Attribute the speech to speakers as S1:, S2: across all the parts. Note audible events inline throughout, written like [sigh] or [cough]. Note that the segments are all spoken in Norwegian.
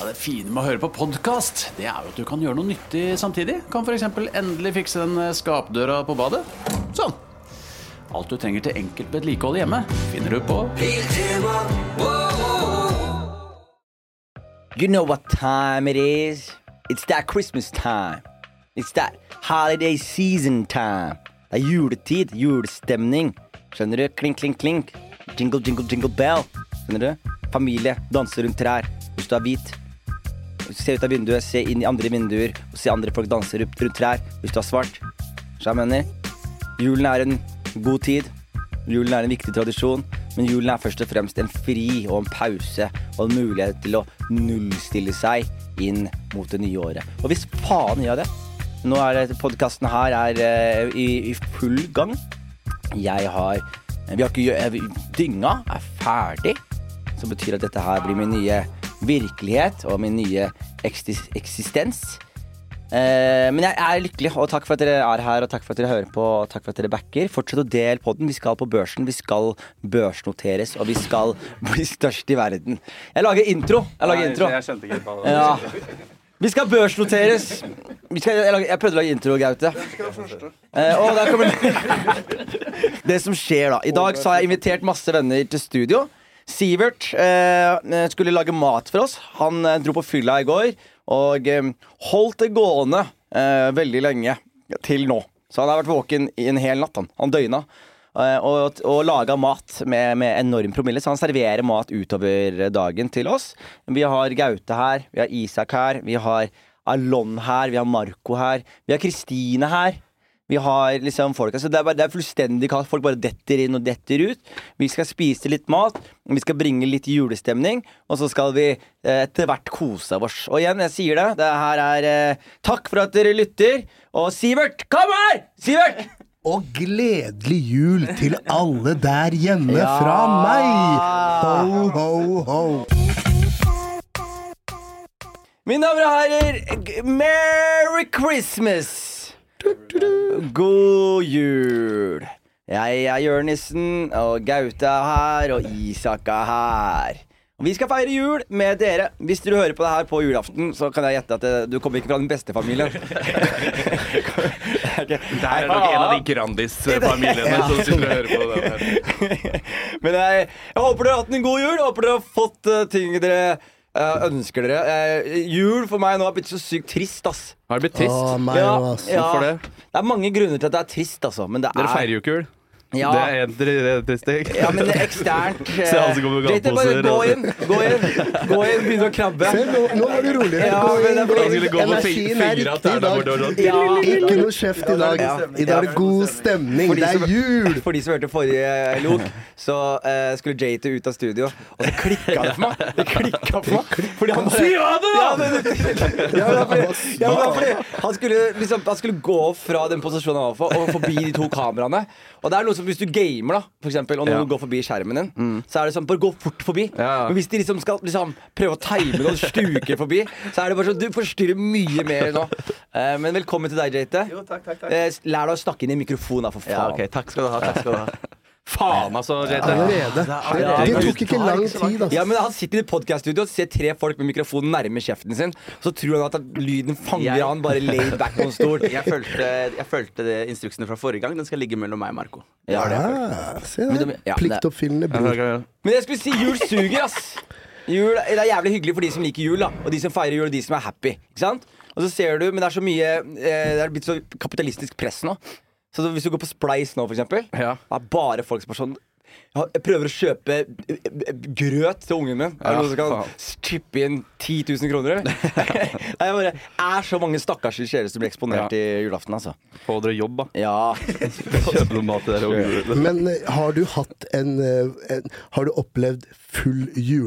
S1: Ja, det fine med å høre på podkast, det er jo at du kan gjøre noe nyttig samtidig. Kan f.eks. endelig fikse den eh, skapdøra på badet. Sånn. Alt du trenger til enkelt vedlikehold hjemme, finner du på
S2: You know what time it is? It's that Christmas time. It's that holiday season time. Det er juletid, julestemning. Skjønner du? Klink, klink, klink. Jingle, jingle, jingle bell. Skjønner du? Familie danser rundt trær. Hvis du er hvit, se ut av vinduet, se inn i andre vinduer og se andre folk danse rundt rundt trær hvis du er svart. Så jeg mener, julen er en god tid. Julen er en viktig tradisjon, men julen er først og fremst en fri og en pause og en mulighet til å nullstille seg inn mot det nye året. Og hvis faen gjør det Nå er podkasten her er, eh, i, i full gang. Jeg har Vi har ikke gjø- Dynga er ferdig. Som betyr at dette her blir min nye virkelighet og min nye eksis- eksistens. Eh, men jeg er lykkelig, og takk for at dere er her og takk for at dere hører på. Og takk for at dere backer Fortsett å dele podden. Vi skal på børsen. Vi skal børsnoteres, og vi skal [laughs] bli størst i verden. Jeg lager intro. Jeg lager intro.
S3: Jeg skjønte ikke helt hva det var.
S2: Ja. Vi skal børsnoteres. Vi skal, jeg, lag- jeg prøvde å lage intro, Gaute. Eh, og der kommer det. [laughs] det som skjer, da. I dag så har jeg invitert masse venner til studio. Sivert eh, skulle lage mat for oss. Han eh, dro på fylla i går og eh, holdt det gående eh, veldig lenge til nå. Så han har vært våken i en hel natt. Han, han døgna. eh, Og, og laga mat med, med enorm promille, så han serverer mat utover dagen til oss. Vi har Gaute her, vi har Isak her, vi har Alon her, vi har Marco her, vi har Kristine her. Vi har liksom folk altså det, er bare, det er fullstendig kaos. Folk bare detter inn og detter ut. Vi skal spise litt mat, vi skal bringe litt julestemning, og så skal vi eh, etter hvert kose av oss. Og igjen, jeg sier det, det her er eh, Takk for at dere lytter. Og Sivert, kom her! Sivert!
S4: Og gledelig jul til alle der hjemme
S2: Ja.
S4: fra meg! Ho, ho, ho.
S2: Mine damer og herrer, g- merry Christmas! God jul. Jeg er Jørnissen, og Gaute er her, og Isak er her. Og Vi skal feire jul med dere. Hvis dere hører på det her på julaften, så kan jeg gjette at eh, du kommer ikke fra den beste
S3: [laughs]
S2: familien. [laughs]
S3: Det her er nok en av de
S2: [laughs]
S3: Grandis-familiene som sitter og hører på den her.
S2: Men jeg, jeg håper dere har hatt en god jul. Håper dere har fått eh, ting dere eh, ønsker dere. Eh, jul for meg nå har blitt så sykt trist, ass.
S5: Har det
S4: Å,
S5: blitt trist?
S4: meg òg, ass.
S5: Hvorfor det?
S2: Det er mange grunner til at det er trist, altså. Men det er
S5: Dere feirer jo ikke jul.
S2: Ja.
S5: Det er en det er en trist ting.
S2: Ja, men det er
S5: [laughs]
S2: eksternt eh,
S5: Se alle som kommer med altså.
S2: vet du, bare
S5: gaveposer,
S2: Gå
S5: og-
S2: inn, gå inn, gå inn, begynne å krabbe.
S4: Se, nå, nå var du roligere.
S2: Ja,
S4: Gå
S2: men
S4: inn,
S2: det er
S4: gå
S2: fordi
S5: Han
S4: inn.
S5: skulle gå på fi-
S4: Energien er
S5: fingra
S4: riktig
S5: tær
S4: i
S5: der
S4: dag.
S5: borte og sånn.
S2: Ja.
S4: Ikke noe kjeft i dag. I dag er det god stemning.
S2: For de
S4: Det
S2: som-
S4: er jul!
S2: For de som hørte forrige lok, så eh, skulle Jate ut av studio, og så klikka det for meg. Det klikka for meg. Fordi han bare, Si det, da! Ja, men, ja, men, det er fordi- ja, men, det er fordi han, skulle, liksom, han skulle gå fra den posisjonen han var på, og forbi de to kameraene. Og det er noe som hvis du gamer, da, for eksempel, og noen
S5: Ja. Mm.
S2: går forbi skjermen din, så er det sånn Bare gå fort forbi.
S5: Ja.
S2: Men hvis de liksom skal liksom, prøve å time det og stuke forbi, så er det bare sånn Du forstyrrer mye mer nå. Eh, men velkommen til deg, Jate. Jo, takk, takk, takk. lær deg å snakke inn i mikrofonen, da, for faen.
S5: Ja, ok, takk skal du ha. Takk
S2: [laughs]
S5: skal du ha. Faen, altså, JT.
S4: Allerede. Det,
S2: allerede.
S4: det tok ikke lang tid, altså.
S2: Ja,
S4: ass.
S2: men Han sitter i et podcaststudio og ser tre folk med mikrofonen nærme kjeften sin. Så tror han at lyden fanger
S6: Jeg-
S2: han bare laid back på en stol.
S6: [laughs] Jeg fulgte, jeg fulgte det instruksene fra forrige gang. Den skal ligge mellom meg og Marco.
S2: Ja.
S4: Ja, se
S2: Men
S4: der.
S2: det- ja, det-
S4: Pliktoppfyllende bror.
S2: Men jeg skulle si jul suger, ass. Jul, det er jævlig hyggelig for de som liker jul, da. Og de som feirer jul, og de som er happy. Ikke sant? Og så ser du, men det er så mye eh, Det er blitt så kapitalistisk press nå. Så hvis du går på Splice nå, for eksempel,
S5: Ja.
S2: det er bare folk som er sånn «Ja, jeg prøver å kjøpe eh, eh, grøt til ungen min. Er det
S5: Ja,
S2: noen som
S5: faen.
S2: kan chippe inn 10 000
S5: [laughs]
S2: kroner? eller? [laughs] Nei, jeg bare, er så mange stakkars sjeler som blir eksponert
S5: Ja.
S2: i julaften, altså.
S5: Få dere jobb, da. [laughs]
S2: Ja.
S5: Kjøpe noe mat
S2: [laughs]
S5: til dere. og-
S4: Men eh, har du hatt en, eh, en Har du opplevd full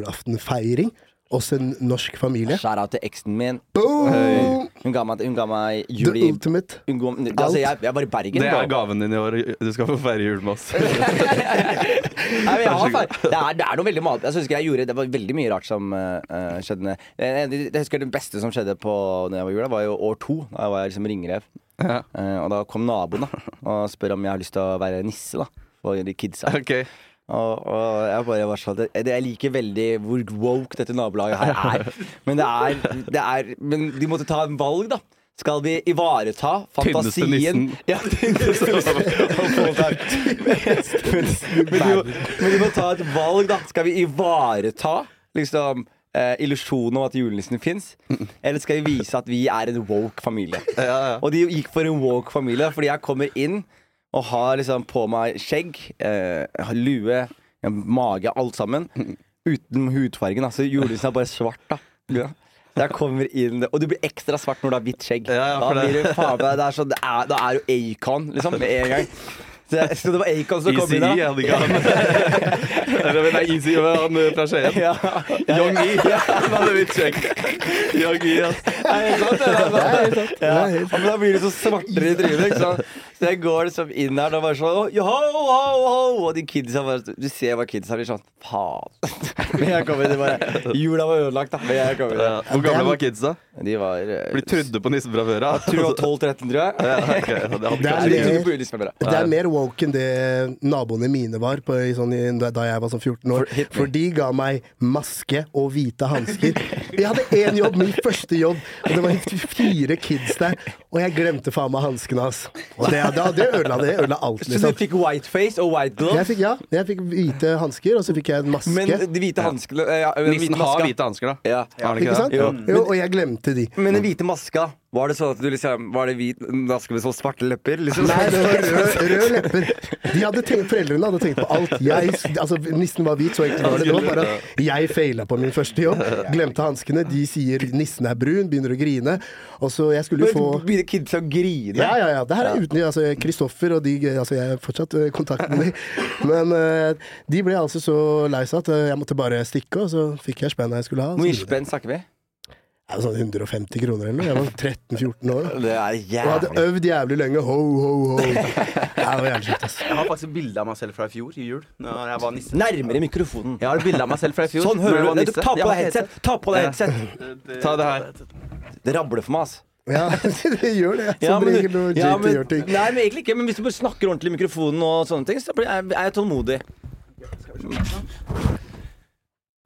S4: julaftenfeiring hos en norsk familie?
S2: Skjær av til eksen min.
S4: Boom!
S2: Hun ga meg, hun ga meg
S4: The
S2: jul i
S4: ultimate.
S2: Hun går, altså, jeg, jeg var i Bergen.
S5: Det
S2: bro.
S5: er gaven din i år. Du skal få feire jul med
S2: [laughs]
S5: oss.
S2: Nei, men jeg har, feil. det, er, det er noe veldig mal... Jeg husker jeg gjorde Det var veldig mye rart som eh, eh, skjedde. Eh, det- Jeg husker det beste som skjedde på når jeg var i jula, var jo år to. Da jeg var liksom ringrev.
S5: Ja.
S2: Eh, og da kom naboen da og spør om jeg har lyst til å være nisse. da For de kidsa.
S5: Ok.
S2: Og, og jeg bare var sånn det- Jeg liker veldig hvor woke dette nabolaget her er. Men, det er, det er, men de måtte ta en valg, da. Skal vi ivareta
S3: Tynneste
S2: fantasien
S3: nissen.
S2: Ja, [laughs] tynneste nissen. men, men, de må, men de må ta et valg, da. Skal vi ivareta liksom eh, illusjonen om at julenissen fins? Eller skal vi vise at vi er en woke familie? Og de gikk for en woke familie, fordi jeg kommer inn og har liksom på meg skjegg, eh, jeg har lue, jeg har mage, alt sammen. Uten hudfargen. Altså, julenissen er bare svart, da. Så Jeg kommer inn Og du blir ekstra svart når du har hvitt skjegg.
S6: Ja, ja, for
S2: da
S6: det-
S2: blir du faen meg det er sånn, det er- Da er du Acon, liksom, med en gang. Så, jeg- så det var Acon som kom
S3: Easy
S2: inn da.
S3: E
S2: [laughs]
S3: hadde ikke han. Eller, men det er Easy E han eh, fra Skien.
S2: Ja.
S3: Young E.
S5: [laughs]
S3: Han hadde litt kjekk. Young E, ass.
S2: Ja, men da blir det så svartere i trynet. ikke sant? Så jeg går liksom inn der og bare sånn Yo, ho, ho, ho! Og de kidsa bare Du ser hva kidsa blir sånn Faen. [laughs] Men jeg kommer inn og bare Jula var ødelagt, da. Men jeg kommer inn.
S6: Ja. Hvor gamle var kidsa?
S2: De var eh,
S3: For de trodde på nissen fra før av.
S2: tror jeg var 12-13, tror jeg.
S6: Ja, ok, ja, det hadde
S4: Det
S2: Så de
S4: er,
S2: trodde på julenissen. bare.
S4: Det er mer woke enn det naboene mine var på, i sånn, i- da jeg var sånn 14 år.
S2: hit me.
S4: For de ga meg maske og hvite hansker. Jeg hadde én jobb, min første jobb, og det var fire kids der. Og jeg glemte faen meg hanskene hans. Og det, det, det ødela det ødela alt,
S2: Så du
S4: liksom.
S2: fikk whiteface og white
S4: Jeg
S2: gloves,
S4: fikk, ja, jeg fikk hvite hansker, og så fikk jeg en maske.
S2: men de hvite hanskene eh, ja, den
S6: Nissen
S2: hvite
S6: har
S2: maska-
S6: hvite hansker, da.
S2: Ja.
S6: Har han
S4: ikke sant?
S6: det?
S4: Jo.
S6: Jo.
S4: og jeg glemte de.
S2: Men den hvite maska, var det sånn at du liksom Var det hvit maske med sånn svarte lepper? Liksom?
S4: Nei, det var
S2: [laughs]
S4: rød, rød lepper. De hadde tenkt, foreldrene hadde tenkt på alt. Jeg, altså, nissen var hvit, så enkelt var det. Det var bare at jeg feila på min første jobb. Glemte hanskene. De sier 'nissen er brun', begynner å grine. Og så jeg skulle jo få
S2: Men Begynner kidsa å grine?
S4: ja, ja, ja. Det her er uten altså, Kristoffer og de altså, Jeg er fortsatt eh, i kontakt med dem. Men eh, de ble altså så lei seg at eh, jeg måtte bare stikke, og så fikk jeg spenna jeg skulle ha.
S2: Hvor mye
S4: Så,
S2: spenn snakker vi?
S4: det er jo sånn 150 kroner eller noe. Jeg var 13-14 år. da
S2: Det
S4: Og
S2: er
S4: hadde
S2: jævlig
S4: øvd jævlig lenge. Ho, ho, ho. Det var jævlig kjipt, ass.
S6: Jeg har faktisk et bilde av meg selv fra i fjor, i jul, når jeg var nisse.
S2: Nærmere mikrofonen.
S6: Jeg har et bilde av meg selv fra i fjor.
S2: Sånn
S6: når jeg
S2: hører
S6: var
S2: du. Nei, du
S6: nisse.
S2: ta
S6: Jeg
S2: på
S6: har
S2: deg headset! Ta på deg headset!
S3: Ta det her.
S2: Det rabler for meg, altså.
S4: Ja, [laughs] det gjør det. Som regel når
S2: [laughs] ja,
S4: JT
S2: men,
S4: gjør ting.
S2: nei, men egentlig ikke. Men hvis du bare snakker ordentlig i mikrofonen, og sånne ting, så blir- er jeg- er jeg tålmodig.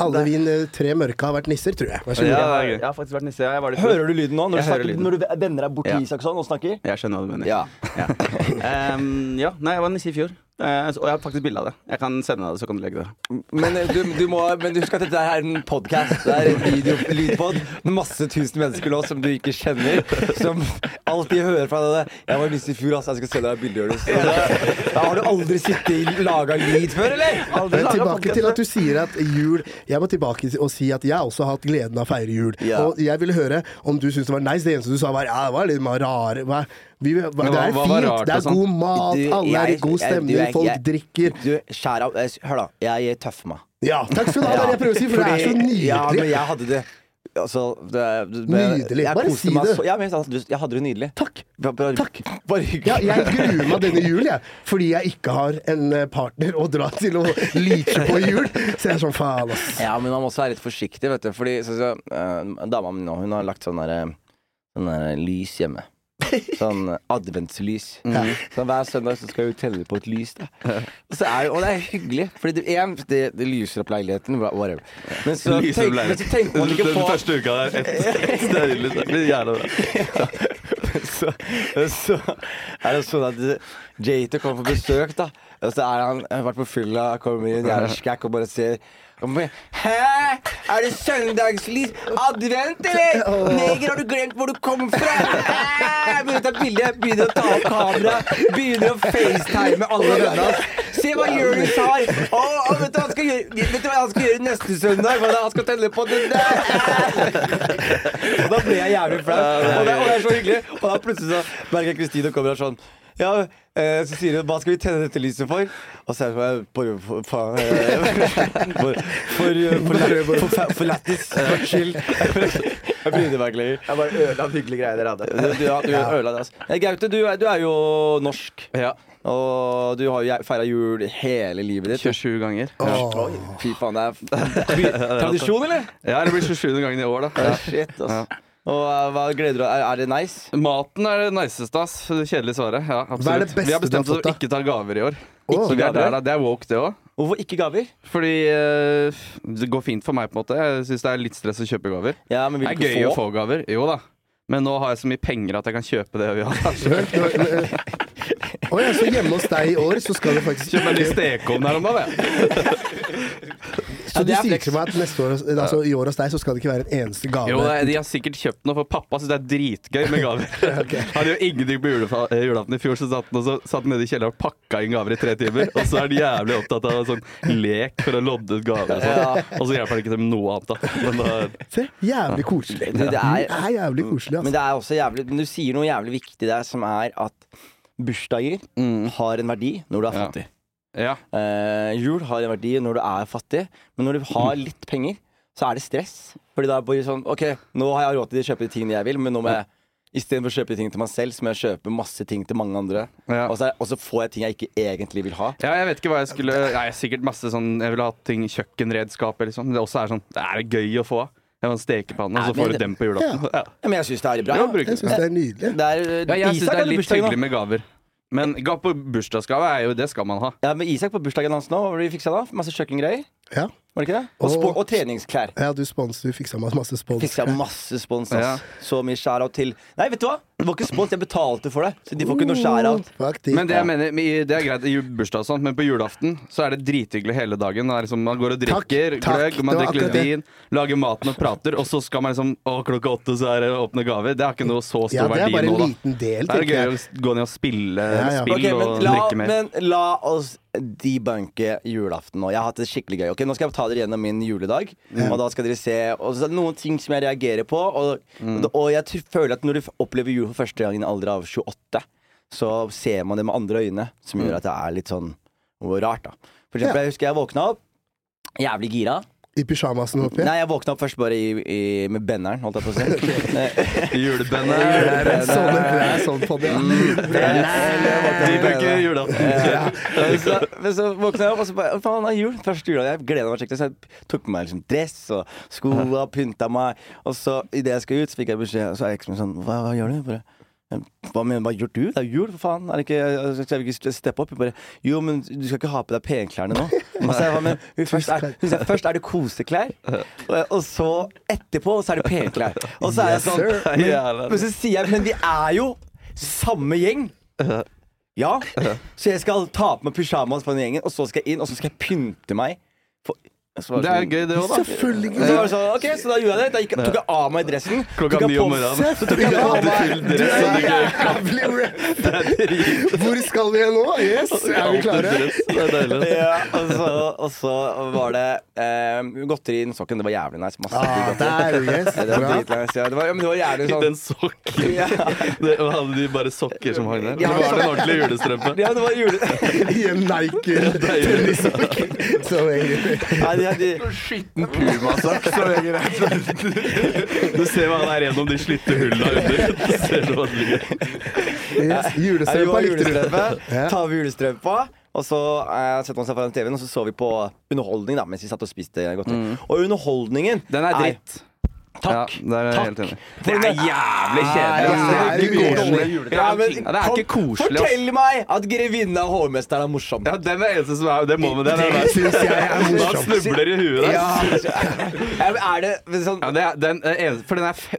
S4: Alle vi eh, tre mørke har vært nisser, tror jeg. Vær så
S6: Ja,
S4: god.
S6: jeg har- jeg har faktisk vært nisse. ja. Jeg var det i fjor.
S2: Hører du lyden nå? Når du,
S6: Jeg hører
S2: snakker,
S6: lyden.
S2: når du vender deg bort til
S6: Ja.
S2: Isak sånn og snakker?
S6: Jeg skjønner hva du mener.
S2: Ja.
S6: [laughs] Ehm, ja, nei, jeg var nisse i fjor. Eh, så- og jeg har faktisk bilde av det. Jeg kan sende deg det, så kan du legge det.
S2: Men eh, du, du må men husk at dette er en podkast. Det er en video lydpod med masse tusen mennesker nå som du ikke kjenner. Som alltid hører fra deg. Jeg var lyst i fjor, altså. Jeg skal sende deg bilder. Jonas. Så, da har du aldri sittet i laga lyd før, eller?
S4: Men tilbake til at du sier at jul Jeg må tilbake og si at jeg også har hatt gleden av å feire jul.
S2: Ja.
S4: Og jeg ville høre om du syntes det var nice. Det eneste du sa, var ja, det var litt rare. Hva, vi, hva, det
S3: hva-
S4: er
S3: hva var
S4: fint,
S3: rart
S4: det
S3: og
S4: er
S3: sånn?
S4: god mat,
S2: Du,
S4: alle er i
S2: jeg-
S4: god
S2: jeg- du,
S4: stemning,
S2: jeg-
S4: folk
S2: jeg-
S4: drikker.
S2: Du, skjær av eh, Hør, da. Jeg, jeg tøffer meg.
S4: Ja, takk skal du ha. Det er det jeg prøver å si, for det er så
S2: Fordi- Ja, men
S4: nydelig.
S2: jeg hadde det Altså, det, det,
S4: Nydelig.
S2: jeg
S4: Bare
S2: koste
S4: si
S2: meg
S4: det.
S2: Så, ja, men, jeg hadde- jeg hadde det nydelig.
S4: Takk.
S2: Bare, bare,
S4: Takk.
S2: Bare hyggelig.
S4: Ja, jeg gruer meg denne julen, jeg. Fordi jeg ikke har en eh, partner å dra til og like på jul. Så jeg er sånn faen, ass.
S2: Ja, men man må også være litt forsiktig, vet du. Fordi så, så, eh, dama mi nå, hun har lagt sånn derre sånn der lys hjemme. Sånn eh, adventslys. Så hver søndag så skal hun telle på et lys, da. Og, så er, det- og det er hyggelig, fordi det, en, det, det lyser opp leiligheten. bra, Whatever. Men så,
S3: Lyser
S2: tenk,
S3: opp
S2: men så tenker man ikke
S3: Den
S2: på
S3: første uka der. et- et sted, liksom. Det blir jævla bra.
S2: så, så er det sånn at Jater kommer på besøk, da. Og så er han har vært på fylla, kommer inn, er skækk og bare ser og bare, Hæ? Er det søndagslys? Advent, eller? Neger, har du glemt hvor du kom fra? Hæ? Begynner å ta bilde, begynner å ta opp kamera, begynner å facetime alle vennene hans. Se hva Jonis har! Å, å, vet, du hva han skal gjøre, vet du hva han skal gjøre neste søndag? Hva er det han skal telle på den der? Og da
S6: [laughs]
S2: ble jeg jævlig flau. Og, det- og det er så hyggelig. Og da plutselig så merker jeg Kristine kommer her sånn ja, eh, så sier hun hva skal vi tenne dette lyset for? Og så er det bare for faen eh, For, for, eh, for, la- for, fa- for lættis. For chill. Jeg brydde meg ikke lenger.
S6: Jeg bare ødela hyggelige greier dere hadde.
S2: Du, du, ja, du ødela det, altså. Eh, Gaute, du, er- du er jo norsk.
S6: Ja.
S2: Og du har jo feira jul hele livet ditt.
S6: 27 ganger.
S4: Åh.
S2: Fy faen, det er by- tradisjon, eller?
S3: Ja, det blir 27. gangen i år, da.
S2: Shit, altså. Og eh, hva gleder du deg Er er det nice?
S3: Maten er det niceste, ass. Det kjedelige svaret. Ja, absolutt.
S4: Hva er det beste
S3: vi har bestemt
S4: du har fått,
S3: oss for
S4: da?
S3: å ikke ta gaver i år.
S4: Åh.
S3: Så vi er der, da. Det er woke, det òg.
S2: Hvorfor ikke gaver?
S5: Fordi eh, det går fint for meg, på en måte. Jeg syns det er litt stress å kjøpe gaver.
S2: Ja, men
S5: Det
S2: vil
S5: er
S2: du
S5: gøy
S2: ikke
S5: å få gaver. Jo da. Men nå har jeg så mye penger at jeg kan kjøpe det vi har. [laughs]
S4: Å ja, så hjemme hos deg i år, så skal det faktisk
S5: Kjøpe en ny stekeovn her om dagen. jeg.
S4: Så
S2: Ja,
S4: du
S2: det er
S4: sier
S2: flex.
S4: til meg at neste år, altså, i år hos deg så skal det ikke være en eneste gave?
S5: Jo, det- de har sikkert kjøpt noe, for pappa syns det er dritgøy med gaver. [laughs] Han gjør ingenting på julefa- eh, julaften i fjor, så satt han, og så satt han nede i kjelleren og pakka inn gaver i tre timer. Og så er de jævlig opptatt av sånn lek for å lodde ut gaver og sånn. Og så hjelper han ikke til med noe annet, da. Men da
S4: Se, jævlig koselig.
S2: det er-
S4: Du er jævlig koselig,
S2: Men
S4: altså.
S2: det er også jævlig Men du sier noe jævlig viktig der, som er at bursdager mm, har en verdi når du er
S5: Ja.
S2: fattig.
S5: ja.
S2: Eh, jul har en verdi når du er fattig, men når du har
S5: Mm.
S2: litt penger, så er det stress. Fordi da er det bare sånn OK, nå har jeg råd til å kjøpe de tingene jeg vil, men nå må jeg Istedenfor å kjøpe ting til meg selv, så må jeg kjøpe masse ting til mange andre.
S5: Ja.
S2: Og, så er, og så får jeg ting jeg ikke egentlig vil ha.
S5: Ja, jeg vet ikke hva jeg skulle Nei, sikkert masse sånn Jeg ville hatt ting kjøkkenredskap eller sånn. Det også er sånn Det er gøy å få. Jeg har en stekepanne, og
S2: Nei,
S5: så
S2: men
S5: får du
S2: det-
S5: den på julaften. Ja.
S2: Ja, men jeg syns det er bra.
S5: Ja, bruk
S4: Jeg syns det er nydelig.
S2: Det er,
S5: Ja, jeg syns
S2: Isak
S5: det er
S2: hadde
S5: litt
S2: bursdag nå.
S5: hyggelig med gaver. Men ga- på bursdagsgave er jo Det skal man ha.
S2: Ja, men Isak på bursdagen hans nå, hva var det vi fiksa da? Masse kjøkkengreier?
S4: Ja,
S2: Var det ikke det?
S4: Og-
S2: Og, spo- og treningsklær.
S4: ja du, spons, du fiksa meg masse spons.
S2: Fiksa masse spons.
S5: Ja.
S2: ass. Så mye skjærout til Nei, vet du hva? Det var ikke spons, jeg betalte for det. Så de får ikke noe skjærout.
S4: Faktisk.
S5: Men det jeg mener i- Det er greit i bursdag og sånt, men på julaften så er det drithyggelig hele dagen. Det er liksom, man går og
S4: Takk,
S5: drikker
S4: takk,
S5: gløgg, man
S4: det var
S5: drikker
S4: akkurat det.
S5: vin, lager maten og prater, og så skal man liksom Å, klokka åtte så er det åpne gaver. Det har ikke noe så
S4: ja,
S5: stor
S4: det er
S5: verdi
S4: bare
S5: nå,
S4: en
S5: da.
S4: liten del,
S5: Det er
S4: tenker
S5: gøy å
S4: jeg.
S5: s- gå ned og spille
S4: Ja, ja.
S5: spill
S2: Ok, men
S5: og
S2: la,
S5: drikke mer.
S2: men la oss debunke julaften nå. Jeg har hatt det skikkelig gøy. Ok, Nå skal jeg ta dere gjennom min juledag. Og da skal dere se og så er det noen ting som jeg reagerer på. Og,
S4: Mm.
S2: og jeg tr- føler at når du f- opplever jul for første gang i en alder av 28, så ser man det med andre øyne,
S4: Mm.
S2: som gjør at det er litt sånn rart. da For eksempel, jeg husker jeg våkna opp jævlig gira.
S4: I pysjamasen, håper jeg.
S2: Nei, jeg våkna opp først bare i, i, med benneren, holdt jeg på å si.
S4: [laughs] Det
S2: [laughs]
S5: Julebandet.
S4: er en sånn, det er sånn på
S2: Mm.
S4: det.
S5: De bruker julaften.
S2: Men så, men så våkna jeg opp, og så bare Faen, det er jul! Første jula. Jeg gleda meg skikkelig. Så jeg tok på meg liksom dress og sko og pynta meg. Og så idet jeg skal ut, så fikk jeg beskjed, og så er eksen min sånn Hva, hva gjør du? Jeg Bare, hva mener hva gjør du? Det er jo jul, for faen. Er det ikke, altså, skal vi ikke steppe opp? Jeg bare Jo, men du skal ikke ha på deg penklærne
S5: [laughs]
S2: nå. Altså, jeg, bare, men, først, er, hun sa, først er det koseklær, og, og så etterpå så er det penklær. Og så er jeg sånn
S4: Yes,
S2: men, men så sier jeg Men vi er jo samme gjeng. Ja. Så jeg skal ta på meg pysjamas på den gjengen, og så skal jeg inn, og så skal jeg pynte meg. For, så var
S5: Det er gøy, det òg, da.
S4: Selvfølgelig.
S2: Så var det sånn, ok, så da gjorde jeg det. Da gikk, tok jeg av meg dressen.
S5: Klokka
S2: tok jeg
S5: ni om
S2: på-
S5: morgenen.
S2: Så tok jeg på
S4: Ja,
S2: meg
S4: du er jævlig rap. [laughs] Hvor skal vi nå? Yes, er vi klare?
S5: Det er deilig.
S2: ja, og, så, og så var det eh, godteri i den sokken. Det var jævlig nice. Masse digg
S4: Ah,
S2: godteri.
S4: der, yes.
S2: Ja, [laughs] det var
S4: Bra.
S2: dritnice. Ja. Det var, ja, men det var jævlig sånn
S5: Den sokken.
S2: ja,
S5: [laughs] Det, hadde de bare sokker som hang der?
S2: Ja,
S5: Eller var det en ordentlig julestrømpe?
S2: ja, det var
S5: [laughs]
S2: jule...
S4: [laughs] I en Nike tennissokker. Så egentlig
S2: Nei, de, de,
S3: Skitten pumasokk som henger der.
S5: Du ser hva han er gjennom de slitte hulla under. Du ser det var ligger.
S4: yes.
S2: Nei, vi
S4: Julestrømpa
S2: var
S4: likte du.
S2: julestrømpe.
S4: Ja.
S2: Tar vi julestrømpa, og så eh, setter man seg foran TV-en, og så så vi på underholdning da, mens vi satt og spiste godteri. Og underholdningen
S5: Mm. Den er dritt.
S2: Takk.
S5: Ja, der er jeg helt enig. Det er jævlig
S4: Ja,
S5: ass.
S4: det er jævlig
S5: ikke koselig.
S2: koselig.
S5: Ja, men
S2: Ja,
S5: det er ikke
S2: kom-
S5: koselig. ass.
S2: Fortell meg at grevinna og hovmesteren er morsom.
S5: Ja, den er eneste som er Det må vi det.
S4: Det syns jeg er
S5: Da
S4: morsomt.
S5: snubler i huet der.
S2: Ja, men er det men sånn
S5: Ja, det er, den er eneste, for den er fe,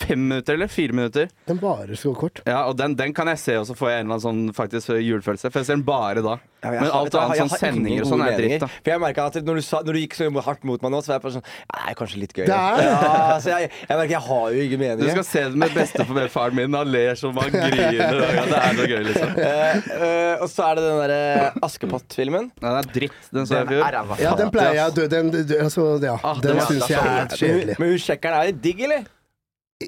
S5: fem minutter eller fire minutter.
S4: Den varer så kort.
S5: Ja, og den, den kan jeg se, og så får jeg en eller annen sånn faktisk julefølelse. For jeg ser den bare da.
S2: Ja, jeg
S5: Men
S2: har-
S5: alt
S2: vet du hva,
S5: annet
S2: jeg
S5: sånn
S2: har
S5: sendinger
S2: ingen
S5: og sånn
S2: gode
S5: er dritt,
S2: meninger.
S5: da.
S2: For jeg merket at når du, sa, når du gikk så hardt mot meg nå, så var jeg bare sånn "Ja, Det er kanskje litt gøy.
S4: Det er det.
S2: Ja, så jeg, jeg merker jeg har jo ingen
S5: Du
S2: meninger.
S5: skal se det med bestefarfaren min. Han ler som
S2: [laughs]
S5: han griner. Ja, det er så gøy, liksom.
S2: Eh, eh, og så er det den derre Askepott-filmen.
S5: Ja, det er dritt, den så jeg i
S2: Den er
S5: fjor.
S2: ræva.
S4: Ja, den pleier jeg å dø Den, den- altså, ja.
S5: Ah, det
S4: den
S5: var-
S4: syns jeg er
S2: Men,
S4: kjedelig.
S2: men hun sjekkeren er litt digg, eller?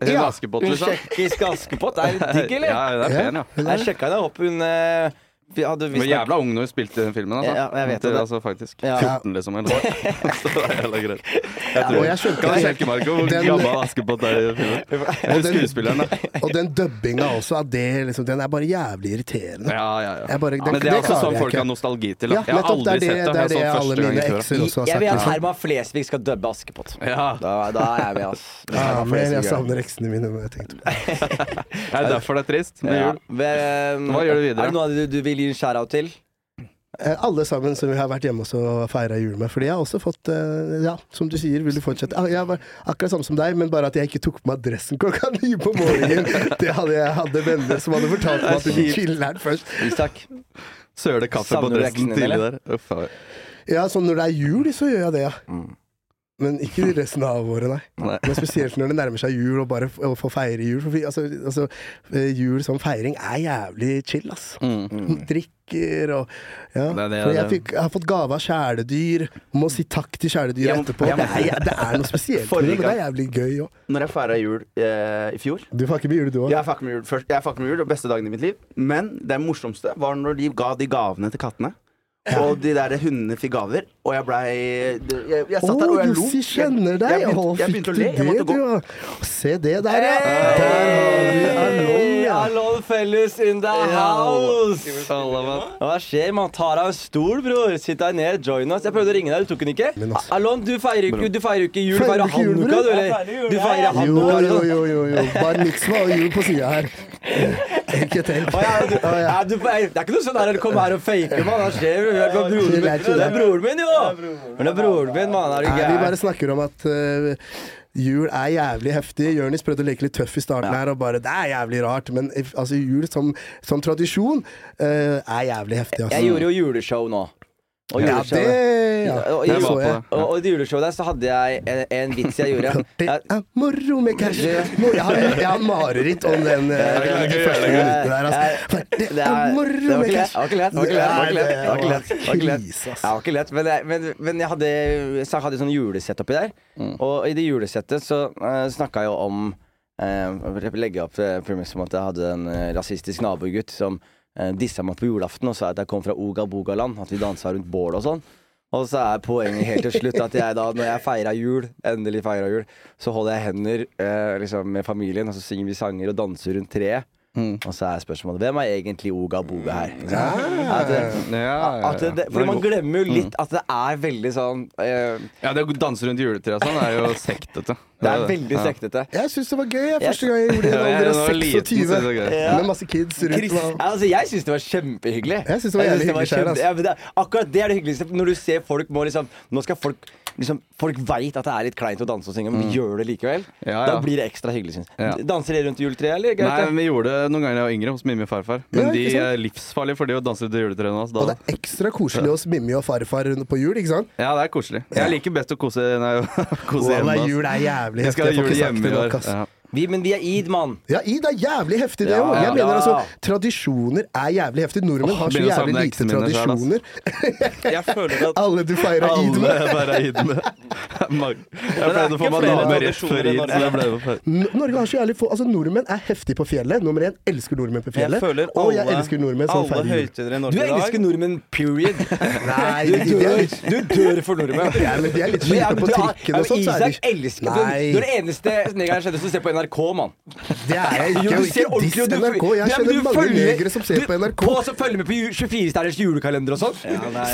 S5: Hun
S4: Ja.
S5: Askepott,
S2: Hun
S5: liksom.
S2: tsjekkiske Askepott er litt digg, eller?
S5: Ja, hun er pen, ja.
S2: Jeg sjekka henne opp, hun eh, vi hadde
S5: Hun var
S2: visst
S5: jævla ung når hun spilte i den filmen. Altså.
S2: Ja, ja, jeg vet
S5: det,
S2: det.
S5: altså, faktisk.
S2: Ja.
S5: 14, liksom.
S2: [laughs]
S5: Eller noe. Så det er heller greit. Jeg
S4: Og
S5: tror
S4: jeg skjønte
S5: Kan du
S4: det.
S5: sjekke, Marco, hvor
S4: Den-
S5: gammel Askepott er i
S2: [laughs]
S5: filmen? Eller
S4: den-
S5: skuespilleren, da.
S4: Og den dubbinga også, at det, liksom, den er bare jævlig irriterende.
S5: Ja, ja, ja.
S4: Jeg bare- det-
S5: Men det er
S4: det
S5: også
S4: klarer
S5: sånn
S4: jeg
S5: folk
S4: ikke.
S5: har nostalgi til.
S4: Ja,
S5: Da. Jeg har
S4: nettopp. Det
S5: aldri
S4: er det, det, er
S5: sett den. Jeg
S4: det
S5: så den
S4: alle
S5: første gang
S4: mine
S5: i fjor.
S4: ekser også har
S2: Jeg vil at
S4: sagt. Liksom.
S2: Herman Flesvig skal dubbe Askepott.
S5: Ja,
S2: Da, da er jeg med, ass.
S5: [laughs]
S2: Hvis
S4: Ja,
S2: Herman
S4: men jeg sånn.
S2: Flesvig gjør det.
S4: savner eksene mine. men Jeg tenkte
S5: det er derfor det er trist med
S2: Ja.
S5: jul.
S2: Vel, eh,
S5: Hva gjør du videre?
S2: Er det noe du, du vil gi en shout-out til?
S4: eh, alle sammen som vi har vært hjemme hos og feira jul med. Fordi jeg har også fått eh, Ja, som du sier, vil du fortsette? Ah, Jeg var akkurat samme som deg, men bare at jeg ikke tok på meg dressen klokka ni på
S5: [laughs]
S4: morgenen. Det hadde jeg hadde venner som hadde fortalt meg at de
S5: kjipt.
S4: chiller'n først.
S2: Isak.
S5: Søle kaffe på
S2: Savner du
S5: dressen
S2: leksene,
S5: tidlig
S2: eller?
S5: der. Uff, faen.
S4: Ja, så når det er jul, så gjør jeg det, ja.
S6: Mm.
S4: Men ikke resten av året,
S6: [laughs]
S4: nei.
S5: Nei.
S4: Men spesielt når det nærmer seg jul, og bare f- å få feire jul. For vi, altså, altså, eh, jul som feiring er jævlig chill, ass.
S2: Mm.
S4: Drikker og Ja.
S5: Det er det,
S4: For jeg,
S5: det-
S4: fikk, jeg har fått gave av kjæledyr. Må si takk til kjæledyr
S6: Jeg må-
S4: etterpå.
S6: jeg må-
S4: det, er, det er noe spesielt med det, men det er jævlig gøy òg.
S6: Når jeg feira jul eh, i fjor
S4: Du får ikke med jul, du òg.
S6: Jeg fucker med jul først. Jeg fucker med jul, og beste dagen i mitt liv. Men det morsomste var når de ga de gavene til kattene. Og de der hundene fikk gaver, og jeg blei Jeg, jeg satt der og
S4: Å,
S6: jeg
S4: du
S6: lo.
S4: si kjenner deg!
S6: Jeg, jeg,
S4: Å,
S6: begynte, jeg
S4: fikk
S6: begynte å
S4: du
S6: le.
S4: det,
S6: Jeg måtte
S4: du,
S6: gå.
S4: ja? Se det der, ja! Der har vi Alon, ja.
S2: Alon Felles in the house!
S5: Halla, mann.
S2: Hva skjer, mann? Ta deg en stol, bror. Sitt deg ned, join oss. Jeg prøvde å ringe deg, du tok den ikke.
S4: Men altså.
S2: Alon, du feirer ikke, du feirer ikke jul, du
S4: Feirer
S2: feirer
S4: ikke jul,
S2: hanukka,
S4: bror?
S2: du, eller? Du feirer
S4: Jo,
S2: hanukka.
S4: jo,
S2: Alon.
S4: jo, jo, jo. Bar mitzvah og jul på sida her. Ikke tenk.
S2: Å, ja, du, ja, du, det er ikke noe sånn der å komme her og fake, mann. Hva skjer? bror? Det er broren min. Det er broren min, jo! Men det er broren min, mann. Er du
S4: Nei, vi bare
S2: gæren?
S4: snakker om at øh, jul er jævlig heftig. Jonis prøvde å leke litt tøff i starten her og bare Det er jævlig rart, men if- altså, jul som, som tradisjon øh, er jævlig heftig, altså.
S2: Jeg gjorde jo juleshow nå. Og
S4: ja, det
S2: juleshowet.
S4: ja,
S2: Og,
S4: det
S2: i-
S4: så jeg.
S2: og, og i juleshowet der så hadde jeg en, en vits jeg
S4: [laughs]
S2: gjorde.
S4: Det
S2: Jeg,
S4: er moro med cash. Mor- Jeg har, jeg har mareritt om den, øh,
S5: det er
S4: de
S5: gøy,
S4: første
S5: det er gøy.
S4: minuttene der. Altså. Det
S2: Det
S4: er
S2: er- det
S4: moro
S2: var
S4: med
S2: ikke lett,
S4: cash.
S2: det var ikke lett, det var ikke lett, det var ikke lett, det var ikke lett, det var ikke lett.
S4: Krise, ass.
S2: Det var ikke lett, men jeg, men, men jeg hadde, så jeg hadde sånn julesett oppi der. Og i det julesettet så uh, snakka jeg jo om eh, Jeg legger opp eh, premisset om at jeg hadde en eh, rasistisk nabogutt som eh, dissa meg på julaften og sa at jeg kom fra Oga Bogaland, at vi dansa rundt bål og sånn. Og så er poenget helt til slutt at jeg da, når jeg feira jul, endelig feira jul, så holder jeg hender eh, liksom med familien, og så synger vi sanger og danser rundt treet. Og så er spørsmålet hvem er egentlig Oga Boga her? Ikke sant? At, eh,
S5: Ja,
S2: at det,
S5: Den
S2: fordi
S5: er
S2: man
S5: god.
S2: glemmer jo litt at det er veldig sånn eh,
S5: Ja, det å danse rundt juletreet og sånn er jo sektete.
S2: Det er veldig sektete.
S4: Jeg syns det var gøy jeg, første gang jeg gjorde det. Da var
S5: [laughs] Ja, jeg var
S4: dere
S5: liten, så
S4: 26
S5: det var gøy.
S4: med masse kids rundt.
S2: Krist,
S4: meg.
S2: altså, jeg syns det var kjempehyggelig.
S4: Jeg synes det var jævlig
S2: synes
S4: hyggelig selv,
S2: kjempe-
S4: altså.
S2: ja, men det, er- Akkurat det er det hyggeligste. Når du ser folk må liksom Nå skal folk liksom, Folk veit at det er litt kleint å danse og synge, men vi gjør det likevel.
S5: Mm. Ja,
S2: Da
S5: ja.
S2: blir det ekstra hyggelig, syns jeg.
S5: Ja.
S2: Danser dere rundt juletreet, eller?
S5: Nei,
S2: Gaute?
S5: men vi gjorde det noen ganger da jeg var yngre hos Mimmi og farfar. Men
S4: Ja,
S5: de
S4: ikke sant?
S5: er livsfarlige for de å danse rundt juletreet nå. så
S4: Og
S5: Da.
S4: det er ekstra koselig hos Mimmi og farfar på jul, ikke sant?
S5: Ja, det er koselig. Jeg liker best å kose, nei,
S4: Og
S5: [laughs] kose hjemme.
S4: nei,
S5: ass.
S4: jul er jævlig
S5: Jeg skal
S4: heftig.
S5: ha
S4: Jeg får
S5: jul
S4: ikke sagt
S5: hjemme
S4: det
S5: i
S4: nok,
S5: år.
S4: ass.
S5: Ja.
S2: Vi, men vi er id, mann.
S4: Ja, Id er jævlig heftig, det
S5: Ja,
S4: òg.
S5: ja.
S4: Jeg mener altså,
S2: Ja.
S4: tradisjoner er jævlig heftig. Nordmenn
S5: Åh,
S4: har så
S5: begynner å
S4: jævlig
S5: savne
S4: lite
S5: eksene mine selv, ass.
S4: tradisjoner.
S6: Jeg føler at
S4: Alle du feirer id
S5: Alle
S4: med.
S5: bare er
S6: [laughs]
S5: idene. Mange- Jeg pleide å få
S6: ikke flere
S5: bananer rett
S6: tradisjoner
S5: før
S6: i
S5: id.
S6: Norge.
S5: Så jeg ble jo ferdig.
S4: N- Norge har så jævlig få Altså, nordmenn er heftige på fjellet. Nummer én elsker nordmenn på
S6: jeg
S4: fjellet.
S6: føler alle,
S4: og jeg elsker nordmenn som
S6: alle
S4: feirer jul.
S6: høytider i
S2: Du
S6: Norge i dag
S2: elsker nordmenn, period.
S4: [laughs] Nei,
S2: Du
S4: de- de er
S2: dør,
S4: litt-
S2: du dør for nordmenn.
S4: Ja, men de er litt
S2: Men ja,
S4: skylda
S2: men
S4: på
S2: du har-
S4: trikken og
S2: ja, men
S4: sånt. så er de-
S2: Isak elsker du,
S4: Nei.
S2: du er den eneste negeren jeg kjenner som ser på NRK, mann.
S4: Det er jeg ikke.
S2: Jo,
S4: Og
S2: du ser
S4: ikke
S2: ordentlig,
S4: diss
S2: og du-
S4: NRK. Jeg
S2: Ja, men
S4: kjenner
S2: du
S4: mange
S2: følger-
S4: negere som ser
S2: du-
S4: på NRK.
S2: Og som følger med på 24-stjerners julekalender og sånn.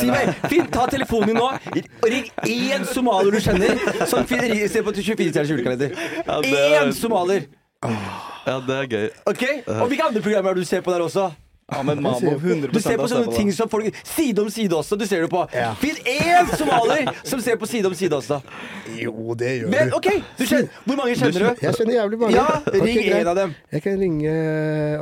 S2: si meg, Finn, ta telefonen din nå og ring én somalier du kjenner som fin- ri- ser på 24-stjerners julekalender.
S5: det er-
S2: Én somalier!
S5: Ja, det er gøy.
S2: ok? Og hvilke andre programmer er det du ser på der også?
S6: Ahmed Mamov 100
S2: Du ser på
S6: av
S2: sånne
S6: stemmen.
S2: ting som folk Side om side også, du ser det på.
S4: Ja.
S2: Finn én somalier som ser på Side om side også.
S4: Jo, det gjør
S2: Men
S4: du.
S2: OK, du kjenner, hvor mange kjenner du?
S4: Jeg kjenner jævlig mange.
S2: Ja,
S4: Ok,
S2: ring
S4: greit.
S2: en av dem.
S4: Jeg kan ringe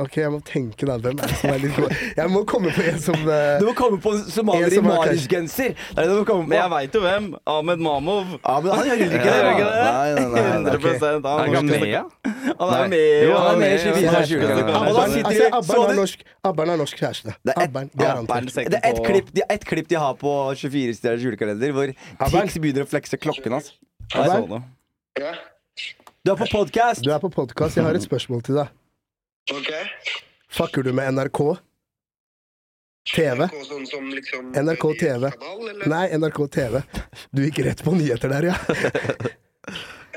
S4: Ok, jeg må tenke da. Hvem er det som er litt god? Jeg må komme på en som
S2: Du
S4: eh,
S2: må komme på en somalier
S4: En
S2: i
S4: som har
S2: Marius-genser. Det er det du må komme på.
S6: Men jeg veit jo hvem. Ahmed Mamov.
S2: Ja, men han hører ikke det.
S6: Gjør
S2: da.
S6: ikke det?
S2: Nei, nei, nei, nei.
S6: 100
S5: Er
S6: han,
S5: ikke han
S6: norsk-
S5: med? ja?
S6: han er
S5: Nei.
S6: med.
S5: Jo,
S2: Han er med i 24
S4: Ja,
S2: av 20.
S5: ja, ja.
S2: Og da sitter
S4: Altså, Abban
S2: så
S4: har
S2: du-
S4: norsk, Abban har norsk kjæreste.
S2: Det er ett-
S4: Abban, garantert.
S6: Abban ser
S2: det er et
S6: på-
S2: klipp, de, et klipp de har på 24 stjerners julekalender, hvor Tix begynner å flekse klokken hans.
S6: Jeg så
S4: Abban,
S6: noe.
S7: Ja,
S2: Du er på podkast!
S4: du er på Mm. podkast. Jeg har et spørsmål til deg.
S7: ok.
S4: Fucker du med NRK? TV?
S7: NRK sånn som liksom
S4: NRK TV.
S7: Kanal, eller?
S4: Nei, NRK TV. Du gikk rett på nyheter der, ja.
S7: [laughs]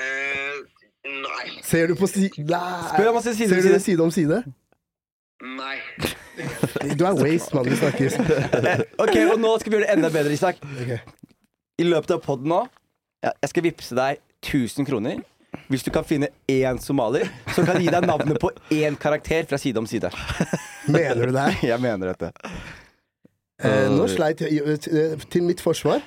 S7: Eh, nei.
S4: Ser du på si... Nei.
S2: Spør om han ser side
S4: Ser
S2: om
S4: du det
S2: side.
S4: side om side?
S7: Nei.
S4: [laughs] Du er waste, mann. Vi snakkes.
S2: [laughs] Ok, og nå skal vi gjøre det enda bedre, Isak.
S4: Ok.
S2: I løpet av poden nå, ja, jeg skal vippse deg 1000 kroner. Hvis du kan finne én somalier som kan gi deg navnet på én karakter fra side om side. [laughs]
S4: Mener du det her?
S2: Jeg mener dette.
S4: Eh, nå sleit jeg eh, Til mitt forsvar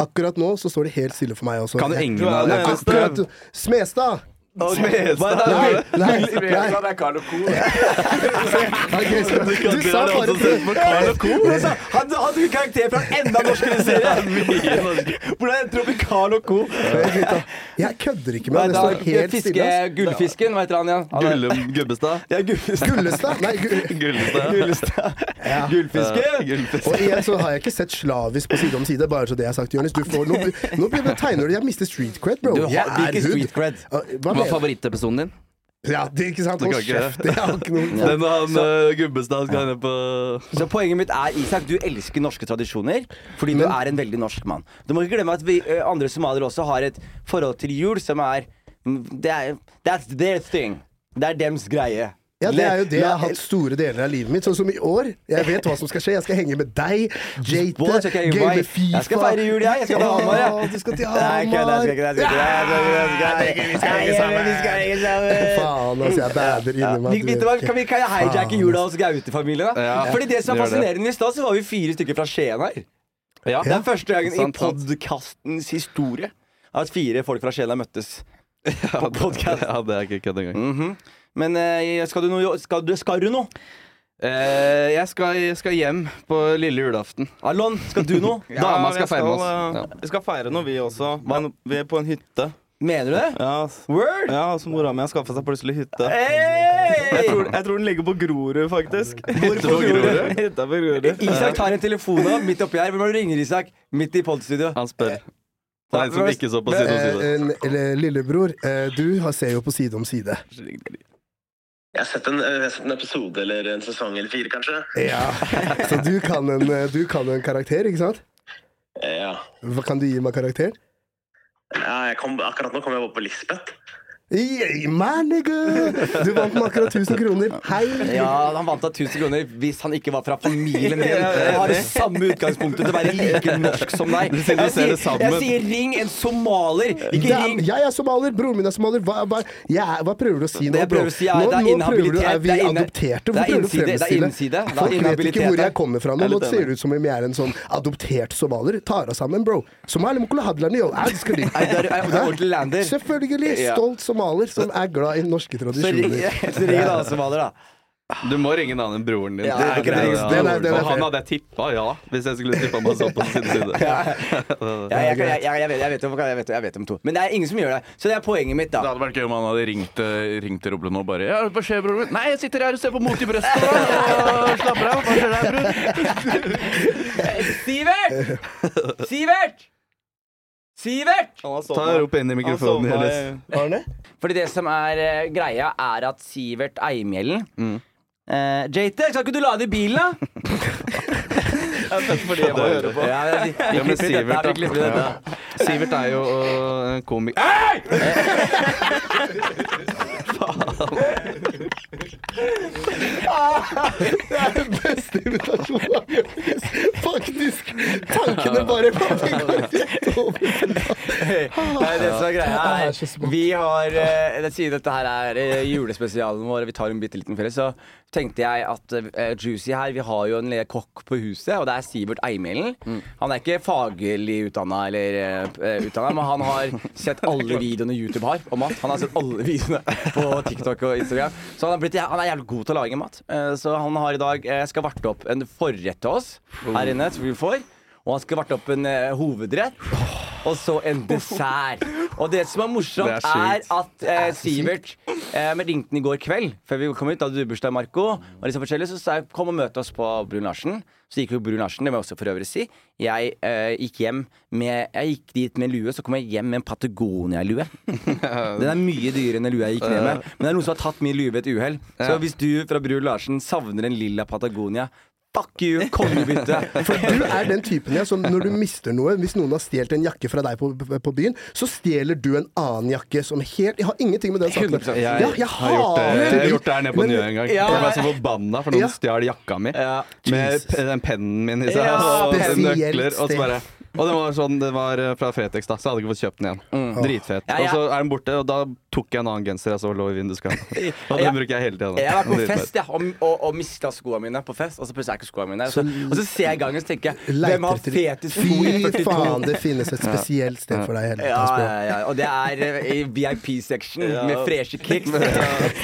S4: Akkurat nå så står det helt stille for meg også.
S5: Kan du
S4: Jeg-
S5: ingen av dem?
S4: Akkurat Smestad! Nei, nei, nei.
S6: det er Carl og Co.
S4: [laughs] Ok, så- Du sa
S5: har
S4: bare
S5: også sett
S4: [laughs]
S5: på Carl og Co.
S2: altså.
S6: Han han tok karakter fra en enda norskere serie! Hvordan endte du opp i Carl og Co?
S4: Jeg kødder ikke med
S2: Nei,
S4: det. Det
S2: da,
S4: står helt stille.
S2: fiske,
S4: ass.
S2: gullfisken, hva heter han igjen? Han er-
S5: Gullum Gubbestad?
S2: Ja, gullfisken.
S4: Gullestad? Nei, gu
S5: Gullfisk.
S4: og igjen
S2: [laughs]
S4: så har jeg ikke sett slavisk på side om side, bare så det er sagt. Jonis, du får nå, nå blir det tegner du Jeg mister street cred, bro.
S2: Du har
S4: jeg
S2: ikke
S4: hood.
S2: street cred.
S4: Hva, hva
S5: Hva
S4: mener
S5: er
S4: du?
S5: favorittepisoden din?
S4: Ja, det er ikke sant.
S5: Du kan
S4: Hold
S5: ikke-
S4: kjeft. Jeg har ikke noe
S5: [laughs] Den da han eh, Gubbestad skal ned på
S2: Så poenget mitt er, Isak, du elsker norske tradisjoner fordi du
S4: Men-
S2: er en veldig norsk mann. Du må ikke glemme at vi eh, andre somaliere også har et forhold til jul som er mm, Det er That's their thing. Det er dems greie.
S4: Ja, det er jo det jeg
S2: La-
S4: har hatt store deler av livet mitt. Sånn som i år. Jeg vet hva som skal skje. Jeg skal henge med deg,
S2: Bål,
S4: Jate,
S2: så skal jeg henge
S4: game
S2: med-
S4: Fifa
S2: Jeg skal feire jul, jeg. Jeg skal til Hamar, jeg.
S4: Ja, Du skal til
S2: Nei, kødd, jeg
S4: Hamar.
S2: skal ikke det. jeg skal ikke det, jeg skal ikke det. Nei, jeg skal ikke sammen.
S4: Faen, altså. Jeg bader inni meg.
S2: Vi- Vet du hva, kan vi kan jeg hijacke
S4: Faen, altså.
S2: jula hos Gaute-familien? da?
S5: Ja.
S2: Fordi det som er
S5: Gjør det.
S2: fascinerende I stad så var vi fire stykker fra Skien her.
S5: Ja.
S2: Det er første gangen i
S5: Sant, sant.
S2: podkastens historie at fire folk fra Skien har møttes. Mhm.
S5: på podcast. Ja, det er ikke kødd engang.
S2: Men eh, skal du noe Skal du, skal du noe?
S5: Eh, jeg skal, jeg skal hjem på lille julaften.
S2: Alon, skal du
S5: [laughs]
S2: noe?
S5: Dama
S8: vi
S5: skal feire med oss. Ja.
S8: eh, Vi skal feire noe, vi også. Men vi er på en hytte.
S2: Mener du det?
S8: Ja, s-
S2: Word?
S8: ja så mora mi har skaffa seg plutselig hytte. Jeg
S2: Hey!
S8: tror, jeg tror den ligger på Grorud, faktisk.
S5: Hytte på Grorud?
S8: Hytta på Grorud.
S2: Isak tar en telefon nå, midt oppi her. Hvem er det du ringer, Isak? Midt i podstudio. Eh,
S5: Han spør. Det er en som ikke så på side om
S4: Eh,
S5: side.
S4: en- eller, lillebror, eh, du har- ser jo på side om side.
S7: Jeg har sett en, eh, jeg har sett en episode eller en sesong eller fire, kanskje.
S4: Ja. Så du kan en, eh, du kan en karakter, ikke sant?
S7: Eh, Ja.
S4: Hva kan du gi meg karakter?
S7: ja jeg kom, akkurat nå kom jeg opp på Lisbeth.
S4: Yeah, man, nigga! Du vant med akkurat 1000 kroner. Hei!
S2: Ja, han vant av 1000 kroner hvis han ikke var fra
S5: [laughs]
S2: familien din. Han har det samme utgangspunktet til å være like norsk som
S4: [laughs]
S2: deg.
S5: Du sier du
S2: Jeg
S5: ser det
S2: sier,
S5: sammen.
S2: jeg sier ring en somalier, ikke
S4: Damn,
S2: ring
S4: jeg er somalier, broren min er somalier. Hva, hva, jeg er- hva prøver du å si nå,
S2: Det jeg
S4: bro?
S2: prøver å si er- det
S4: nå,
S2: er
S4: nå prøver du
S2: inhabilitet,
S4: er vi
S2: det er inne-
S4: adopterte.
S2: det
S4: Hvorfor prøver
S2: er
S4: du å
S2: innside, det er
S4: fremstille?
S2: innside, det
S4: Folk
S2: er
S4: vet ikke
S2: inhabilitet
S4: hvor
S2: her.
S4: jeg kommer fra nå. Nå ser det ut som om jeg er en sånn adoptert somalier. Tar av sammen, bro. Somali mukula hadlani, yo. Jeg elsker de.
S2: Nei, det er- jeg er ordentlig lander.
S4: Selvfølgelig.
S2: Ja.
S4: Stolt somalier som er glad i norske
S2: Så
S5: [laughs]
S2: ring, [laughs]
S4: tradisjoner.
S2: så ring en annen somalier, da.
S5: Du må ringe en annen enn broren din.
S2: Ja, det er greit.
S5: Ja,
S4: Den er- den er
S5: og han
S4: fair.
S5: hadde jeg tippa, ja. Hvis jeg skulle tippa meg sånn på side om
S2: [laughs]
S5: side. [laughs]
S2: Ja, jeg, kan- jeg, jeg, jeg, vet, jeg, vet, om- jeg, vet, jeg vet om to. Men det er ingen som gjør det. Så det er poenget mitt,
S3: Det
S2: da.
S3: hadde vært gøy om han hadde ringt, eh, ringt til Roble nå og bare ja, 'Hva skjer, bror min?' 'Nei, jeg sitter her og ser på Mot i
S2: [laughs]
S3: brøstet da, og slapper av.' Hva skjer der, bror?
S2: Sivert! Sivert! Sivert!
S5: Ta rop inn i mikrofonen. Elias.
S2: Fordi det som er eh, greia, er at Sivert Eimhjellen
S5: Mm.
S2: eh, JT, skal ikke du lade i bilen, da?
S8: Fordi jeg må høre på.
S2: Ja, men, vi
S5: Ja,
S2: klipper
S5: men
S2: dette her,
S5: Sivert,
S2: vi klipper
S5: da.
S2: dette.
S5: Sivert er jo øh, en komiker
S4: er Beste invitasjonen. Faktisk. Tankene bare
S2: Nei, det som er greia
S4: Det er så
S2: er
S4: smått.
S2: Vi har eh, det- Siden dette her er eh, julespesialen vår, vi tar en bitte liten ferie, så tenkte jeg at eh, Juicy her Vi har jo en lille kokk på huset, og det er Sivert Eimhjellen. Han er ikke faglig utdanna eller uh, utdanna, men han har sett alle videoene YouTube har om mat. Han har sett alle videoene på TikTok og Instagram. Så han er, blitt, han er jævlig god til å lage mat. Eh, så han har i dag eh, skal varte opp en forrett til oss her inne, som vi får. Og han skal varte opp en eh, hovedrett. Og så en dessert. Og det som er morsomt,
S5: Det
S2: er,
S5: er
S2: at eh, Sivert eh, med ringte den i går kveld, før vi kom ut, da hadde du bursdag, Marco. Og liksom forskjellig, så sa jeg kom og møt oss på Brun Larsen. Så gikk vi på Brun Larsen, det må jeg også for øvrig si. Jeg eh, gikk hjem med Jeg gikk dit med lue, så kom jeg hjem med en
S5: [laughs]
S2: Patagonia-lue. Den er mye dyrere enn den lua jeg gikk ned med. Men det er noen som har tatt min lue ved et uhell. Så hvis du fra Brun Larsen savner en lilla Patagonia, fuck you, kongebytte!
S4: [laughs] For du er den typen jeg, som når du mister noe Hvis noen har stjålet en jakke fra deg på, på, på byen, så stjeler du en annen jakke som helt Jeg har ingenting med den saken
S2: 100%.
S4: Ja,
S5: Jeg,
S4: jeg
S5: har gjort det,
S4: hater
S5: jeg har
S4: de-
S5: gjort det her nede på
S4: Men-
S5: Njø en gang.
S2: Ja.
S5: Jeg ble så forbanna for noen
S4: Ja.
S5: stjal jakka mi.
S2: Ja.
S5: Med
S4: Jesus.
S5: pe- den pennen min i seg.
S2: Ja,
S5: og så
S4: spesielt
S5: nøkler, og så bare Og den var, sånn, den var eh, fra Fretex, da, så jeg hadde ikke fått kjøpt den igjen.
S2: Mm.
S5: Dritfet.
S2: Ja, ja.
S5: Og så er den borte, og da tok jeg en annen genser jeg så lå i vinduskarmen. Og den
S2: [laughs] Ja.
S5: bruker jeg hele tiden. da.
S2: Jeg har vært på
S5: Dritfet.
S2: fest ja, og, og, og mista skoene mine på fest, og så plutselig er ikke skoene mine der. Og så, og så ser jeg gangen og tenker jeg, hvem har
S4: Leiter
S2: fete sko i
S4: Fy
S2: 42?
S4: faen, det finnes et spesielt sted for deg i hele
S2: Ja,
S4: tatt.
S2: ja, ja. Og det er eh, i VIP-section med freshe kicks.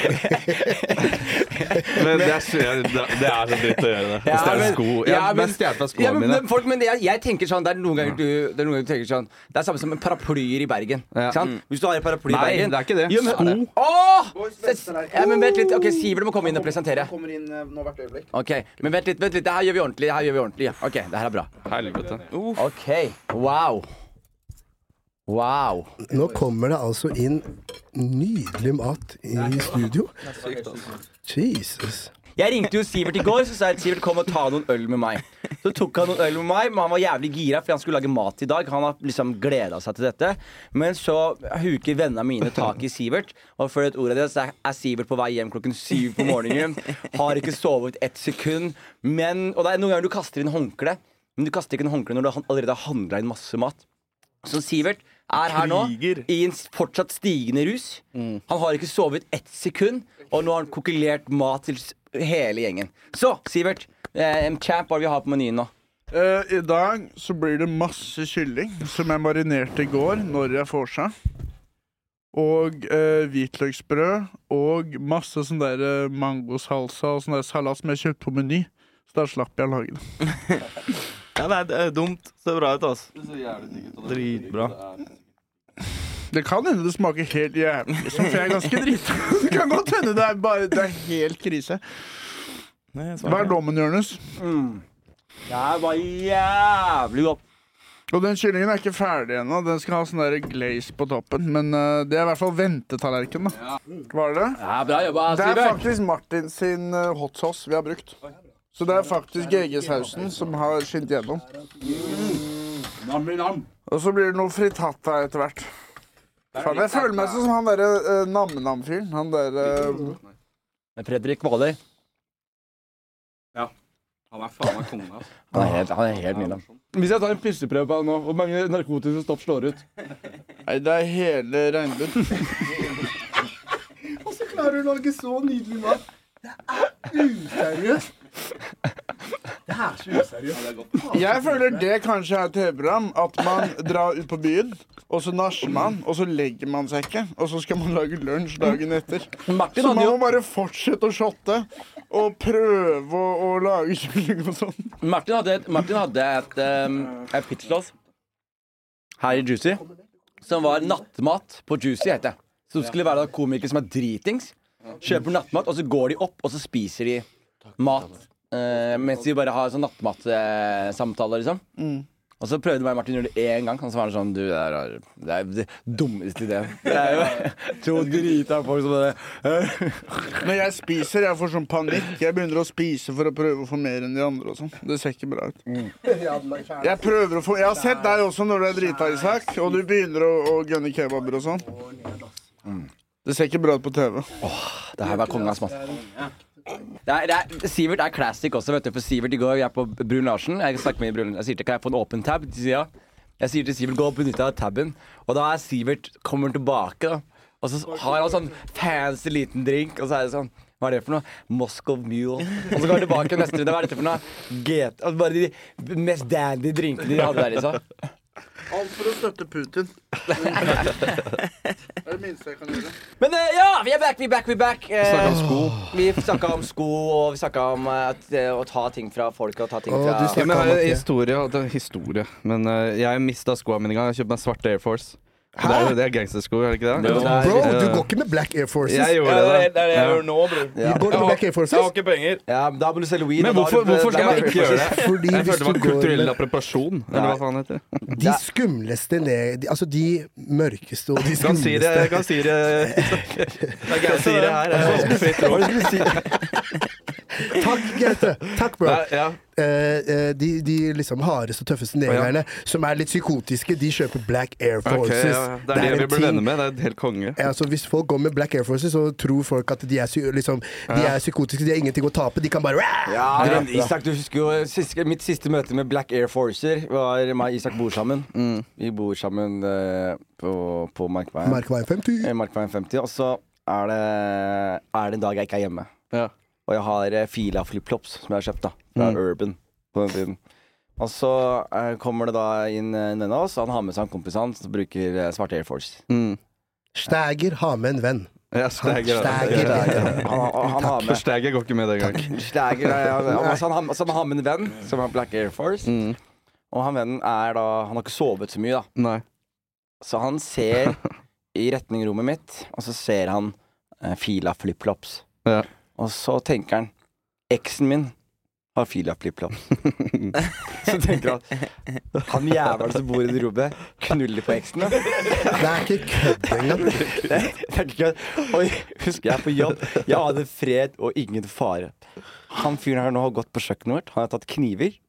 S4: [laughs]
S5: Men det er, så- det er- det er så dritt å gjøre det. Å stjele sko. Jeg
S2: ja,
S5: har
S2: men-
S5: mest stjålet
S2: ja,
S5: fra skoene
S2: men,
S5: mine.
S2: Men, folk, men jeg, jeg tenker sånn, det er noen ganger du, det er noen ganger du tenker sånn Det er samme som en paraplyer i Bergen.
S5: Ja. Mm.
S2: Ikke sant? Hvis du har en paraply i
S5: Nei,
S2: Bergen
S5: det er ikke det.
S2: Jo, men-
S5: Sko.
S2: Åh!
S6: Boys,
S2: Det-
S6: vent der.
S2: Ja, men vent litt. Ok, Sivert må komme inn og presentere.
S6: Kommer inn eh, nå hvert øyeblikk.
S2: Ok, Men vent litt. vent litt Det her gjør vi ordentlig. Det her gjør vi ordentlig ja. Ok, det her er bra.
S5: Helvete.
S2: Ok, Wow. Wow.
S4: Nå kommer det altså inn nydelig mat i studio. Jesus.
S2: Jeg ringte jo Sivert i går, så sa jeg Sivert kom og ta noen øl med meg. Så tok han noen øl med meg, men han var jævlig gira, for han skulle lage mat i dag. Han har liksom gleda seg til dette. Men så huker vennene mine tak i Sivert, og før du vet ordet av det, så er Sivert på vei hjem klokken syv på morgenen. Har ikke sovet ett sekund. Men, og det er noen ganger du kaster inn håndkle, men du kaster ikke inn håndkle når du han- allerede har handla inn masse mat. Så Sivert er her nå
S8: Kriger.
S2: i en s- fortsatt stigende rus. Han har ikke sovet ett sekund, og nå har han kokkelert mat til s- hele gjengen. Så, Sivert, eh, en champ, hva er det vi har på menyen nå?
S9: Eh, I dag så blir det masse kylling, som jeg marinerte i går, når jeg får seg. Og eh, hvitløksbrød, og masse sånn der eh, mangosalsa og sånn der salat som jeg kjøpte på Meny. Så da slapp jeg å lage det.
S8: [laughs] Ja, nei, det er dumt. Ser bra ut, altså. Dritbra.
S9: Det kan hende det smaker helt jævlig, liksom, for jeg er ganske drita. [laughs] Det kan godt hende det er bare Det er helt krise.
S8: Nei, jeg
S9: Hva
S8: svarer
S9: er dommen, Jonis?
S2: Det var jævlig godt.
S9: Og den kyllingen er ikke ferdig ennå. Den skal ha sånn der glaze på toppen. Men eh, det er i hvert fall ventetallerken, da. Var det det?
S2: Ja, bra jobba,
S9: Det er
S2: Sivert.
S9: faktisk Martin sin eh, hot sauce vi har brukt. Så det er faktisk GG-sausen som har skint gjennom. Og så blir det noe frittata etter hvert. Faen, jeg føler meg sånn som han derre uh, Nam-Nam-fyren. Han eh, derre
S2: Fredrik Hvaler.
S5: Han er faen meg kongen, altså.
S2: Han er helt, han er helt nydelig.
S5: Hvis jeg tar en pisseprøve på deg nå, hvor mange narkotiske stopp slår ut?
S9: Nei, det er hele regnbuen.
S2: [laughs]
S4: Og så klarer du å lage så nydelig mat. Det er useriøst. Det er så useriøst.
S9: Jeg føler det kanskje er TV-program. At man drar ut på byen, og så nasjer man, og så legger man seg ikke. Og så skal man lage lunsj dagen etter.
S2: Martin
S9: Så
S2: hadde
S9: man må
S2: jo,
S9: bare fortsette å shotte og prøve å, å lage kylling og sånn.
S2: Martin hadde et, Martin hadde et, um, et pitchloss her i Juicy som var nattmat på Juicy, heter det. Så det skulle være da komikere som er dritings, kjøper nattmat, og så går de opp, og så spiser de mat. eh, mens de bare har sånn nattmatsamtaler, liksom. Og så prøvde meg og Martin å gjøre det én gang, og så var han sånn Du, det er det, er det dummeste ideen. [laughs] Det er jo to drita folk som bare
S9: [laughs] Når jeg spiser, jeg får sånn panikk. Jeg begynner å spise for å prøve å få mer enn de andre og sånn. Det ser ikke bra ut.
S2: Mm.
S9: Jeg prøver å få Jeg har sett deg også når du er drita, Isak, og du begynner å, å gønne kebaber og sånn. Det ser ikke bra ut på TV.
S2: Det her var kongens mat. Det er, det er, Sivert er classic også, vet du. For Sivert i går, jeg er på Brun Larsen. Jeg snakker med Brun Jeg sier til kan jeg få en åpen tab? De sier ja. Jeg sier til Sivert gå og benytte deg av taben. Og da er Sivert kommer tilbake, da. Og så har han sånn fancy liten drink, og så er det sånn hva er det for noe? Moscow Mule. Og så går han tilbake og neste runde. Hva er dette for noe? Get. og Bare de mest dandy drinkene de hadde der, liksom.
S9: Alt for å støtte [laughs] Putin.
S2: liksom.
S9: [laughs] Det er det minste jeg kan gjøre.
S2: Men eh, ja, vi er back, vi er back, vi er back. Eh,
S5: Snakka om sko.
S2: Vi snakka om sko, og vi snakka om eh, at, eh, å ta ting fra folk og ta ting
S4: Å,
S2: fra
S4: du
S5: Ja, men jeg
S4: Kan
S5: har en
S4: ikke.
S5: historie. og Det er historie. Men eh, jeg mista skoa mine en gang. Jeg kjøpte meg svarte Air Force. Det er, jo- det er gangstersko, er det ikke det?
S2: Jo.
S5: det er,
S4: Bro,
S5: eh,
S4: du går ikke med black air forces.
S5: Jeg gjorde
S8: Ja, det er
S5: det.
S8: det er det jeg
S5: Ja.
S8: gjør nå, bror.
S4: Du går med black air
S8: Jeg har
S4: forces.
S8: ikke penger.
S2: Ja, men da må du selge weed.
S5: Men
S2: og da har
S5: hvorfor,
S2: du-
S5: hvorfor skal
S2: da-
S5: jeg ikke gjøre det?
S4: Fordi
S5: Jeg
S4: hvis
S5: følte det
S4: du
S5: var
S4: går
S5: kulturell
S4: med
S5: appropriasjon, eller hva
S2: [laughs]
S5: faen [laughs] heter det?
S4: de skumleste ned de- Altså de mørkeste og de
S5: Du kan si det,
S4: skumleste.
S5: jeg
S4: [laughs]
S5: kan si det. Jeg kan si det her.
S2: Hva var det du skulle si?
S4: Takk, Gaute. Takk, bro.
S5: Nei, ja.
S4: Eh, eh, de, de liksom hardeste, tøffeste negerne som er litt psykotiske, de kjøper Black Air
S5: Ok,
S4: Forces.
S5: ja, ja. Det er det,
S4: en
S5: vi bør
S4: ting.
S5: vende med. Det er helt konge.
S4: Ja, så hvis folk går med Black Air Forces, så tror folk at de er, psy- liksom, de er psykotiske, de har ingenting å tape. De kan bare
S2: Ja, men Isak, du husker jo eh, siste, Mitt siste møte med Black Air Forcer var meg og Isak bor sammen. Vi bor sammen eh, på, på Markveien.
S4: Merke meg en 50.
S2: Eh, Markveien 50. Og så er det, er det en dag jeg ikke er hjemme.
S5: Ja.
S2: Og jeg har eh, fila flipflops som jeg har kjøpt da fra Urban på den tiden. Og så eh, kommer det da inn eh, en venn av oss, og han har med seg en kompis hans som bruker eh, svarte Air Force.
S4: Stæger, ha med en venn.
S5: Ja, Stæger.
S4: Stæger.
S2: Han, han, han har
S5: For
S2: med
S5: Stæger går ikke med den gangen.
S2: Slager, ja, ja, ja. Altså, han, har- altså, han har med en venn som har Black Air Force.
S5: Mm.
S2: Og han vennen er da Han har ikke sovet så mye, da.
S5: Nei.
S2: Så han ser i retning rommet mitt, og så ser han eh, fila flipflops.
S5: Ja.
S2: Og så tenker han Eksen min har fila flipflops. [laughs] så tenker han Han jævelen som bor i det rommet, knuller på eksen. da.
S4: Det er ikke kødd engang.
S2: [laughs] Det er ikke kødd. Og jeg husker jeg er på jobb. Jeg hadde fred og ingen fare. Han fyren her nå har gått på kjøkkenet vårt. Han har tatt kniver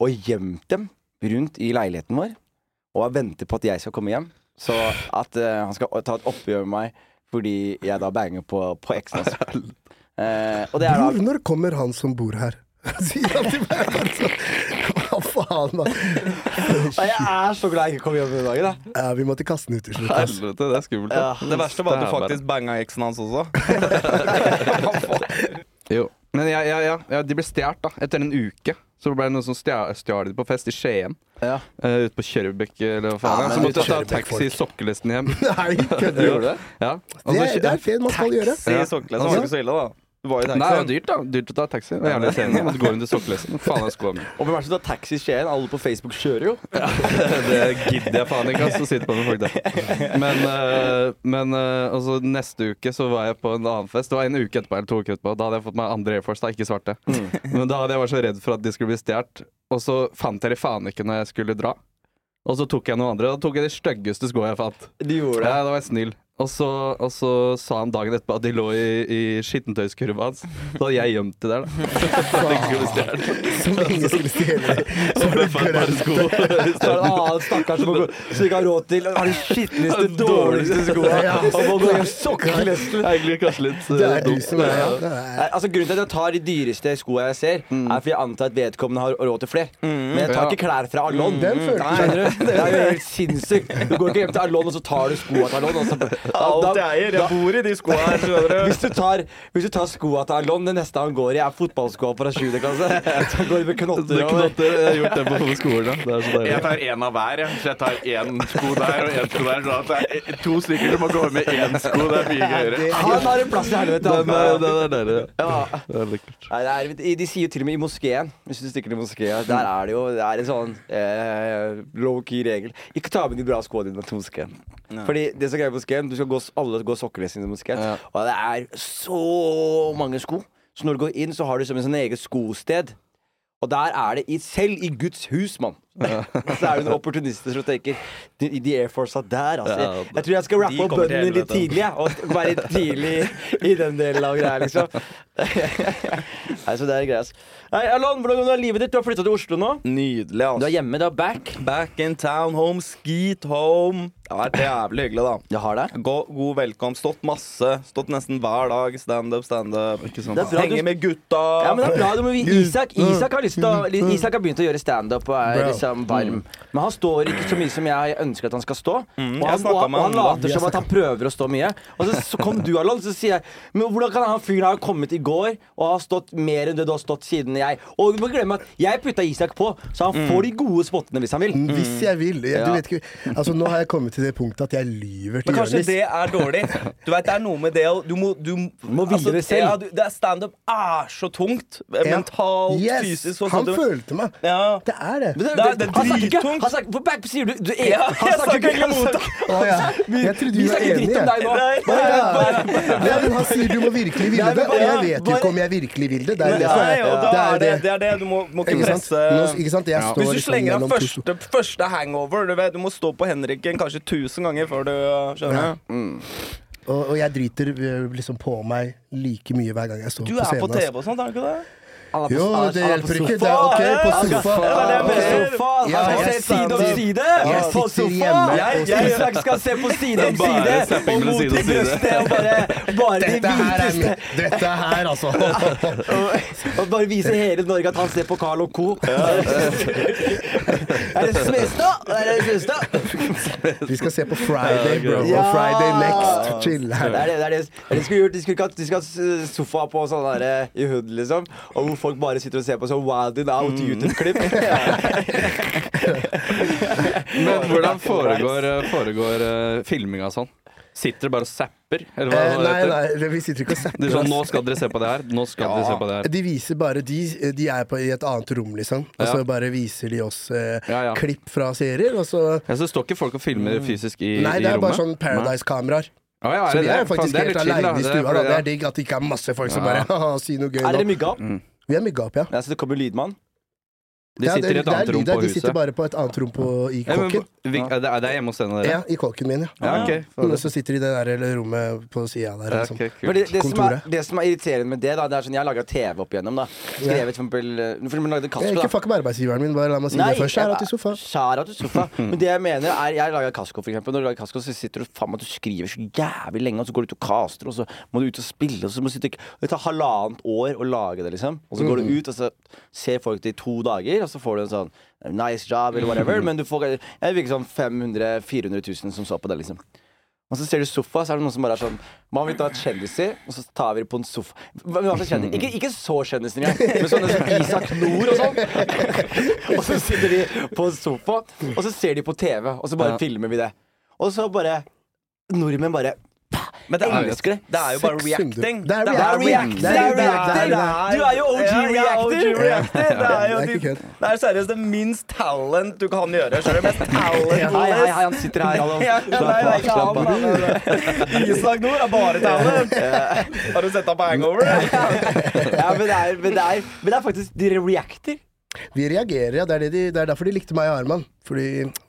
S2: og gjemt dem rundt i leiligheten vår. Og jeg venter på at jeg skal komme hjem. Så at eh, han skal ta et oppgjør med meg fordi jeg da banger på, på eksen hans. Eh, og det er
S4: Bror,
S2: da
S4: når kommer han som bor her? Sier han til meg. Altså. Hva faen, da?
S2: Nei, Jeg er så glad jeg ikke kom hjem den dagen. Da.
S4: Ja, vi måtte kaste den ut til slutt. ass.
S5: Helvete, det er skummelt.
S8: Ja,
S5: da.
S8: det verste var at du
S5: Stæber.
S8: faktisk banga eksen hans også.
S5: [laughs] Jo. Men ja, ja, ja, ja, de ble stjålet, da. Etter en uke. Så ble det noen som stja- stjal de på fest i Skien.
S2: Ja.
S5: Uh, ute på Kjørbekk, eller hva
S4: Ja,
S5: faen. det er. så
S4: men
S5: måtte jeg ta
S4: Kjørbekk,
S5: taxi i sokkelesten hjem.
S4: [laughs] Nei, kødder du?
S5: det? Ja. Og
S4: Det
S5: så-
S4: er, det er feil man skal gjøre.
S8: Si
S5: Ja.
S8: sokkelesten var ikke så ille, da. Du var jo
S5: Nei, det var
S8: der.
S5: dyrt, da. Dyrt å ta taxi. Det er
S4: [laughs]
S5: jævlig irriterende. Måtte gå rundt i sokkelesten. Faen, jeg skoa mi.
S2: Og hvem er det som tar taxi i Skien? Alle på Facebook kjører jo.
S5: Det gidder jeg faen ikke, ass, å sitte på med folk der. [laughs] Men, eh, men eh, altså, neste uke så var jeg på en annen fest. Det var en uke etterpå, eller to uker etterpå. Da hadde jeg fått meg andre Air Force, da, ikke svarte. Men da hadde jeg vært så redd for at de skulle bli stjålet. Og så fant jeg de faen ikke når jeg skulle dra. Og så tok jeg noen andre. Da tok jeg de styggeste skoa jeg fant.
S2: De gjorde det.
S5: Ja, da var jeg snill. Og så, og så sa han dagen etterpå at de lå i, i skittentøyskurva hans. Så hadde jeg gjemt de der, da. For at de ikke skulle stjele.
S4: Som ingen skulle stjele. Så har du
S5: Bare
S4: glemt
S5: sko.
S2: Så er det en annen stakkar som, må gå- som ikke har råd til Har de skitneste, dårligste skoene. Og må gå i en sokkelesten.
S5: Det er egentlig kanskje litt eh,
S4: Det er du
S5: dumt.
S4: som er ja. det
S2: Nei,
S4: er-
S2: Altså Grunnen til at jeg tar de dyreste skoene jeg ser,
S5: Mm.
S2: er fordi jeg antar at vedkommende har råd til flere. Mm. Men jeg tar
S5: Ja.
S2: ikke klær fra Alon.
S4: Mm. [laughs] Den følelsen.
S2: Skjønner du? Det er jo helt sinnssykt. Du går ikke hjem til Alon, og så tar du skoene til Alon. og så-
S8: Alt
S2: da-
S8: jeg eier. Jeg bor i de skoa her, skjønner
S2: da-
S8: du.
S2: Hvis du tar, hvis du tar skoa til Alon, det neste han går i, er fotballskoa fra 7. klasse. Så går de med knotter
S5: Det
S2: over.
S5: knotter. Jeg har gjort det på skolen. Da. Det er så deilig.
S3: Jeg tar én av hver, jeg. Så jeg tar én sko der og én sko der. Sånn at det er to stykker som må gå med én sko. Det er mye gøyere.
S2: Han har en plass i helvete. han.
S5: Den er, den er deilig. ja.
S2: [laughs] Ja.
S5: Det er lekkert.
S2: Nei, det er, de sier jo til og med i moskeen, hvis du stikker til moskeen, der er det jo det er en sånn eh, low-key regel. Ikke ta med de bra skoene dine til moskeen. Fordi det som er greia i moskeen, du skal gå, alle går sokkelesing til moskeen, og det er så mange sko. Så når du går inn, så har du som en sånn eget skosted. Og der er det i, selv i Guds hus, mann. [laughs] så er det noen opportunister som tenker De, de Air Force der, altså.
S5: Ja,
S2: jeg tror jeg skal rappe opp
S8: kommer til
S2: bøndene litt
S8: helvete.
S2: tidlig, jeg. Og være litt tidlig i den delen av greia, liksom. Nei, så det er greia. ass. Hei, Alon, hvordan går det med livet ditt? Du har flytta til Oslo nå.
S8: Nydelig,
S2: Du
S8: altså.
S2: er hjemme, du er back.
S8: Back in town, home, skeet home. Det har vært jævlig hyggelig, da.
S2: Jeg har deg.
S8: Gå, god velkomst. Stått masse. Stått nesten hver dag. Standup, standup.
S2: Det er bra, du-
S8: Henge med gutta. Mm.
S2: Ja, men det er bra. Du må vi- Isak, Isak, har lyst til å, Isak har begynt å gjøre standup og er
S4: Bra.
S2: liksom
S4: Mm.
S2: varm. Men han står ikke så mye som jeg ønsker at han skal stå. og
S8: Mm. jeg
S2: han,
S8: snakket
S2: og, og
S8: med
S2: han
S8: han da.
S2: later som at han prøver å stå mye. Og så, så kom du, Alon, så sier jeg Men hvordan kan han fyren ha kommet i går og ha stått mer enn det du har stått siden jeg Og du må glemme at jeg putta Isak på, så
S8: Mm.
S2: han får de gode spottene hvis han vil.
S4: Mm. Hvis jeg vil. Jeg, du
S2: Ja.
S4: vet ikke, altså, nå har jeg kommet til det punktet at jeg lyver til
S8: Men kanskje
S4: Jonis.
S8: det er dårlig. Du vet, Det er noe med det å Du må, du,
S2: må ville det selv.
S8: Ja, du, det er Standup er så tungt. eh,
S4: Ja.
S8: Mentalt,
S4: Yes,
S8: fysisk sånn og
S4: Han
S8: sånt.
S4: følte meg.
S8: Ja.
S4: Det er det.
S8: Det er- det er
S2: han snakker ikke
S8: drittungt.
S2: han snakker, på back, sier du, du
S8: Ja, jeg snakker ikke
S2: han
S4: [laughs]
S8: imot
S2: snakker-
S4: Å, Ah, ja. Jeg trodde
S2: Vi
S4: vi var
S2: snakker dritt
S4: enige.
S2: om deg nå.
S4: Å, ja. Nei, men han sier du må virkelig ville
S2: Nei,
S4: det,
S2: men
S4: og
S2: bare-
S4: jeg vet jo
S2: bare-
S4: ikke om jeg virkelig vil det. Det er
S8: Nei,
S4: det som er
S8: og da er det,
S4: det.
S8: det er det. Du må, må ikke
S4: Ikke sant? Nå,
S8: presse
S4: ikke sant? Jeg står
S8: Hvis du
S4: liksom
S8: slenger av
S4: mellom to
S8: første, første hangover, du vet, du må stå på Henriken kanskje 1000 ganger før du eh, skjønner.
S4: Ja. Og, og jeg driter eh, liksom på meg like mye hver gang jeg står
S8: Du
S4: på
S8: er på
S4: scenen. ass.
S8: TV og sånt, er du ikke det?
S2: Alle på-
S4: Jo,
S2: alle-
S4: det
S2: alle på
S4: hjelper ikke.
S2: sofa.
S4: Det er ok, på
S2: Alle
S4: sofa.
S2: Det var det jeg
S4: Ok.
S2: mener. Sofa, altså,
S4: Ja,
S2: skal
S4: jeg
S2: se side om
S4: savner-
S2: side.
S4: Jeg
S2: På
S4: sitter
S2: sofa.
S4: hjemme og
S2: Jeg, jeg,
S4: spiser-
S2: jeg skal se på side om
S5: Bare
S2: side. Og
S5: zapping mellom
S2: mot
S5: side og
S2: det
S5: side.
S2: brøstet. Og bare, bare de
S4: Dette her er
S2: hviteste.
S4: min. Dette her, altså.
S2: [laughs] Og bare vise hele Norge at han ser på Carl og Co. [laughs] Er det Smestad? Er det Smestad?
S4: Vi skal se på Friday, bro.
S2: Ja.
S4: Og Friday next. Chill
S2: Det er
S4: her.
S2: det, det, er det. det de skulle gjort. De skulle ikke hatt de skulle hatt s- sofa på sånn der i hood, liksom. Og hvor folk bare sitter og ser på sånn Wild and
S4: Mm.
S2: Out YouTube-klipp.
S5: Men hvordan foregår, eh, foregår eh, filminga sånn? Sitter dere bare og zapper? Eller hva,
S4: Eh,
S5: hva
S4: nei,
S5: heter det?
S4: nei, vi sitter ikke og
S5: Det
S4: zapper.
S5: er sånn,
S4: ass.
S5: nå skal dere se på det her. Nå skal dere se på det her.
S4: De viser bare De, de er på, i et annet rom, liksom. Og så
S5: Ja.
S4: bare viser de oss eh,
S5: Ja, ja.
S4: klipp fra serier. Og så
S5: Ja, så står ikke folk og filmer fysisk i,
S4: Nei,
S5: i
S4: det er bare
S5: rommet?
S4: sånn Paradise-kameraer.
S5: Å, ja, er
S4: Så
S5: det
S4: vi er
S5: det? Faen,
S4: faktisk
S5: det er
S4: helt
S5: litt chill,
S4: aleine i
S5: Det er
S4: stua. da.
S5: fordi-
S4: Det er digg at det ikke er masse folk som bare [laughs] haha, si noe gøy
S2: Er dere
S4: nå.
S2: mygga opp?
S4: Mm. Vi er mygga opp, ja.
S2: Ja, så det kommer lydmann.
S5: De
S4: Ja,
S5: sitter i
S4: det-
S5: et
S4: det er
S5: annet rom
S4: lyd der.
S5: på
S4: De sitter
S5: huset.
S4: bare på et annet rom på, i
S5: Ja, men
S4: kåken.
S5: hvor- vi- er det er det hjemme hos denne dere?
S4: Ja, i kåken min, ja.
S5: Ja, ok.
S4: Og så sitter de i det der eller rommet på sida der.
S5: Ja,
S4: Liksom.
S5: ok,
S2: Men
S5: kult.
S2: det, det, som er,
S4: Kontoret.
S2: det som er irriterende med det, da, det er sånn jeg laga TV opp igjennom. da Skrevet for eksempel eh, For eksempel lagde
S4: Jeg er
S2: Kasko.
S4: ikke fuck med arbeidsgiveren min, bare la meg si det først. Her, at i sofa.
S2: Skjæra til sofa.
S5: [laughs]
S2: Men det jeg mener er Jeg lager Kasko, for eksempel. Når du lager Kasko, så sitter du faen meg og skriver så jævlig lenge, og så går du ut og caster, og så må du ut og spille, og så må du sitte Det tar halvannet år å lage det, liksom. Og så går du ut, og så ser folk det i to dager, og så får du en sånn nice job, eller whatever, men du får Jeg virker sånn 500 400 000 som så på det, liksom. Og så ser du sofa, så er det noen som bare er sånn Man vil ta kjendiser, og så tar vi det på en sofa. Hva, hva slags kjendis? Ikke, ikke så kjendiser engang, men sånne som Isak Nord og sånn. [laughs] Og så sitter de på en sofa, og så ser de på TV, og så bare filmer vi det. Og så bare Nordmenn bare
S8: Men det er,
S2: Elsker det.
S8: det er jo bare
S4: 600.
S8: reacting.
S4: Det er
S2: Det er
S4: reacting.
S2: reacting! Det er reacting. Du er jo OG
S8: Ja, jeg er OG
S2: reactor!
S8: reactor. Det er jo
S4: det er ikke
S8: de-
S4: kødd.
S8: det er seriøst det minst talent du kan gjøre. Selv det mest talentless.
S2: [laughs] Hei, hei, hei, han sitter her. Hallo.
S8: [laughs] Ja, nei, det er ikke han, da, men, eh, Isak Nord er
S2: [laughs]
S8: bare talent. Har du sett ham på Hangover?
S2: Ja, men det er, men det er, men det er faktisk De reacter.
S4: Vi reagerer, ja. Det er, det, de, det er derfor de likte meg og Arman. Fordi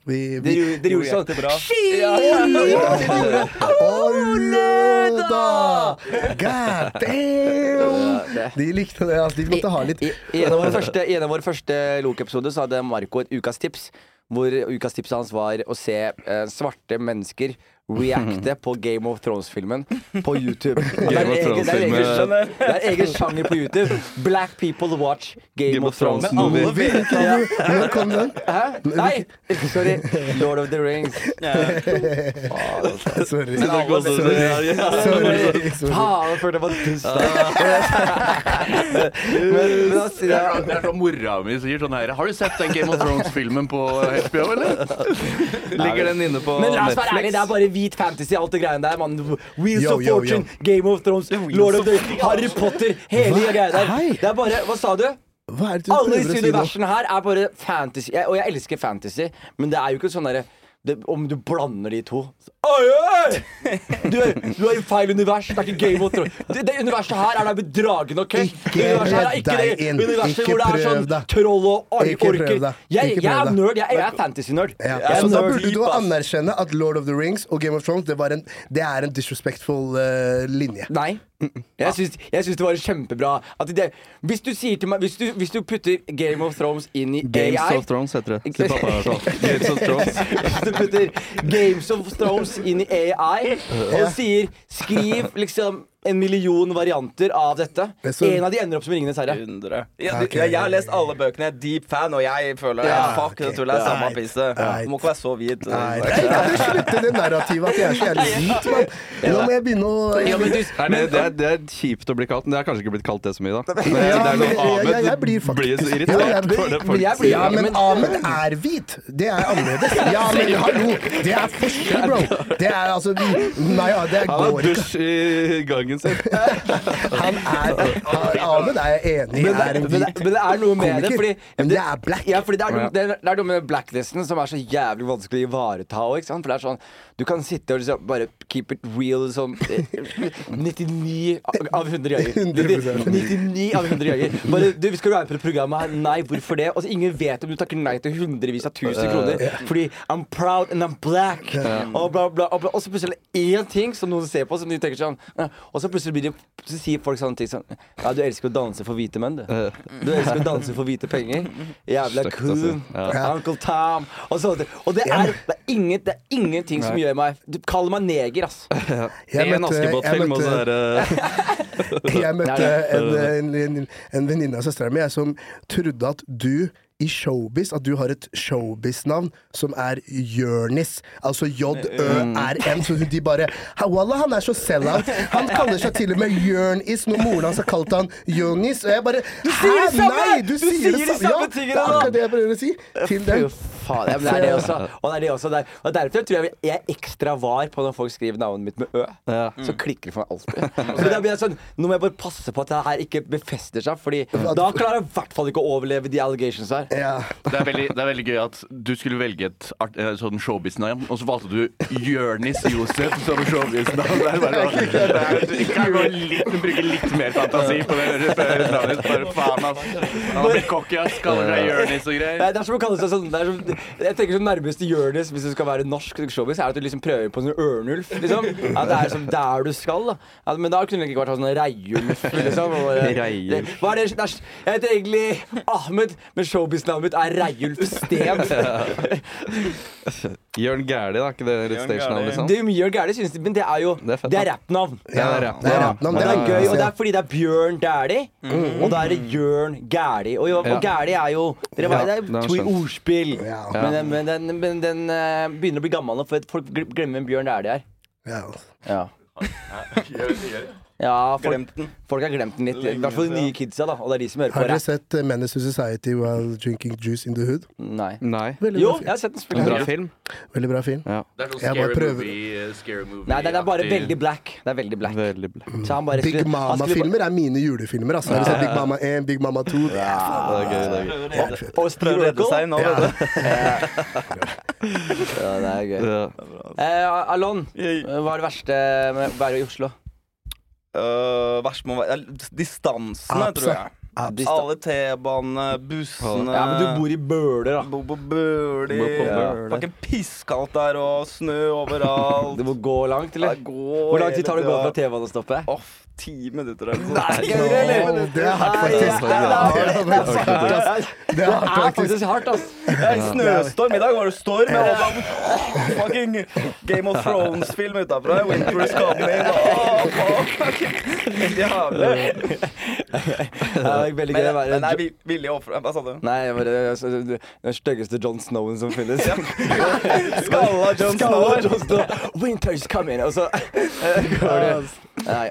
S4: vi, vi
S2: Dere dere gjorde sånn.
S8: Bra.
S4: Ole, da! God damn! De likte det. Altså, de måtte ha litt
S2: I, i en av våre første, i en av våre første Loke-episoder så hadde Marco et ukas tips. Hvor ukas tipset hans var å se eh, svarte mennesker reacte på Game of Thrones-filmen på YouTube. [laughs] Det er egen- det er
S5: of
S2: egen
S5: Thrones-filmen.
S2: sjanger- Det er egen sjanger på YouTube. Black people watch Game, of Thrones.
S5: Men alle
S2: Movie.
S8: vet
S2: Ja.
S4: Når kom den?
S2: Hæ? Nei! Sorry. Lord of the Rings.
S4: Sorry.
S8: alle vet det.
S4: Sorry. Sorry.
S2: Faen, jeg følte jeg var dust. Men, men da sier
S3: Det
S2: jeg
S3: er, det er sånn mora mi sier sånn her Har du sett den Game of Thrones-filmen på HBO, eller?
S5: Ligger den inne på
S2: Men la oss være ærlig, det
S5: Netflix?
S2: er bare hvit fantasy, alt det greiene der. Man. Wheels
S4: Yo,
S2: of
S4: yo, yo.
S2: Fortune, Game of Thrones, [laughs] Lord of the Harry Potter, hele
S4: Hva?
S2: greia der.
S4: Hei.
S2: Det er bare Hva sa du?
S4: Hva er det du
S2: Alle
S4: prøver å
S2: disse
S4: si nå?
S2: universene her er bare fantasy. Jeg, og jeg elsker fantasy, men det er jo ikke sånn derre det, om du blander de to så- Oi, oi! Du er, du er i feil univers. Det er ikke Game of Thrones. Det, det universet her er der med dragene, OK?
S4: Ikke
S2: det universet her er
S4: redd
S2: ikke
S4: deg
S2: det
S4: inn.
S2: universet
S4: Ikke
S2: hvor det er
S4: prøv
S2: sånn
S4: deg.
S2: troll og or-
S4: Ikke prøv
S2: orker.
S4: deg.
S2: Jeg,
S4: Ikke
S2: jeg
S4: prøv
S2: er
S4: deg.
S2: nerd. Jeg, jeg er fantasy-nerd.
S4: Ja.
S2: Jeg er
S4: Så da
S2: nerd.
S4: burde du
S8: ass.
S4: anerkjenne at Lord of the Rings og Game of Thrones det, var en, det er en disrespectful eh, linje.
S2: Nei.
S5: Ah.
S2: Jeg syns, jeg syns det var kjempebra. At det, hvis du sier til meg Hvis du, hvis du putter Game of Thrones inn i
S5: Games
S2: AI
S5: of Thrones heter det. Sier pappa her
S2: [laughs]
S5: sånn. Games
S4: [laughs]
S5: of Thrones.
S2: Hvis du putter Games of Thrones inn i AI og sier Skriv liksom en million varianter av dette.
S4: Men så-
S2: en av de ender opp som Ringenes herre.
S8: 100. Ja,
S4: Ok.
S8: du, jeg, jeg har lest alle bøkene. Jeg er deep fan, og jeg føler
S4: Ja,
S8: Fuck,
S4: ok.
S8: det tullet er samme
S4: Right.
S8: pisset.
S4: Right.
S8: Du må ikke være så hvit.
S4: Nei, nei, kan du slutte det narrativet at jeg er så jævlig hvit, mann? Nå må jeg begynne å
S2: Ja, men du,
S5: Nei, det, det, er, det er kjipt å bli kalt, men det er kanskje ikke blitt kalt det så mye, da.
S4: [laughs]
S5: Men
S4: Ja,
S5: det er
S4: men
S5: noe
S4: jeg-
S5: Ahmed
S4: jeg- jeg blir
S5: du blir så
S4: faktisk-
S5: irritert
S4: Ja, jeg blir-
S5: for det
S2: men
S5: folk
S2: jeg blir-
S5: sier.
S4: Ja, men Ahmed er hvit. Det er annerledes. Ja, men hallo! Det er forskjell, bro. Det er altså vi- Nei, ja, det
S5: Han har
S4: går ikke.
S5: dusj i gangen ungen sin.
S4: Han er han- Ahmed er jeg enig i
S2: Men
S4: er
S2: det,
S4: en
S2: men, det,
S4: hvit
S2: men det er noe med det,
S4: komiker,
S2: fordi
S4: men
S2: det,
S4: det er black.
S2: ja, fordi det, er noe, det, er- det er noe med blacklisten som er så jævlig vanskelig å ivareta også, ikke sant? For det er sånn Du kan sitte og liksom bare keep it real sånn eh, [laughs] 99 av 100 ganger.
S4: 100%.
S2: 99 av 100 ganger. Bare du, vi skal være på det programmet her. Nei, hvorfor det? Altså, ingen vet om du takker nei til hundrevis av
S4: Eh,
S2: tusen kroner fordi I'm proud and I'm black. Og bla, bla, og bla. Og så plutselig er det én ting som noen ser på, som de tenker sånn eh, Og så plutselig blir det, så sier folk sånne ting som Ja, du elsker å danse for hvite menn, du.
S4: Eh.
S2: Du elsker å danse for hvite penger. Jævla
S5: Støkt,
S2: cool.
S5: altså.
S4: Ja.
S2: Uncle Tom. Og, sånt. og det, er, det, er ingen, det er ingenting som gjør meg Du kaller meg neger, ass.
S4: [laughs] Jeg
S5: En
S4: møtte- jeg
S5: Askepott-film, og
S4: møtte-
S5: så er det
S4: [laughs] Jeg møtte
S2: Nei,
S4: en, en, en, en venninne av søstera mi som trodde at du i showbiz, at du har et showbiz-navn som er Jørnis. Altså J-ø-r-n. Så de bare «Ha, Wallah, han er så sell-out. Han kaller seg til og med Jørnis når moren hans har kalt han Jonis. Og jeg bare Du
S2: sier det samme! Du sier de
S4: Ja,
S2: samme
S4: det
S2: tingene
S4: er
S2: nå!
S4: akkurat det jeg prøver å si til
S2: Fy
S4: dem.
S2: faen. Ja, men det er det også. Og det er det også der. Og derfor tror jeg jeg er ekstra var på når folk skriver navnet mitt med ø. Så klikker det for meg alltid. Så da blir jeg sånn Nå må jeg bare passe på at det her ikke befester seg, Fordi da klarer jeg i hvert fall ikke å overleve de allegations her.
S4: Ja.
S3: Det er, veldig, det er veldig gøy at du skulle velge et art, eh, sånn showbiz-navn, og så valgte du Jørnis Josef som showbiz-navn. Det er bare sånn- det er- Du kan gå litt- du bruker litt mer fantasi på det det høres navnet ditt. Bare faen, ass. Han har blitt cocky, ass. Kaller seg Jørnis og
S2: Det
S3: greier.
S2: er, det er som å kalle seg sånn det er som, Jeg tenker som nærmeste Jonis hvis du skal være norsk showbiz, er at du liksom prøver på en sånn ørnulf. Liksom. Ja, det er som der du skal, da. Ja, men da kunne det ikke vært sånn reiulf, liksom. Og, eh, det,
S5: Reiulf.
S2: hva er det, det er, jeg heter egentlig Ahmed, men showbiznavnet mitt er Reiulf Steen.
S5: [laughs] Jørn Gæhlie, da. ikke det litt stage-navnet, liksom?
S2: Det er jo mye og gærlig, synes de, men det er jo
S5: Det er fett,
S2: Det er
S5: da.
S2: rappnavn.
S5: Ja, det er
S4: Det er Mm.
S5: ja.
S4: rappnavn,
S2: Og det er gøy, og det
S4: Ja.
S2: er fordi det er Bjørn Dæhlie, og da er det Jørn Gæli. Og, jo- og
S5: Ja.
S2: Gæli er jo dere vet, Det
S5: Ja, det har
S2: er
S5: jeg
S2: to i
S5: skjønt.
S2: ordspill.
S4: Ja.
S2: Men, den- men den, men den eh, begynner å bli gammel nå, for at folk gl- glemmer hvem Bjørn Dæhlie
S3: [laughs]
S2: er.
S4: Ja.
S2: Ja. Ja, folk, folk har glemt den litt. I hvert fall de nye kidsa, da. Og det er de som hører på
S4: Har dere
S2: rap.
S4: sett eh, Menace to Society while drinking juice in the hood?
S2: Nei.
S5: Nei.
S4: Veldig
S2: Jo,
S4: bra
S2: jeg
S4: film.
S2: har sett den
S5: En bra
S2: spille.
S5: film.
S4: Veldig bra film.
S3: Det er sånn
S4: Jeg bare
S3: scary
S4: prøver.
S3: movie, eh, scary movie.
S2: Nei, den er bare veldig black. Det er veldig black.
S5: Veldig bra.
S2: Så han bare
S4: Mm. Big
S2: skulle- han skulle bare-
S4: Mama-filmer er mine julefilmer. Altså. Har du sett Big Mama 1, Big Mama 2? Det er faen
S5: Det er gøy, det er gøy.
S2: Og Steve
S6: Prøver å redde
S2: Urkel.
S6: seg nå, vet du.
S2: Ja, det er gøy.
S5: Ja.
S2: Eh, Alon, hva er det verste med å være i Oslo?
S8: Eh,
S6: Øh, verst må være eller, Distansene,
S4: Absolutt.
S6: tror jeg. Alle T-banene, bussene
S2: Ja, men du bor i Bøler, da.
S6: Bo på Bøli.
S5: Bo på Bøli.
S6: Fucking pisskaldt der, og snø overalt.
S2: [laughs] Du må gå langt,
S6: Ja,
S2: eller?
S6: gå
S2: Hvor lang tid
S6: hele
S2: tar det å
S6: tida.
S2: gå fra T-banestoppet?
S6: Off, ti minutter eller noe
S2: Nei,
S6: sånt.
S2: kødder du, eller?
S4: Åh, det er hardt, faktisk.
S2: Nei,
S4: Det
S2: det er-
S4: er faktisk hardt, ass.
S2: Det
S4: Det er hardt,
S2: er
S4: faktisk.
S2: faktisk hardt, ass.
S6: Det er snøstorm. I dag var det storm. Jeg var sånn Fucking Game of Thrones-film utafra.
S2: [laughs]
S6: Winter is coming. Åh, fuck. Jævlig.
S2: Det er veldig gøy å
S6: Men, men er
S2: være
S6: vi villige å ofre Hva sa du?
S2: Nei, jeg bare, jeg- jeg- jeg- den styggeste John Snowen som finnes. [laughs]
S6: Skalla John Snow.
S2: Skalla John Snow. Winter's coming. Og så eh, går det Nei.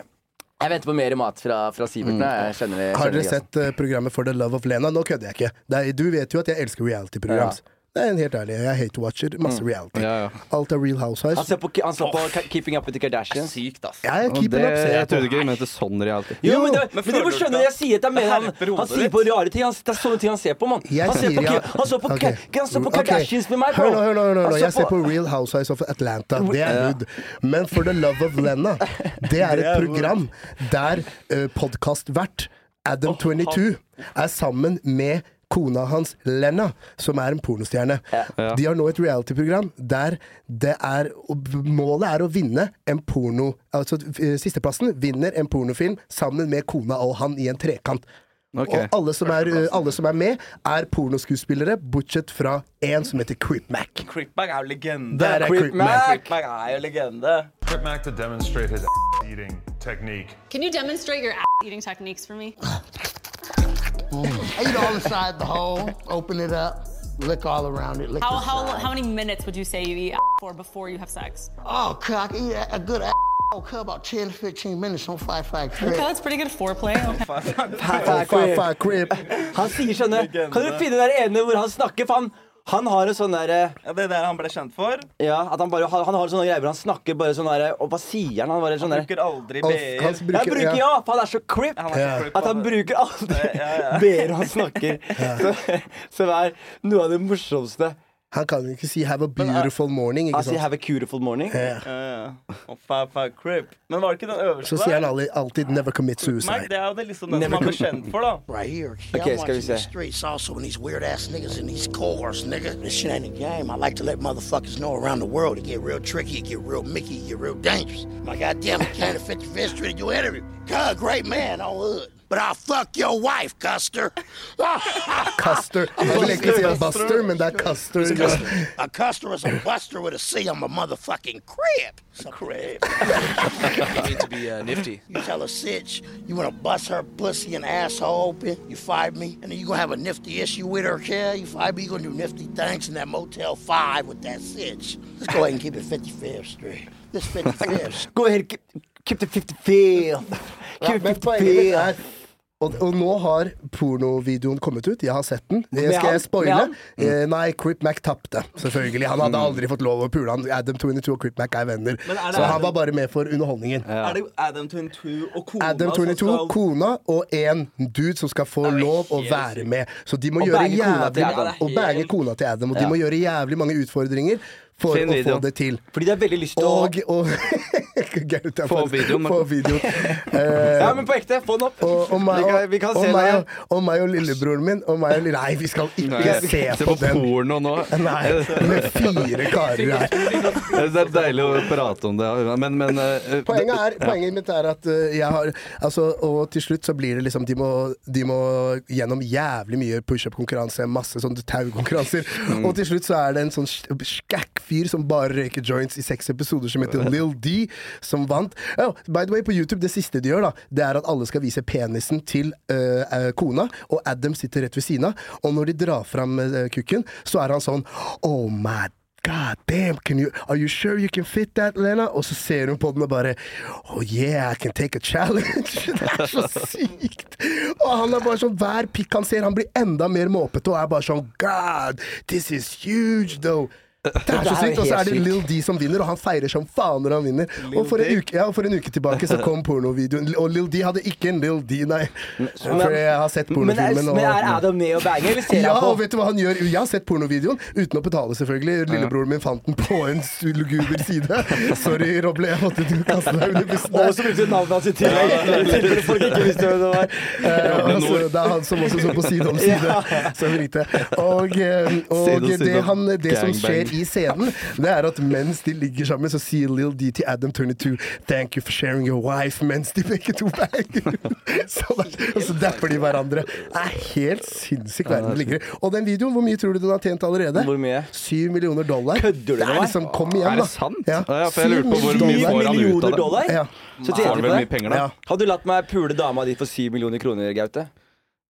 S2: Jeg venter på mer mat fra, fra Sivert. Jeg kjenner det.
S4: Har dere
S2: kjenner det, altså.
S4: sett eh, programmet For the love of Lena? Nå kødder jeg ikke. Det er, du vet jo at jeg elsker reality-programs. Det er en helt ærlig. Jeg hate-watcher masse reality.
S5: Ja, ja.
S4: Alt er Real
S2: Mm. Han,
S4: Housewives.
S2: ser på, han så på Ke- Keeping Up With The Kardashians.
S6: Sykt, ass.
S4: Jeg er
S5: Og
S4: keeping
S5: Det,
S4: up, ser
S5: jeg
S4: jeg på.
S5: trodde ikke vi mente sånn reality.
S2: Jo, men, det,
S6: Jo, men
S2: men dere må
S6: føler du
S2: skjønne
S6: ikke
S2: jeg sier at det er mer han,
S6: herper
S2: han
S6: hodet
S2: sier
S6: ditt?
S2: på rare ting. Han, det er sånne ting han ser på, mann.
S4: Jeg
S2: sånn. Han ser på,
S4: sier jeg-
S2: Kim- han så på,
S4: ok.
S2: Ka- han så på
S4: Ok.
S2: Kardashians med meg, bro.
S4: Hør nå, hør nå, hør nå, hør
S2: Han
S4: nå.
S2: så
S4: Jeg ser på Real Housewives of Atlanta. Det er hood. Men For the love of Lena, det er et program der uh, podkastvert Adam22 er sammen med Kona hans, Lena, som er en pornostjerne. De har nå et reality-program der det er og Målet er å vinne en porno... Altså eh, sisteplassen vinner en pornofilm sammen med kona og han i en trekant.
S5: Ok.
S4: Og alle som, er, eh, alle som er med, er pornoskuespillere, bortsett fra én som heter Crip Mac.
S6: Crickback er jo legende.
S4: Der er Crip Mac.
S6: Crickback er jo legende.
S10: Get Mac to demonstrate his eating technique.
S11: Can you demonstrate your eating techniques for me?
S12: Eat
S2: [laughs]
S12: all inside the hole, open it up, lick all around it. Lick
S11: How,
S12: the
S11: how,
S12: side.
S11: how many minutes would you say you eat for before you have sex?
S12: Oh, cuz I can eat a, a good ass. Oh, cuz about 10 to 15 minutes on 5 5
S11: Okay,
S12: 3.
S11: that's pretty good foreplay. Okay.
S4: Fa, fa, fa, Crip.
S2: [laughs] på. Han sier sånne Kan dere finne den ene hvor han snakker, faen? Han har en sånn derre
S8: Ja, det er der han ble kjent for.
S2: ja, at han, bare, han, han har sånne greier hvor han snakker bare sånn derre Og hva sier han? Han, bare, sånn
S8: Han
S2: derre-
S8: bruker aldri
S2: Han-
S8: BR.
S2: han bruker- Jeg bruker ja, for han er så crip.
S8: Han er så crip,
S2: At han bruker aldri [laughs] BR han snakker. Så, så det er noe av det morsomste. eh,
S4: Han kan jo ikke si 'have a beautiful morning'. ikke
S2: Han sier
S4: sant?
S2: 'have a beautiful morning'.
S4: Ja.
S8: Ja, ja. Og fa, fa, crip. Men var det ikke den
S4: Så
S8: øverste
S4: sier han alle- alltid 'never commit
S8: Nei,
S4: suicide'.
S8: det er jo det liksom den som han ble kjent for, da.
S12: Right here.
S4: Okay,
S12: Okay, I'm
S4: it's gotta be
S12: watching the
S4: said.
S12: streets also and these weird ass niggas in these cohorts, nigga. This shit ain't a game. I like to let motherfuckers know around the world it get real tricky, it get real Mickey, it get rereal dangerous. My goddamn candidate 55th Street, you interview. God, great man on hood. But I'll fuck your wife, Custer. [laughs]
S4: Custer. Jeg vil ikke si Buster, men det er Custer.
S12: It's a Custer. A Custer is a buster with a C. I'm a motherfucking crib. A crib.
S13: [laughs] you need to be uh, nifty.
S12: You tell a sitch you want to bust her pussy and asshole open, you fired me, and then you going to have a nifty issue with her, yeah? You fired me, you going to do nifty things in that Motel 5 with that sitch. Let's go ahead and keep it 55th Street. This
S4: [laughs]
S12: 55th Street.
S2: Go ahead, keep, keep the 55.
S4: Ja, men poenget mitt er og, og nå har pornovideoen kommet ut. Jeg har sett den.
S2: Med
S4: Jeg skal
S2: han?
S4: jeg spoile?
S2: Med
S4: Eh, nei, Crip Mac tapte, selvfølgelig. Han hadde aldri fått lov å pule han. Adam 22 og Crip Mac er venner.
S8: Men er det
S4: så han
S8: Adam-
S4: var bare med for underholdningen.
S8: Er det Adam 22 og kona
S4: Adam 22,
S8: som skal
S4: kona og en dude som skal få lov å være med. Så de må
S8: Og
S4: gjøre
S8: bange kona til
S4: jævlig
S8: Adam.
S4: Og bange kona til Adam. Og
S2: Ja.
S4: de må gjøre jævlig mange utfordringer for
S2: Finn
S4: å få
S2: videoen.
S4: det til.
S2: Fordi de har veldig lyst til å
S4: Og, og [laughs] Gaute er
S2: Få
S4: for-
S2: videoen, Martin.
S4: Få
S2: [laughs]
S4: videoen. Eh,
S2: Ja, men på ekte, få den opp.
S4: og, og, meg,
S2: Vi
S4: og,
S2: kan- vi kan
S4: og,
S2: se
S4: meg,
S2: den igjen.
S4: og, og meg og lillebroren min og meg og lille... Nei, vi skal ikke
S5: Nei.
S4: se
S5: Se
S4: på
S5: på
S4: den.
S5: porno nå.
S4: Nei, med fire karer her.
S5: Det er deilig å prate om det, men, men eh,
S4: Poenget, er,
S5: ja.
S4: poenget mitt er at eh, jeg har altså, Og til slutt så blir det liksom De må, de må gjennom jævlig mye pushup-konkurranse, masse sånne taukonkurranser.
S5: Mm.
S4: Og til slutt så er det en sånn sk- skakk-fyr som bare røyker joints i seks episoder, som heter Lil D, som vant. Oh, by the way, på YouTube, det siste de gjør, da, det er at alle skal vise penisen til eh, eh, kona, og Adam sitter rett ved siden av. Og når de drar fram eh, kukken, så er han sånn Oh my God damn, can you, are you sure you can fit that, Lena? Og så ser hun på den og bare Oh yeah, I can take a challenge. [laughs] Det er så sykt! Og han er bare sånn, hver pikk han ser, han blir enda mer måpete og er bare sånn God, this is huge, though. Det er så sykt, Og så er det
S2: helt sykt.
S4: Lil D som vinner, og han feirer som faen når han vinner. Og for en uke, ja, og for en uke tilbake så kom pornovideoen, og Lil D hadde ikke en Lil D, nei. For jeg har sett
S2: men, er,
S4: pornofilmen. og-
S2: men er Adam med og banger, eller ser
S4: ja,
S2: han på?
S4: og vet du hva han gjør? Jeg har sett pornovideoen uten å betale, selvfølgelig. Lillebroren min fant den på en luguber side.
S2: [laughs]
S4: Sorry, Roble, jeg måtte du kaste deg under bussen
S2: Og så brukte du navnet hans i tillegg. i tilfelle folk ikke visste hvem det var.
S4: Eh, altså, det er han som også står på side om side. Så vi likte. Og, eh, og
S2: Side om side
S4: det,
S2: om
S4: han, det som
S2: gangbang.
S4: skjer i scenen, det er at mens de ligger sammen, så sier Lil D til Adam 22 Thank you for sharing your wife mens de begge to banger. [laughs] Så, der- og så dapper de hverandre. Det er helt sinnssyk verden det ligger i. Og den videoen, hvor mye tror du den har tjent allerede?
S2: Hvor mye?
S4: Syv millioner dollar. Kødder
S2: med
S4: det er
S2: meg?
S4: liksom, kom igjen, da.
S5: Er det sant?
S4: Ja.
S5: Ja, for jeg
S4: Syv
S5: lurte på hvor mye
S4: millioner
S5: får han ut av
S2: Millioner
S5: det.
S2: dollar?
S4: Ja.
S2: Så
S5: Får
S2: tjener
S5: han
S2: du
S5: vel
S2: på
S5: mye penger, da?
S2: det. Hadde du latt meg pule dama di for 7 millioner kroner, Gaute?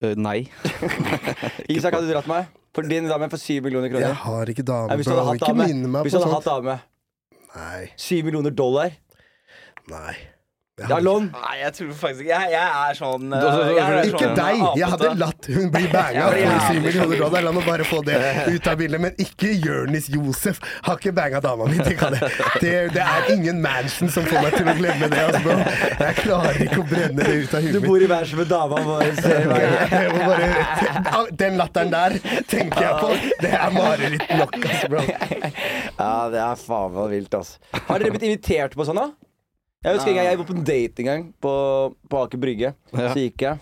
S5: Eh, nei.
S2: [laughs] Isak, hadde du dratt meg? For din dame for 7 millioner kroner?
S4: Jeg har ikke dame,
S2: Nei, hvis du hadde
S4: bro.
S2: hatt
S4: Ikke
S2: dame.
S4: minne meg
S2: Hvis
S4: på
S2: du
S4: sånt.
S2: hadde hatt dame.
S4: Nei.
S2: 7 millioner dollar?
S4: Nei.
S2: Det er lån.
S8: Nei, jeg tror faktisk ikke Jeg, jeg er sånn eh,
S2: Da- da- da-
S8: jeg er
S4: Ikke
S8: sånn
S4: deg! Jeg hadde
S8: apete.
S4: latt hun bli banga
S8: Ja, ja.
S4: for 7 millioner dollar. La meg bare få det ut av bildet. Men ikke Jonis Josef. Har ikke banga dama mi. Det, kan jeg. det, det er ingen Mansion som får meg til å glemme det. Altså, bro. Jeg klarer ikke å brenne det ut av
S2: Du
S4: huet mitt.
S2: bor i verset med dama vår. ser du meg?
S4: Jeg må bare, den latteren der tenker jeg på. Det er mareritt nok, altså, bro.
S2: [laughs] Ja, det er faen meg vilt, altså. Har dere blitt invitert på sånn, da? Jeg husker en gang jeg var på en date en gang på, på Aker Brygge.
S5: Ja.
S2: Så gikk jeg.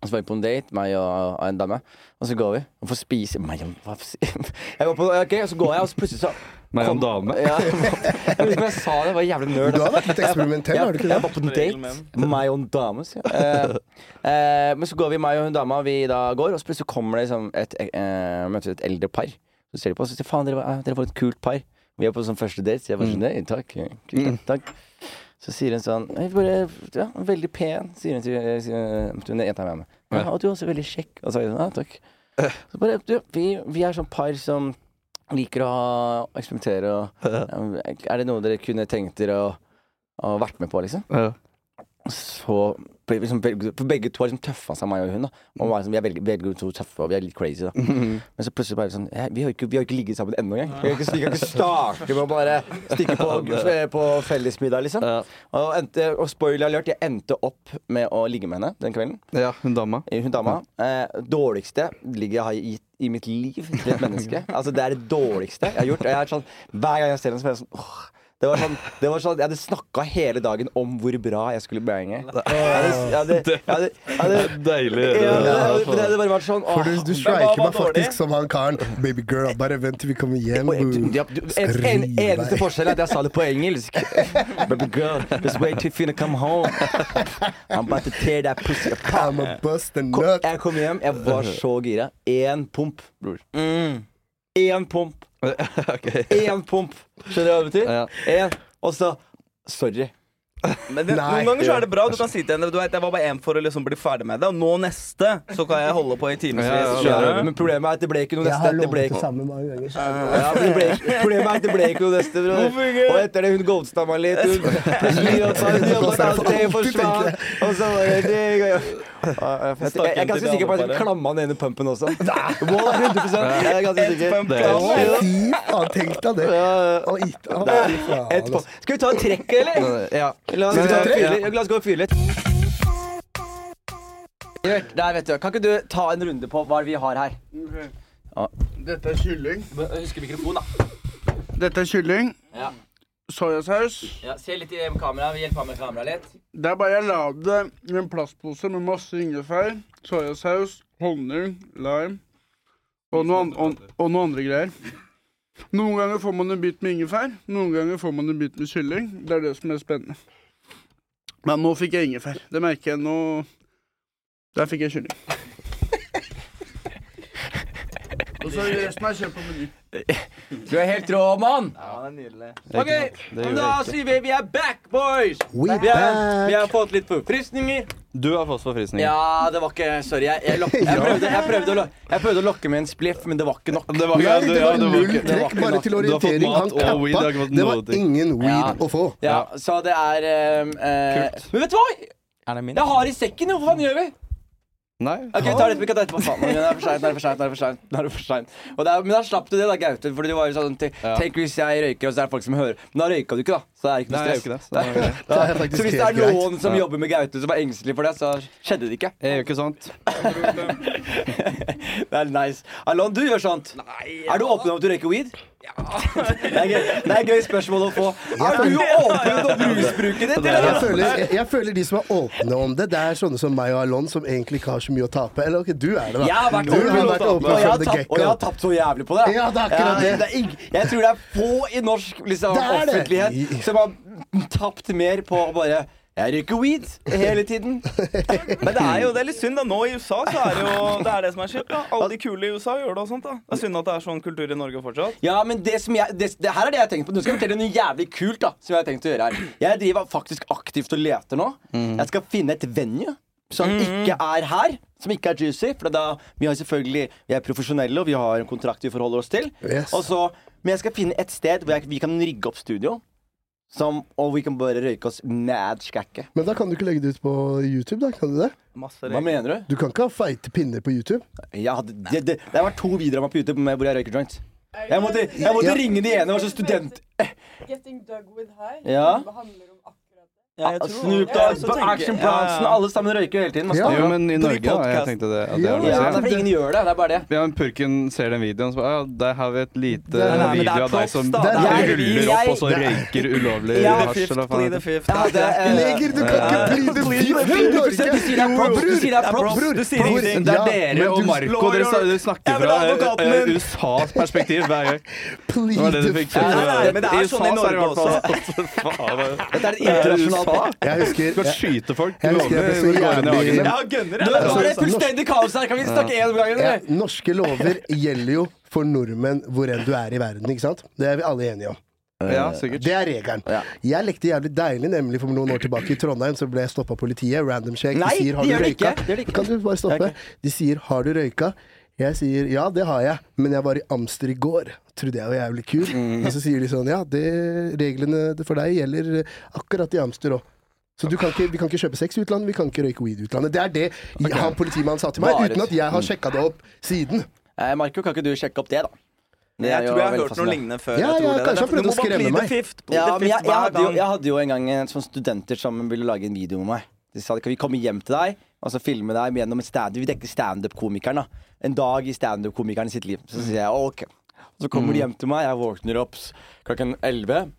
S2: Og så var vi på en date, meg og, og en dame. Og så går vi og får spise meg og, hva, f- [laughs] jeg var på, ok, Og så går jeg, og så plutselig så
S5: Meg og en dame.
S2: ja,
S5: [laughs]
S2: Jeg [laughs] husker ikke hva jeg sa, det var jævlig nerd. altså.
S4: Du har vært litt eksperimentell, har du ikke det?
S2: Jeg var på en date. Meg og en dame, sier jeg. Eh, eh, men så går vi, meg og hun dama, vi da går, og så plutselig kommer det liksom et, eh, møter vi et eldre par. Så ser de på oss og sier faen, dere, var- eh, dere var et kult par. Vi er på sånn første date, sier jeg bare sånn,
S4: Mm.
S2: «Nei, takk, kult, takk. Så sier hun sånn «Jeg bare, ja, Veldig pen, sier hun til, eh, sier, til den jenta jeg er med. Ja, og du er også veldig kjekk. Og så sier hun ja, takk. Så bare, du, vi, vi er sånn par som liker å ha- eksperimentere og um, ja, Er det noe dere kunne tenkt dere å, å vært med på, liksom?
S5: Ja.
S2: Og så for, liksom, begge- for begge to har liksom tøffa seg, meg og hun. da Og var liksom, Vi er veldig, begge to tøffe og vi er litt crazy. da
S5: Mhm.
S2: Men så plutselig bare sånn «Ja, Vi har jo ikke, vi har jo ikke ligget sammen ennå engang. Vi kan ikke, vi kan ikke starte med å bare stikke på, på fellesmiddag, liksom. Og, endte, og spoiler alert, jeg endte opp med å ligge med henne den kvelden.
S5: Ja, hun dama.
S2: Hun dama. Eh, dårligste ligger jeg har gitt i mitt liv til et menneske. Altså Det er det dårligste jeg har gjort. Og jeg er sånn, hver gang jeg ser henne, så blir jeg sånn åh. Det var sånn, det var sånn, Jeg hadde snakka hele dagen om hvor bra jeg skulle bange. Jeg hadde- jeg hadde- jeg hadde- jeg hadde-
S5: Deilig.
S2: Ja, men det hadde- men det hadde bare vært sånn
S4: For du,
S2: åh,
S4: du
S2: men hva
S4: striker
S2: var
S4: meg
S2: dårlig?
S4: faktisk som han karen. Baby girl, bare vent til vi kommer hjem. boo.
S2: Ja, du, en, en,
S4: Skriv
S2: eneste
S4: deg.
S2: forskjell er at jeg sa det på engelsk. [laughs] Baby girl, just wait till you come home. I'm about to tear that pussy apart. Kom- Jeg kom hjem, jeg var så gira. Én pump, bror. Mm. Én [laughs] pump. Én pump. Skjønner du hva det betyr? Én. Og så Sorry.
S8: Men det, noen ganger så er det bra. Du kan si til henne Du vet, jeg var bare en for å liksom bli ferdig med det, og nå neste så kan jeg holde på i timevis. skjønner du?
S2: Men problemet er at det ble ikke noe
S4: Jeg har
S2: neste. Det
S4: lovet
S2: ble
S4: det
S2: ikke
S4: samme mange ganger. så-
S2: ja, men det ble, problemet er at det ble ikke noe neste. bror. Og etter det hun ghosta meg litt. Hun plutselig jobba hun jobba et annet sted, forsvant. Og så var det det jeg, jeg, jeg er ganske sikker på at hun klamma den ene pumpen
S8: [laughs]
S2: også. Wallah, 100 Jeg er ganske sikker.
S4: Å, Fy faen, tenk deg det. Å, it- å, fy faen, altså.
S2: Et pump. Skal vi ta et trekk, eller?
S5: Ja.
S2: La oss,
S5: Men,
S2: ta
S5: eh,
S2: et fyr
S5: ja.
S2: litt. La oss gå og fyre litt. Gjørt, Der, vet du. Kan ikke du ta en runde på hva vi har her? Ja.
S9: Dette er kylling.
S8: Husker mikrofonen, da.
S9: Dette er kylling.
S8: Ja.
S9: Soyasaus.
S8: Ja, se litt i kameraet. Hjelp ham med kameraet litt.
S9: Det er bare jeg la det i en plastpose med masse ingefær, soyasaus, honning, lime og noe, an og, og noe andre greier. Noen ganger får man en bit med ingefær, noen ganger får man en bit med kylling. Det er det som er spennende. Men nå fikk jeg ingefær. Det merker jeg nå. Der fikk jeg kylling. [laughs] Og så resten er kjøpt på meny.
S2: Du er helt rå, mann!
S8: Ja, det er nydelig.
S2: Ok, men da sier vi vi er back, boys! Vi
S8: We
S2: er,
S8: back.
S2: vi har fått litt forfriskninger.
S5: Du har fått forfrysninger.
S2: Ja, det var ikke Sorry. Jeg, jeg, lok, jeg, prøvde, jeg, prøvde å, lo- jeg prøvde å lokke med en spliff, men det var ikke nok.
S5: Det var- ja, Nei, det det var var null ikke- det var trekk, ikke
S4: Bare
S5: nok.
S4: til
S5: Du har fått
S4: orientering.
S5: mat
S4: Han
S5: og weed, du har ikke
S4: kappa.
S5: fått
S4: Det var
S5: noe ting.
S4: ingen weed å få.
S2: Ja, så det er ehm, eh, Men vet du hva? Jeg har i sekken, jo! Hva faen gjør vi?
S5: Nei.
S2: Ok, vi tar det, vi kan ta det etterpå. Faen, nå er det for seint, nå er det for seint, nå er det for sent, nå er det for sent. Og det er- Men da slapp du det, da, Gaute. Fordi det var jo sånn te- Tenk hvis jeg røyker, og så er det folk som hører. Men da røyka du ikke, da. Så det er ikke noe
S5: Nei, jeg
S2: stress.
S5: gjør ikke det, så det er
S2: Nei.
S5: greit. Det er
S2: så
S5: faktisk
S2: hvis det er
S5: helt greit.
S2: noen som
S5: Ja.
S2: jobber med Gaute som er engstelig for det, så skjedde det ikke.
S5: Jeg gjør ikke sånt.
S2: [laughs] det er nice. Alon, du gjør sånt. Nei, Er du åpen om at du røyker weed? Ja. Det er gøy, det er gøy spørsmål å få. Er du åpen om rusbruket ditt? eller?
S4: Jeg føler, jeg, jeg føler de som er åpne om det, det er sånne som meg og Alon, som egentlig ikke har så mye å tape. Eller ok, du er det, da.
S2: Jeg har vært
S4: du
S2: åpen,
S4: har vært
S2: og,
S4: åpen
S2: jeg
S4: from
S2: har
S4: the
S2: tapt, og jeg har
S4: get-go.
S2: tapt så jævlig på det.
S4: Ja, det er akkurat det.
S2: er ing- jeg tror det er få i norsk liksom,
S4: Det er det.
S2: offentlighet som har tapt mer på å bare Jeg røyker weed hele tiden.
S8: Men det er jo det er litt synd, da. Nå i USA så er det jo
S2: [laughs]
S8: det er det som er kjipt. da. Alle de kule i USA gjør det og sånt, da. Det er synd at det er sånn kultur i Norge fortsatt.
S2: Ja, men det som jeg, det, det her er det jeg har tenkt på. Nå skal jeg fortelle noe jævlig kult. da Som Jeg har tenkt å gjøre her Jeg driver faktisk aktivt og leter nå.
S4: Mhm.
S2: Jeg skal finne et venue som ikke er her. Som ikke er juicy. For da, vi har selvfølgelig Vi er profesjonelle, og vi har en kontrakt vi forholder oss til.
S4: Yes.
S2: Og så, men jeg skal finne et sted hvor jeg, vi kan rigge opp studio. Som, og vi kan bare røyke oss mad skakke.
S4: Men da kan du ikke legge det ut på YouTube, da? Kan du det?
S2: Hva mener du?
S4: Du kan ikke ha feite pinner på YouTube.
S2: Jeg hadde, det, det, det har vært to videoer av meg på YouTube med hvor jeg røyker joints. Jeg måtte, jeg måtte
S4: Ja.
S2: ringe de ene, var så student...
S14: Getting dug with high.
S2: Ja.
S14: Det handler om
S2: Ja,
S14: akkurat det.
S2: Ah, Snoop Dogg, Action Bronson, alle sammen røyker hele tiden. man
S5: Ja,
S2: snakker om.
S5: men i
S2: På de
S5: Norge, da. Jeg
S2: podcast-
S5: tenkte det.
S2: Ja, det er fordi ingen gjør det. Det er bare det.
S5: Ja, men Purken ser den videoen, så bare ja, der har vi et lite
S2: Det er- Nei, men det er
S5: video av deg
S2: props,
S5: som
S2: da. Det er-
S5: ruller
S2: Jeg-
S5: opp og så
S2: Det er-
S5: røyker ulovlig
S2: Ja.
S5: hasj eller hva faen.
S2: Ja, det er, eh,
S4: Leger, du kan ikke bli det fint i
S2: Du
S4: Norge!
S2: sier det er props, du sier det er props,
S4: bror,
S2: du sier
S4: bror,
S2: ingenting.
S5: Det
S4: ja,
S5: er
S4: men
S5: dere og
S4: du-
S5: Marco. Dere sa- dere snakker fra eh, eh, USAs perspektiv hver gang. Det var det du
S4: Please.
S5: fikk kjenne.
S4: Nei, nei, men det er
S5: I
S4: sånn
S5: USA
S4: i
S5: så er det
S4: Norge
S5: i hvert fall-
S2: [laughs] Dette er et
S5: internasjonalt
S4: Jeg husker-
S5: Du skal skyte folk.
S4: Jeg husker jeg ble så jævlig
S2: Nå
S4: Altså,
S2: nå er det fullstendig kaos her. Kan vi snakke én om gangen,
S4: Ja,
S2: eller?
S4: norske lover gjelder jo for nordmenn hvor enn du er i verden, ikke sant? Det er vi alle enige om.
S5: Ja, sikkert.
S4: Det er regelen. Jeg lekte jævlig deilig, nemlig for noen år tilbake i Trondheim, så ble jeg stoppa av politiet. Random check.
S2: Nei,
S4: de sier 'har
S2: de
S4: du
S2: gjør det
S4: røyka'?
S2: ikke. Det gjør de ikke.
S4: Kan du bare stoppe? De sier 'har du røyka'? Jeg sier 'ja, det har jeg, men jeg var i Amster i går'. Trodde jeg var jævlig
S2: Mm.
S4: kul. Og så sier de sånn 'ja, det, reglene for deg gjelder akkurat i Amster òg'. Så du kan ikke, vi kan ikke kjøpe sex i utlandet, vi kan ikke røyke weed i utlandet. Det er det jeg- han politimannen sa til meg,
S2: Bare-
S4: uten at jeg har
S2: Mm.
S4: sjekka det opp siden.
S2: Eh, Marco, kan ikke du sjekke opp det, da? Det
S8: Jeg
S2: er jo
S8: tror jeg har hørt
S2: veldig
S8: noe
S2: fascinerende.
S8: lignende
S4: Ja,
S8: før. jeg
S4: ja,
S8: tror det. Det er
S4: kanskje han
S8: derfor du
S4: prøvde å
S8: må bare
S4: skremme
S8: plead the
S4: meg.
S8: fifth, plead
S2: Ja,
S8: the
S2: men jeg,
S8: fifth
S2: jeg,
S8: hver
S2: hadde jo,
S8: gang.
S2: jeg hadde jo en gang en sånn studenter som ville lage en video med meg. De sa kan vi komme hjem til deg og så filme deg gjennom en stand Vi dekket standup-komikeren. da En dag i standup-komikeren sitt liv. Så sier jeg ok. Og så kommer de hjem til meg, jeg våkner opp s- klokken 11.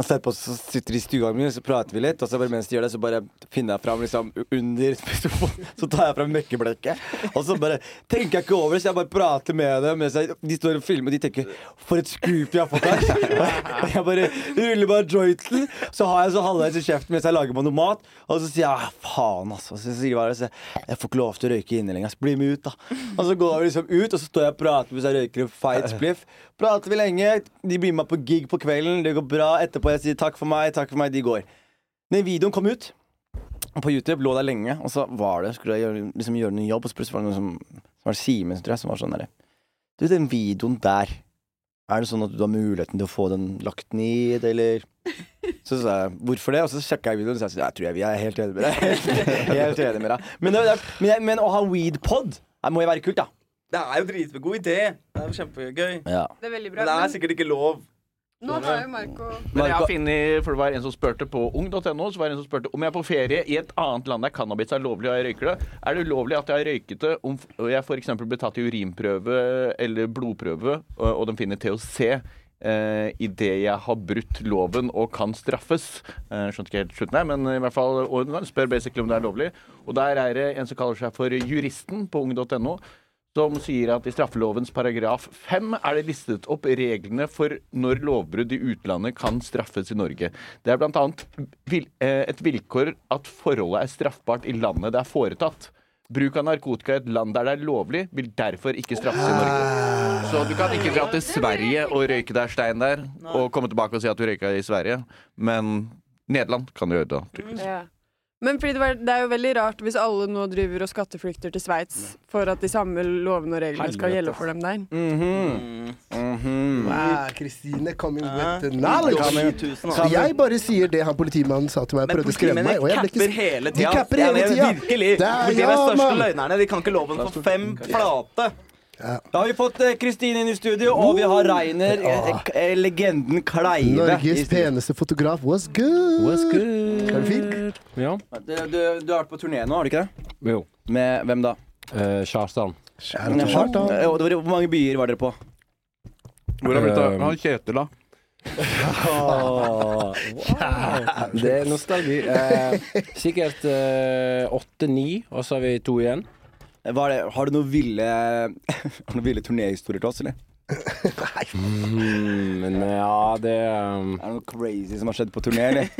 S2: Og ser på, så sitter de i stua mi, så prater vi litt. Og så bare mens de gjør det, så bare finner jeg fram liksom under [laughs] mikrofonen. Så tar jeg fram møkkeblekket. Og så bare tenker jeg ikke over det, så jeg bare prater med dem. Mens jeg, de står og filmer, og de tenker 'for et scoop jeg har fått her'. [laughs] Og jeg bare [laughs] ruller bare jointen. Så har jeg så halvveis i kjeften mens jeg lager meg noe mat. Og så sier jeg «Ah, 'faen, altså'. Så sier de bare så, jeg, 'jeg får ikke lov til å røyke inne lenger, så bli med ut', da. Og så går vi liksom ut, og så står jeg og prater mens jeg røyker en feit spliff. Prater vi lenge, de blir med på gig på kvelden, det går bra. Etterpå jeg sier takk for meg, takk for meg, de går. Den videoen kom ut på YouTube, lå der lenge, og så var det, skulle jeg gjøre, liksom gjøre en jobb, og så plutselig var det noen som, så var det Simen, tror jeg, som var sånn derre Du, den videoen der, er det sånn at du har muligheten til å få den lagt ned, eller så sa jeg hvorfor det, og så sjekka jeg videoen, og så sa jeg jeg tror jeg vi er helt enig med deg. [laughs] Helt, helt enig med deg. Men, det, det- men, jeg- men å ha weedpod, det må jo være kult, da.
S8: Det er jo dritgod idé. Det er jo kjempegøy.
S2: Ja.
S14: Det er veldig
S8: Men
S14: bra.
S8: det er
S14: Men
S8: sikkert ikke lov.
S14: nå har jo Marco
S3: Men jeg har funnet, for det var en som spurte på ung.no, så var det en som spurte om jeg er på ferie i et annet land der cannabis er lovlig og jeg røyker det. Er det ulovlig at jeg har røyket det om f- og jeg f.eks. blir tatt i urinprøve eller blodprøve, og, og de finner THC eh, idet jeg har brutt loven og kan straffes? Eh, skjønte ikke helt slutten her, men i hvert fall og den spør basically om det er lovlig. Og der er det en som kaller seg for Juristen på ung.no som sier at i straffelovens paragraf 5 er det listet opp reglene for når lovbrudd i utlandet kan straffes i Norge. Det er bl.a. eh, et vilkår at forholdet er straffbart i landet det er foretatt. Bruk av narkotika i et land der det er lovlig, vil derfor ikke straffes i Norge. Så du kan ikke dra til Sverige og røyke deg stein der, og komme tilbake og si at du røyka i Sverige, men Nederland kan du gjøre det. tydeligvis.
S14: Ja. Men fordi det, var, det er jo veldig rart hvis alle nå driver og skatteflykter til Sveits for at de samme lovene og reglene skal
S2: Helvete.
S14: gjelde for dem der.
S8: Mhm.
S4: Wow, Kristine coming with the
S14: Ja,
S4: knowledge.
S14: men-
S4: Så jeg bare sier det han politimannen sa til meg,
S8: Men
S4: prøvde å skremme meg.
S8: politimennene
S4: Og jeg ble
S8: capper
S4: ikke
S8: hele
S4: De
S8: tida.
S4: capper
S8: Ja,
S4: hele
S8: men
S4: tida.
S8: Virkelig.
S4: Det er-
S8: For de er de
S4: ja,
S8: største
S4: mann.
S8: løgnerne. De kan ikke loven for fem flate.
S2: Da har vi fått eh, Kristine inn i studio, og vi har Reiner, eh, k- eh, legenden Kleive. i
S4: Norges
S2: studio.
S4: peneste fotograf was good. Er det fint?
S15: Ja.
S2: Du, du, du har vært på turné nå, har du ikke det?
S15: Jo.
S2: Med hvem da?
S15: Eh, Kjartan.
S2: Jaha. Eh, og det var- Hvor mange byer var dere på?
S15: Hvor har blitt av-
S5: Han Kjetil, da?
S15: Åh, wow. Det er nostalgi. Eh, sikkert eh, åtte-ni, og så har vi to igjen.
S2: Var Eh, det, har du noen ville, [laughs] har du noen ville turnéhistorier til oss, eller?
S15: Mm, men ja, det um,
S2: Er det noe crazy som har skjedd på turné, eller?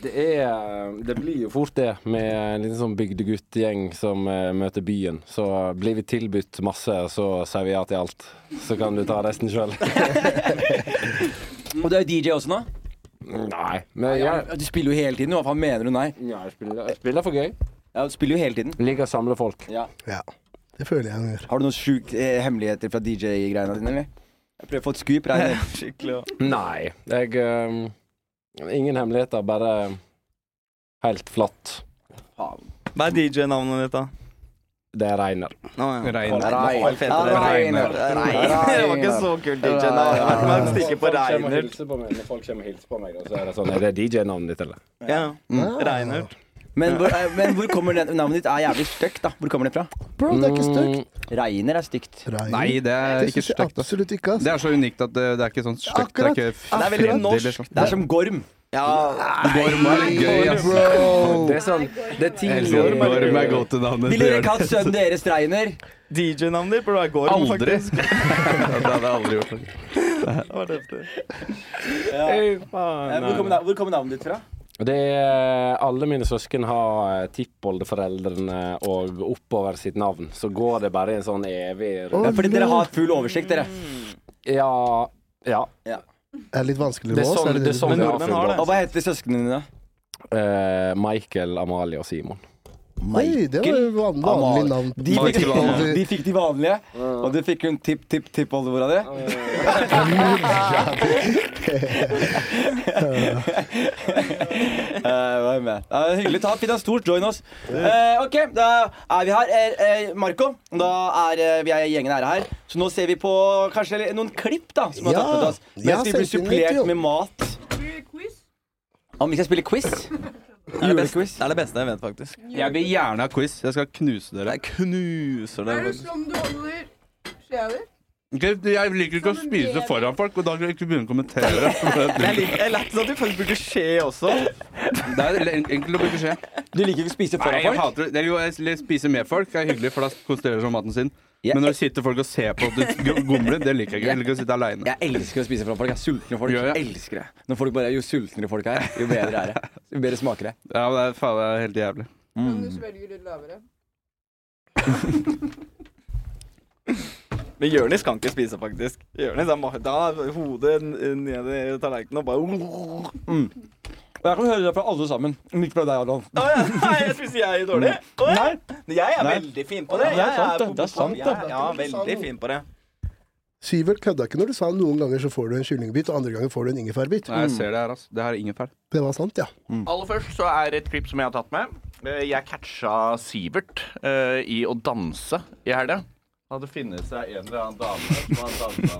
S15: Det, er, eh, det blir jo fort det, med en liten sånn bygdeguttgjeng som eh, møter byen. Så blir vi tilbudt masse, så sier vi ja til alt. Så kan du ta resten sjøl.
S2: [laughs] Og du er jo DJ også nå?
S15: Nei. Men jeg,
S2: Du spiller jo hele tiden, hva faen mener du nei?
S15: ja, jeg, spiller, jeg spiller for gøy.
S2: Ja, du spiller jo hele tiden.
S15: Liker å samle folk.
S2: Ja.
S4: Ja, det føler jeg han gjør.
S2: Har du noen sjuke eh, hemmeligheter fra DJ-greiene dine, eller? Jeg prøver å få et scoop, Reiner.
S8: [laughs]
S2: Skikkelig.
S15: Nei. Jeg ehm, Ingen hemmeligheter, bare helt flatt.
S8: Hva er DJ-navnet ditt, da?
S15: Det er Reiner.
S8: Reiner.
S15: Reiner.
S8: Reiner. Reiner. Reiner. Det var ikke så kult DJ-navn. Man stikker på
S15: Folk kommer og
S8: Reiner.
S15: hilser på meg, Når folk kommer og hilser på meg, da, så er det sånn Er det DJ-navnet ditt, eller?
S8: Ja. Reiner.
S2: Men hvor, eh, men hvor kommer den, navnet ditt er jævlig stygt, da. Hvor kommer det fra?
S4: Bro, det er ikke stygt.
S15: Mm.
S2: Reiner er stygt.
S5: Nei, det er ikke
S4: synes jeg
S5: stygt.
S4: Absolutt ikke, ass.
S5: Det er så unikt at det, det er ikke sånn stygt. Det er,
S4: Akkurat.
S5: ikke
S4: Det er veldig
S5: fredelig,
S4: norsk.
S5: liksom.
S2: Det er som gorm. Ja,
S5: Gorm er litt gøy, ass.
S4: Bro.
S15: Det er sånn Det er tidlig
S5: Elsker Gorm er godt til navnet.
S2: Ville dere ikke hatt sønnen deres Reiner?
S8: DJ-navnet ditt burde være Gorm,
S5: Aldri.
S8: faktisk.
S5: [laughs] Ja, Det hadde jeg aldri gjort.
S8: Det var det.
S2: Ja.
S15: Fy
S2: Eh, Hvor kommer, nav- hvor kommer navnet ditt fra?
S15: Det er, alle mine søsken har eh, tippoldeforeldrene og oppover sitt navn. Så går det bare i en sånn evig
S2: Ja, fordi dere har
S15: full oversikt, dere. Ja. ja.
S4: Det er litt vanskelig med
S15: Det er
S4: oss.
S15: sånn, det er sånn vi har full
S2: Og hva heter søsknene dine?
S15: Eh, Michael, Amalie og Simon.
S4: Oi, det
S15: [laughs]
S4: var jo van- vanlig navn. på-
S2: De fikk, [laughs] de,
S4: Michael.
S2: fikk de vanlige, og det fikk hun tipp-tipp-tippoldemora di. [laughs] Eh, hva er det med? Eh, hyggelig. Ta Finn en stor join oss. Eh, ok, da er vi her. Eh, eh, Marco, da er eh, vi er gjengen er her. Så nå ser vi på kanskje li- noen klipp da som har
S4: Ja,
S2: tatt med oss.
S4: ja,
S2: Mens vi blir
S4: selvtillit, jo.
S2: supplert med mat. Om vi skal spille
S5: [laughs]
S2: quiz?
S5: det, beste, det er det beste jeg vet, faktisk. Jeg vil gjerne ha quiz. Jeg skal knuse dere. Jeg knuser
S14: Er det sånn du holder skjea di?
S5: Jeg liker ikke å spise foran folk, og da kan jeg ikke begynne å
S9: [laughs]
S5: kommentere.
S8: Jeg liker jeg lærte at du faktisk bruker skje også.
S5: Det er en- enkelt å bruke skje.
S2: Du liker ikke å spise foran
S5: Nei, jeg
S2: folk?
S5: hater det. det. er jo- Jeg liker å spise med folk er hyggelig, for da konsentrerer de seg om maten sin. Men når det sitter folk og ser på at du gomler, det liker jeg ikke. Jeg liker å sitte aleine.
S2: Jeg elsker å spise foran folk. Jeg er sultne folk.
S5: Gjør jeg?
S2: elsker det. Når folk bare, jo sultnere folk er, jo bedre [laughs] er det. Jo bedre smaker det.
S5: Ja, men det er faen det er helt jævlig.
S14: Om du svelger litt lavere.
S8: Men Jonis kan ikke spise, faktisk. Jonis er ma- da er hodet n- ned i tallerkenen og bare
S2: Mm. Og jeg kan høre det fra alle sammen. Midt fra deg, Adolf.
S8: Å ja, nei, jeg spiser jeg dårlig? Å, ja. Jeg er
S2: Mm. Nei.
S8: veldig fin på det.
S2: Ja, det er
S8: Jeg
S2: sant, det.
S8: på-
S2: Det er sant, det.
S8: jeg er- Ja, veldig fin på det.
S4: Syvert kødda ikke når du sa noen ganger så får du en kyllingbit, og andre ganger får du en ingefærbit.
S5: Nei, jeg ser det her, altså. Det her er ingefær.
S4: Det var sant, ja.
S15: Mm.
S3: Aller først så er et klipp som jeg har tatt med. Eh, Jeg catcha Sivert eh, i å danse i helga. Hadde funnet seg en eller annen dame som han dansa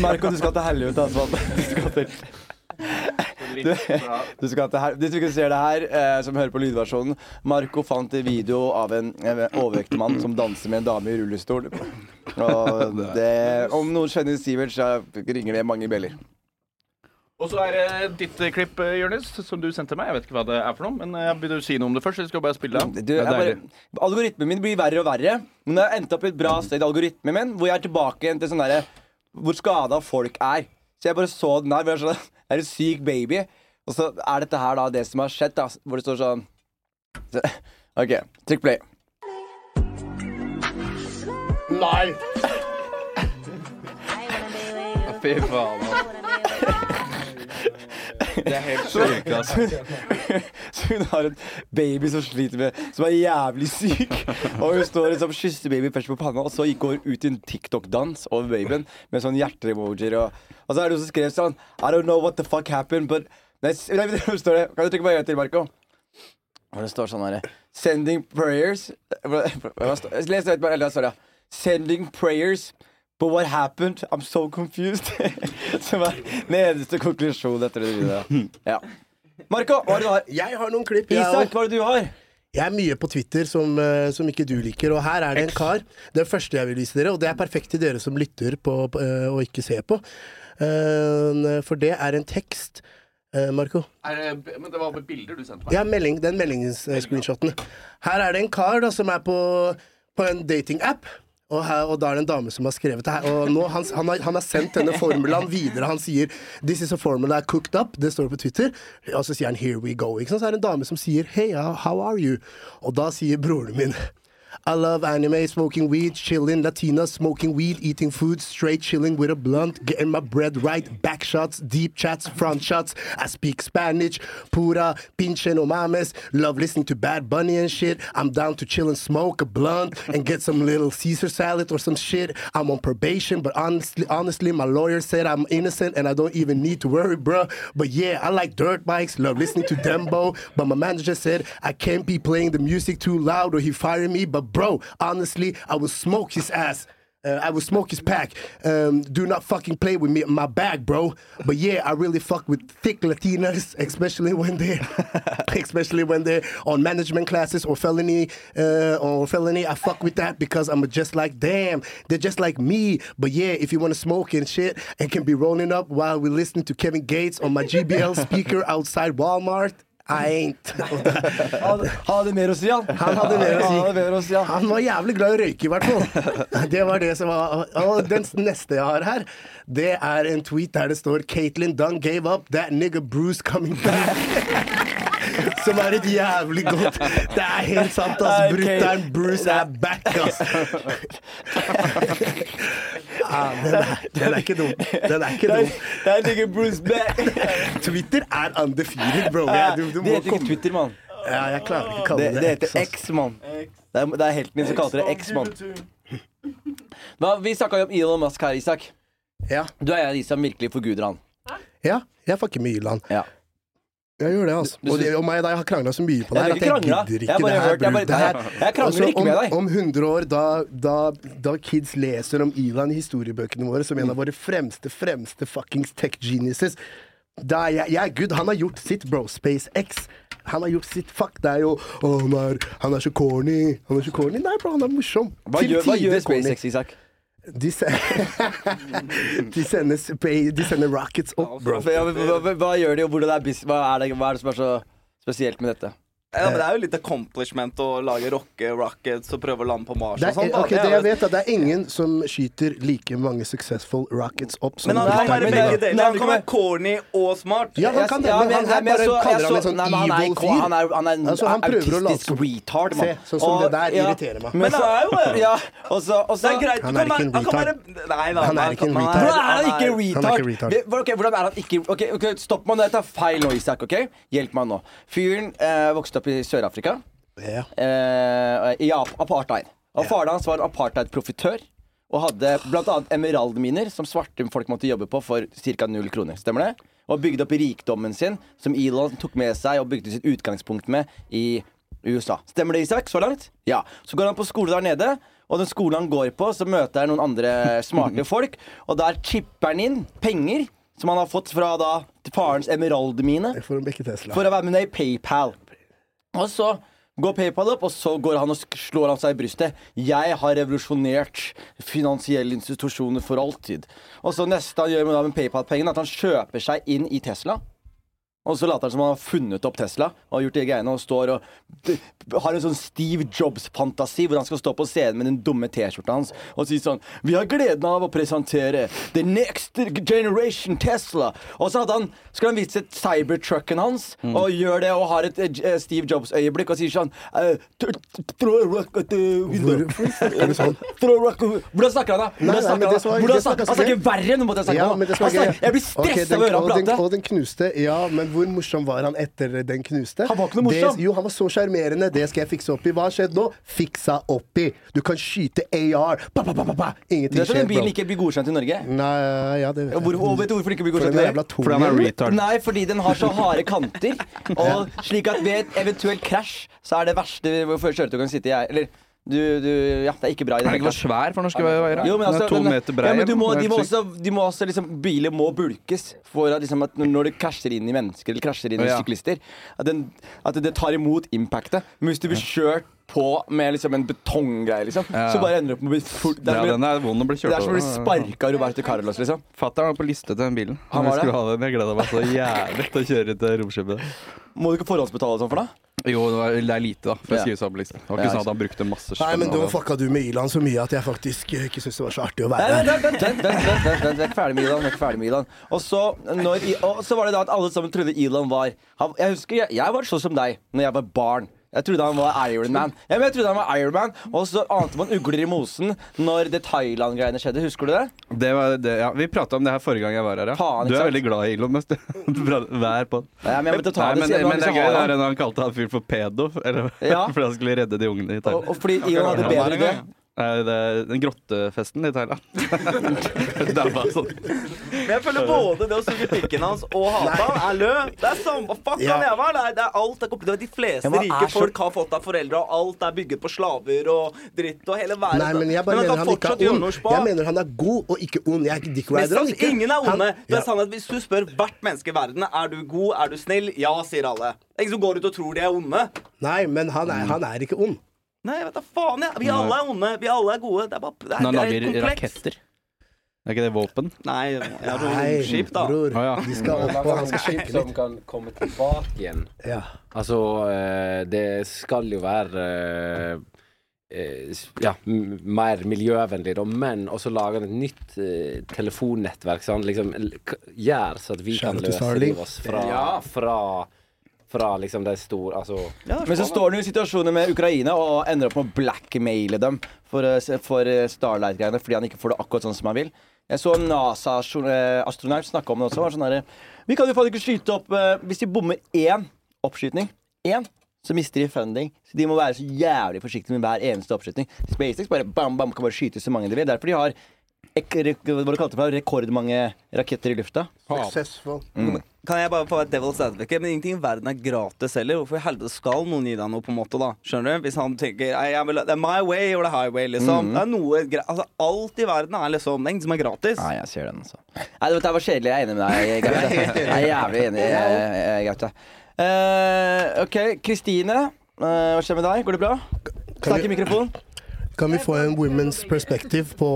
S2: Marco, du skal til helvete, altså. Du skal til du, du skal til her... De som ikke ser det her, eh, som hører på lydversjonen Marco fant en video av en eh, overvektig mann som danser med en dame i rullestol. Og det, om noen kjenner Sivert, så ringer det mange bjeller.
S3: [laughs] Og så er det ditt klipp, eh, Jonis, som du sendte meg. Jeg vet ikke hva det er for noe, men jeg vil du si noe om det først? Eller skal jeg bare spille av?
S2: Du, jeg bare, algoritmen min blir verre og verre. Men jeg har endt opp i et bra sted i algoritmen min, hvor jeg er tilbake igjen til sånn derre Hvor skada folk er. Så jeg bare så den her. hvor jeg er Sånn, [laughs] det er en syk baby. Og så er dette her da det som har skjedd, da, hvor det står sånn [laughs] så, OK, trykk play.
S4: Nei!
S5: Fy faen, [laughs]
S2: Det
S5: er helt sjukt, altså.
S2: [laughs] Så hun har en baby som sliter med Som er jævlig syk. Og hun står liksom og kysser baby først på panna, og så gikk hun ut i en TikTok-dans over babyen med sånn hjerte-emojier og Og så er det hun som skrev sånn I don't know what the fuck happened, but Nei, s- nei, hvor står det? Kan du trykke på en gang til, Marco? Hvor det står sånn herre Sending prayers [laughs] Hva- hva står- Les det ut, bare. Eller hva står det? Sending prayers But what happened? I'm so confused. [laughs] Som er den eneste konklusjonen etter det videoet. Ja. Marco, hva er det du har?
S4: Jeg har noen klipp. jeg
S2: Isak,
S4: også.
S2: hva er det du har?
S4: Jeg er mye på Twitter som, eh, som ikke du liker, og her er det en kar. Den første jeg vil vise dere, og det er perfekt til dere som lytter på, på, eh, og ikke ser på. Eh, For det er en tekst, eh, Marco.
S3: Er det, men det var bilder du sendte meg.
S4: Ja, melding, den meldingsscreenshoten. Her er det en kar da, som er på, på en datingapp. Og, her, og da er det en dame som har skrevet det her. Og nå, han, han, har, han har sendt denne formulaen videre. Han sier 'This is a formula I cooked up'. Det står på Twitter. Og så sier han 'Here we go'. Ikke sant? Så er det en dame som sier 'Hey, how- how are you?' Og da sier broren min I love anime, smoking weed, chilling, Latina, smoking weed, eating food, straight chilling with a blunt, getting my bread right, back shots, deep chats, front shots. I speak Spanish, pura, pinche no mames. Love listening to Bad Bunny and shit. I'm down to chill and smoke a blunt and get some little Caesar salad or some shit. I'm on probation, but honestly, honestly, my lawyer said I'm innocent and I don't even need to worry, bruh. But yeah, I like dirt bikes, love listening to Dembo, but my manager said I can't be playing the music too loud or he fired me. But bro, honestly, I will smoke his ass. Uh, I will smoke his pack. Um, do not fucking play with me, my bag, bro. But yeah, I really fuck with thick Latinas, especially when they, [laughs] especially when they're on management classes or felony, uh, or felony. I fuck with that because I'm just like, damn, they're just like me. But yeah, if you want to smoke and shit and can be rolling up while we listen to Kevin Gates on my GBL speaker outside Walmart, I
S2: [laughs]
S4: ain't.
S2: Han han hadde mer å si, han.
S4: Han hadde mer å si.
S2: Han hadde mer å si, han.
S4: Han var jævlig glad i å røyke, i hvert fall. [laughs] Det var det som var Og den neste jeg har her, det er en tweet der det står 'Caitlyn Dunn gave up that nigga Bruce coming back'. [laughs] Som er et jævlig godt Det er helt sant, ass.
S2: Nei,
S4: [laughs]
S2: Kate- [laughs]
S4: Brutter'n Bruce er back, ass. den er, den er ikke dum. Den er ikke dum.
S8: Der ligger Bruce Beck.
S4: [laughs] Twitter er undefeated, bro. Jeg- Du, du
S2: det
S4: må
S2: heter ikke
S4: komme.
S2: Twitter, mann.
S4: Ja, jeg klarer ikke å kalle
S2: Det,
S4: det
S2: det heter
S4: X, ass.
S2: X, mann. Det er, det er helten min som kaller det X, mann. Hva- Vi snakka jo om Elon Musk her, Isak. Du er en av de som virkelig forguder han.
S4: Ja, jeg fucker mye land. Jeg gjør det, altså.
S2: Du
S4: Og, det,
S2: synes-
S4: og meg og deg har krangla så mye på det her
S2: Jeg
S4: at
S2: har ikke
S4: jeg
S2: kranglet.
S4: gidder
S2: Jeg har
S4: ikke
S2: bare
S4: det her.
S2: hørt- jeg
S4: bro.
S2: bare-
S4: Det her-
S2: jeg- jeg krangler
S4: Altså,
S2: ikke med
S4: om-
S2: deg.
S4: Om 100 år, da, da, da kids leser om Elon i historiebøkene våre som
S2: Mm.
S4: en av våre fremste, fremste fuckings tech geniuses da er jeg, jeg er good. Han har gjort sitt, bro. SpaceX. Han har gjort sitt. Fuck, det er jo Å, han, er, han er så corny. Han er så corny. Nei, bro, han er morsom.
S2: Hva
S4: Til
S2: gjør, hva
S4: tider
S2: gjør
S4: corny.
S2: SpaceX, Isak?
S4: De, se [laughs] de, sender, spa- de sender rockets opp, bro.
S2: Hva, hva, hva, hva gjør de, og hvordan er bus- hva er, det, hva er det som er så spesielt med dette?
S8: Ja, men Det er jo litt accomplishment å lage rocke rockets og prøve å lande på Mars
S4: Det
S8: og
S4: er,
S8: sånn. da.
S4: ok,
S8: Det er
S4: det
S8: jo-
S4: jeg vet er, det er ingen som skyter like mange successful rockets opp som
S8: Men han kan
S4: Bruce
S8: være
S4: Diamond,
S8: begge
S4: da.
S8: deler. Han kan være corny og smart.
S4: Ja, han kan det, men han- han bare
S2: altså,
S4: kaller han en sånn evil
S2: ko-
S4: fyr.
S2: Han er, han er en
S4: Altså, han prøver å late
S2: autistisk
S4: som-
S2: retard, mann.
S4: Se, sånn som
S2: Og-
S4: det der irriterer meg.
S2: Men
S4: Men
S2: så,
S4: han er jo det.
S2: ja, og så, og så,
S4: Det er greit, du Han er kan ikke være- en han kan retard. være-
S2: Nei,
S4: da, Han er han ikke en kan- retard.
S2: Hvordan er han ikke
S4: Han er ikke
S2: retard?
S4: retard.
S2: Vi- hvor- ok, hvordan er han ikke Ok, ok, Stopp meg nå, jeg tar feil nå, Isak. ok? Hjelp meg nå. Fyren eh, vokste opp i Sør-Afrika.
S4: Ja.
S2: eh, I ap- apartheid. Og Faren hans var apartheid-profitør. Og hadde bl.a. emeraldminer som svarte folk måtte jobbe på for ca. null kroner. Stemmer det? Og bygde opp rikdommen sin, som Elon tok med seg og bygde sitt utgangspunkt med i USA. Stemmer det, Isak? Så langt? Ja. Så går han på skole der nede, og den skolen han går på, så møter han noen andre
S4: [laughs]
S2: smarte folk, og der chipper han inn penger som han har fått fra da farens emeraldmine.
S4: For å bekke Tesla.
S2: For å være med ned i PayPal. Og så går PayPal opp, og så går han og sk- slår han seg i brystet. Jeg har revolusjonert finansielle institusjoner for alltid. Og så neste han gjør med, da med PayPal-pengene, at han kjøper seg inn i Tesla. Og så later han som han har funnet opp Tesla og har gjort de greiene og står og d- har en sånn Steve Jobs-fantasi hvor han skal stå på scenen med den dumme T-skjorta hans og si sånn Vi har gleden av å presentere The Next Generation Tesla. Og så hadde han, skal han vise cybertrucken hans og gjør det og har et eh, J- eh, Steve Jobs-øyeblikk og sier sånn eh, t- t- Throw a rock at the window. [laughs] Throw a rock Hvordan snakker han, da?
S4: Nei, nei,
S2: Hvordan
S4: men
S2: snakker
S4: det
S2: han?
S4: som er-
S2: da? Hvordan
S4: det som er ganske
S2: snakker han? Han snakker verre enn måten jeg snakker
S4: Ja,
S2: på.
S4: men det som er
S2: Han snakker-
S4: gøy-
S2: Jeg blir
S4: Ok,
S2: stressa
S4: den-
S2: av å høre
S4: og
S2: han
S4: den-
S2: prate.
S4: Og den knuste. Ja, men hvor morsom var han etter den knuste? Han var ikke
S2: noe morsom.
S4: Det, jo, han var så sjarmerende. Det skal jeg fikse opp i. Hva har skjedd nå? Fiksa opp i. Du kan skyte AR. Pa, pa, pa, pa, pa.
S2: Det
S4: Ingenting
S2: er sånn
S4: skjer,
S2: den bilen
S4: bro.
S2: ikke blir godkjent i Norge.
S4: Nei, ja, det vet jeg.
S2: Hvor, og vet du hvorfor den ikke blir
S4: For den
S2: godkjent? i
S4: er jævla
S2: Norge?
S4: tung. Fordi han er retard.
S2: Nei, fordi den har så harde
S4: [laughs]
S2: kanter. Og slik at ved et eventuelt krasj, så er det verste hvor kjøretøy kan sitte i Eller du, du Ja, det er ikke bra i det
S5: Er den ikke for svær for norske veier?
S2: Jo, men
S5: Den er
S2: altså,
S5: to
S2: den-
S5: meter brei,
S2: Ja, men du må,
S5: den er
S2: de må
S5: helt syk.
S2: også, de må også liksom, Biler må bulkes for at, liksom, at når- når det krasjer inn i mennesker eller krasjer inn i
S5: Ja.
S2: syklister, at, den, at det tar imot impactet. Men hvis du blir kjørt på med liksom, en betonggreie, liksom,
S5: Ja.
S2: så bare ender du opp med å bli full det er
S5: Ja,
S2: som-
S5: den er vond å bli kjørt
S2: Det er som å bli
S5: over.
S2: sparka Roberto Carlos, liksom.
S5: Fatter'n var på liste til den bilen.
S2: Han
S5: Jeg
S2: var
S5: skulle
S2: det?
S5: ha den. Jeg gleda meg så jævlig til å kjøre til romskipet.
S2: Må du ikke forhåndsbetale sånn for det?
S5: Jo, det, var, det er lite, da. For jeg skriver sammen listen. Det var
S2: Ja,
S5: ikke sånn
S2: ikke
S5: at han brukte masse
S4: Nei, men da
S5: spenn.
S4: fucka du med Ilan så mye at jeg faktisk eh, ikke syntes det var så artig å
S2: Nei,
S4: være her.
S2: nei, vent, vent, vent, vent, vent, vent, vent, vent, ferdig med Elon, vent, ferdig med Elon. Og så, når, I- og så var det da at alle sammen trodde Elon var han, Jeg husker, jeg, jeg var sånn som deg når jeg var barn. Jeg trodde han var Iron Man. Ja, men jeg trodde han var Iron Man, Og så ante man ugler i mosen når det Thailand-greiene skjedde. Husker du det?
S5: Det var det, ja. Vi prata om det her forrige gang jeg var her. Ja.
S2: Faen, ikke
S5: du er
S2: sant?
S5: veldig glad i Elon Musk. du. Du prater- Vær på den.
S2: Nei, men jeg måtte ta
S5: Nei,
S2: det,
S5: men,
S2: siden jeg
S5: men det
S2: ikke har
S5: er gøy
S2: han. liksom
S5: når han kalte han fyren for pedo. Eller,
S2: Ja.
S5: [laughs] Fordi han skulle redde de ungene i Thailand.
S2: Og, og fordi Elon hadde bedre idé.
S5: Nei, det er den grottefesten i Thailand. [laughs] det er bare sånn.
S8: Men jeg føler både det å suge pikken hans og hate han er lø. Det er samme fuck
S5: Ja.
S8: han jævla er. Det er- Det er alt er komplett. De fleste
S4: Ja, men er
S8: rike
S4: så-
S8: folk har fått av foreldre, og alt er bygget på slaver og dritt og hele verden.
S4: Nei, men jeg bare
S8: han
S4: mener
S8: kan
S4: han ikke
S8: fortsatt
S4: er
S8: gjøre
S4: ond.
S8: noe spa.
S4: Jeg mener han er god og ikke ond. Jeg er ikke dick
S8: Mest
S4: rider han
S8: sanns-
S4: ikke.
S8: ingen er onde.
S4: Han-
S8: Det er
S4: Ja.
S8: sant at Hvis du spør hvert menneske i verden er du god, er du snill, ja, sier alle. Det er ingen som går ut og tror de er onde.
S4: Nei, men han er, han er ikke ond.
S8: Nei, vet da faen. Jeg. Vi alle er onde. Vi alle er gode. Det er bare det er,
S5: Når han
S8: det er
S5: lager
S8: komplekst.
S5: raketter. Er ikke det våpen?
S8: Nei, ja,
S4: Nei,
S8: romskip, da.
S4: bror.
S5: Å, ja.
S4: De skal opp, og han skal skjenke
S15: Som
S4: litt.
S15: kan komme tilbake igjen.
S4: Ja.
S15: Altså, eh, det skal jo være eh, eh, s- ja, m- mer miljøvennlig, da, men også lage et nytt eh, telefonnettverk. Så han liksom l- k- gjør så at vi
S4: Shout
S15: kan
S4: out to
S15: løse
S4: Starlink.
S15: livet oss fra,
S4: Ja.
S15: fra fra liksom de store Altså
S2: Men så står det jo i situasjoner med Ukraina og ender opp med å blackmaile dem for, eh, for eh, Starlight-greiene fordi han ikke får det akkurat sånn som han vil. Jeg så en NASA-astronaut snakke om det også. Var sånn der, Vi kan jo faen ikke skyte opp eh, Hvis de bommer én oppskytning, én, så mister de funding. Så de må være så jævlig forsiktige med hver eneste oppskytning. SpaceX bare bam, bam, kan bare skyte så mange de vil. Derfor de har ek rek- hva var det du kalte det for? rekordmange raketter i lufta.
S4: Successful.
S2: Mm.
S8: Kan jeg bare få være devil's advocate? Men ingenting i verden er gratis heller. Hvorfor i helvete skal noen gi deg noe, på en måte, da? Skjønner du? Hvis han tenker «Nei, jeg vil, Det er my way or the highway, liksom.
S2: Mhm.
S8: Det er noe gra- Altså, alt i verden er liksom Det er ingenting som er gratis.
S2: Nei, jeg ser den, altså. Nei, det var kjedelig. Jeg er enig med
S8: [laughs]
S2: deg, Gaute. [laughs] Jeg er jævlig enig, eh, Gaute. Eh, OK, Kristine. eh, hva skjer med deg? Går det bra? Snakk i mikrofonen.
S4: Kan vi få en women's perspective på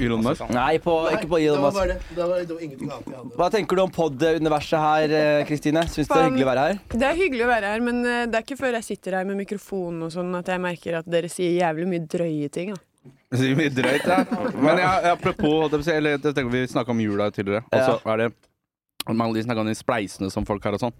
S5: Elon Musk?
S2: Nei, på, ikke på Elon Musk.
S4: Det var, ingenting annet jeg hadde.
S2: Hva tenker du om pod-universet her, eh, Kristine? Syns det er hyggelig å være her?
S14: Det er hyggelig å være her, men eh, det er ikke før jeg sitter her med mikrofonen og sånn at jeg merker at dere sier jævlig mye drøye ting. Da.
S5: [laughs] Det sier mye drøyt, ja. Men jeg, apropos holdt jeg på å si, eller, jeg tenker Vi snakka om jula tidligere. Og så er det man de snakker om de spleisene som folk har og sånn.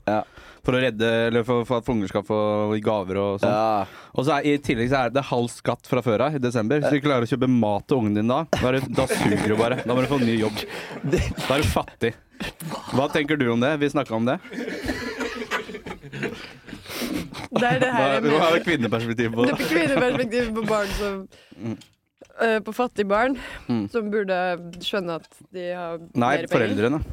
S5: For å redde, eller for, for at unger skal få gaver og sånn. Og så er, i tillegg så er det halv skatt fra før av i desember. Hvis du ikke klarer å kjøpe mat til ungen din da, da, er du, da suger du bare. Da må du få en ny
S8: [laughs]
S5: jobb. Da er du fattig. Hva tenker du om det? Vi snakka om det.
S14: Det er det
S5: Hva,
S14: her jeg
S5: hva er
S14: mener.
S5: kvinneperspektivet på
S14: Det er kvinneperspektivet på barn som
S5: Mm.
S14: eh, På fattige barn
S5: Mm.
S14: som burde skjønne at de har
S5: Nei,
S14: mer penger.
S5: foreldrene.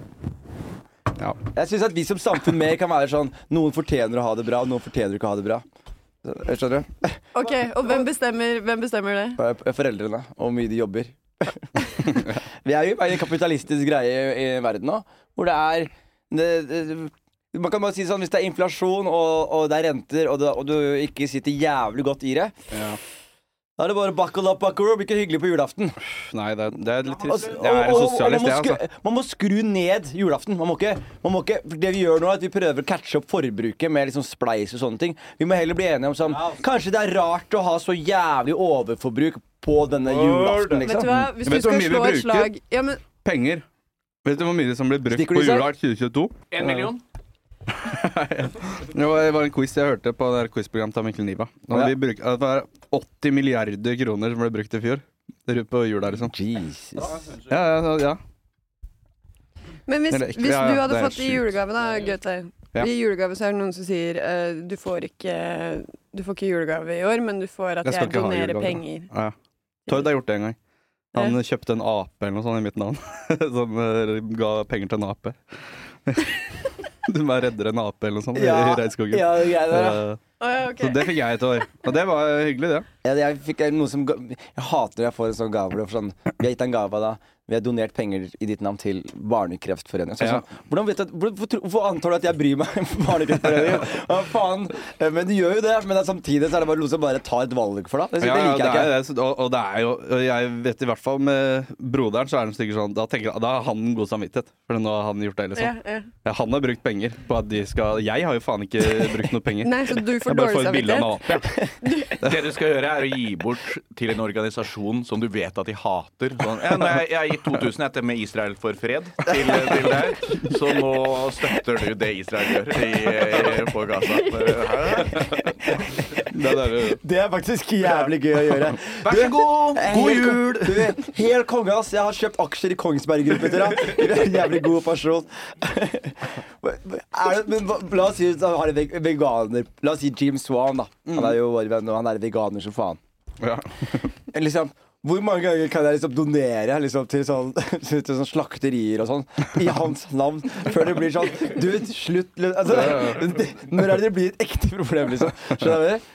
S5: Ja.
S2: Jeg syns at vi som samfunn mer kan være sånn Noen fortjener å ha det bra, og noen fortjener ikke å ha det bra. Eh, Skjønner du?
S14: Ok, Og hvem bestemmer, hvem bestemmer det?
S2: Eh, Foreldrene, og hvor mye de jobber. [laughs] Vi er jo i en kapitalistisk greie i verden nå, hvor det er det, det, Man kan bare si sånn, hvis det er inflasjon, og, og det er renter, og, det, og du ikke sitter jævlig godt i det, da er det bare buckle up, buckle up, ikke hyggelig på julaften.
S5: Nei, det er, det er
S2: Og-
S5: litt trist.
S2: og-
S5: Jeg er
S2: og- og- man,
S5: sosialist,
S2: må
S5: jeg,
S2: skru,
S5: altså.
S2: man må skru ned julaften. Man må ikke, man må ikke, for det vi gjør nå, er at vi prøver å catche opp forbruket med liksom spleis og sånne ting. Vi må heller bli enige om sånn Kanskje det er rart å ha så jævlig overforbruk på denne julaften,
S14: Vet
S2: liksom.
S14: du hva, hvis du
S5: Vet du hvor
S14: skal
S5: mye vi
S14: slå et
S5: bruker?
S14: slag ja, men,
S5: Penger. Vet du hvor mye som ble brukt
S2: Stikker
S5: på
S2: du i seg?
S5: jula 2022?
S13: En million?
S5: [laughs] Det var det var en quiz jeg hørte på det der quizprogrammet til Mikkel Niva. Og
S2: Ja.
S5: vi bruk, det var 80 milliarder kroner som ble brukt i fjor. Rundt på jula, liksom.
S2: Jesus.
S5: Ja, ja, ja.
S14: men hvis,
S5: Eller ikke,
S14: hvis
S5: ja,
S14: du
S5: ja,
S14: hadde
S5: det er
S14: fått i
S5: sjukt.
S14: julegave, da, Gaute
S5: Ja.
S14: I julegave så er det noen som sier eh, du, får ikke, du får ikke julegave i år, men du får at jeg,
S5: skal ikke ha
S14: donerer
S5: julegave.
S14: penger.
S5: Ja. Tord har gjort det en gang. Han kjøpte en ape eller noe sånt i mitt navn. [laughs] Som eh, ga penger til en ape. [laughs] Du bare redder en ape eller noe sånt
S2: Ja,
S5: i regnskogen.
S2: ja, det er det,
S5: Eh,
S14: Å ja, ok.
S5: Så det fikk jeg et år. Og det var hyggelig, det.
S2: Ja, jeg, fikk eh, noe som, ga- jeg hater når jeg får en sånn gave. hvor det er Sånn, vi har gitt deg en gave da. Vi har donert penger i ditt navn til Barnekreftforeningen. Så jeg er
S5: Ja.
S2: sånn, hvordan vet du, at- hvordan- hvor tro- Hvorfor antar du at jeg bryr meg om [laughs] Barnekreftforeningen? Hva faen? Eh, Men du gjør jo det. Men det er samtidig så er det bare noen som bare tar et valg for deg. Det,
S5: Ja,
S2: det
S5: ja,
S2: liker jeg
S5: det
S2: ikke.
S5: er det. Så- Og, og det er jo og Jeg vet i hvert fall med broderen, så er det sikkert sånn Da, tenker, jeg- da har han god samvittighet. For nå har han gjort det, liksom.
S14: Ja, ja.
S5: Ja, han har brukt penger på at de skal Jeg har jo faen ikke brukt noe penger.
S14: [laughs] Nei, så du får
S5: jeg bare
S14: dårlig
S5: får et bilde av en ape. [laughs]
S3: Det du skal gjøre, er å gi bort til en organisasjon som du vet at de hater. Sånn, ja, når jeg, jeg har gitt 2000 etter med Israel for fred til, til deg, så nå støtter du det Israel gjør i, i, på Gaza.
S5: [laughs] Det er det.
S2: Det er faktisk jævlig gøy å gjøre. eh,
S3: Vær så god! God jul!
S2: Du, helt konge, ass. Jeg har kjøpt aksjer i Kongsberg Gruppen. dere. Du er en Jævlig god person. [laughs] Er det, men hva- la oss si at han har en veg- veganer. La oss si Jim Swan, da. Han er jo vår venn, og han er veganer som faen.
S5: Ja.
S2: [laughs] Liksom, hvor mange ganger kan jeg liksom donere liksom, til, sånn, [laughs] til sånn slakterier og sånn i hans navn før det blir sånn Du, slutt liksom. [laughs] altså, det- Når er det det blir et ekte problem, liksom?
S5: [laughs]
S2: Skjønner du?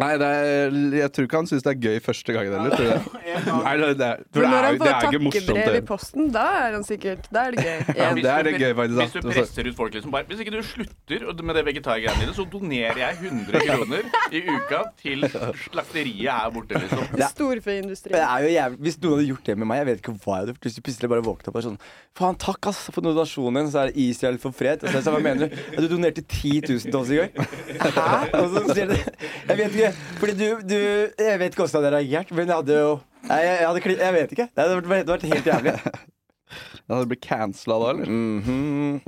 S5: Nei, det er, jeg tror ikke han syns det er gøy første gangen heller. tror jeg.
S9: [laughs]
S5: Nei, det, det, er- for
S14: Men
S5: det,
S14: når
S5: er,
S14: han
S5: jo- det
S14: får
S5: er ikke morsomt.
S14: takkebrev i
S5: det.
S14: posten, da er han sikkert Da er det gøy.
S5: Ja,
S14: Igjen.
S5: det er det gøy, faktisk.
S3: Hvis du presser ut folk liksom bare Hvis ikke du slutter å- med det vegetargreiene dine, så donerer jeg 100 kroner i uka til slakteriet her borte,
S2: [laughs]
S3: liksom.
S14: Storfeindustri.
S2: Men det er jo jævlig, Hvis noen hadde gjort det med meg, jeg vet ikke hva jeg hadde gjort. Hvis du plutselig bare våkna opp og er sånn Faen, takk ass for donasjonen din, så er det Israel for fred. Og så er det sånn, hva mener du? Ja, du donerte 10 000 til oss i går? Hæ? [laughs] Og så sier det Jeg vet ikke. Fordi du, du Jeg vet ikke åssen jeg hadde reagert, men jeg hadde jo Nei, jeg, jeg, hadde, klin- jeg vet ikke. Det hadde vært, det hadde vært helt jævlig.
S5: Ja, det blir cancela da, eller?
S2: Mm-hmm.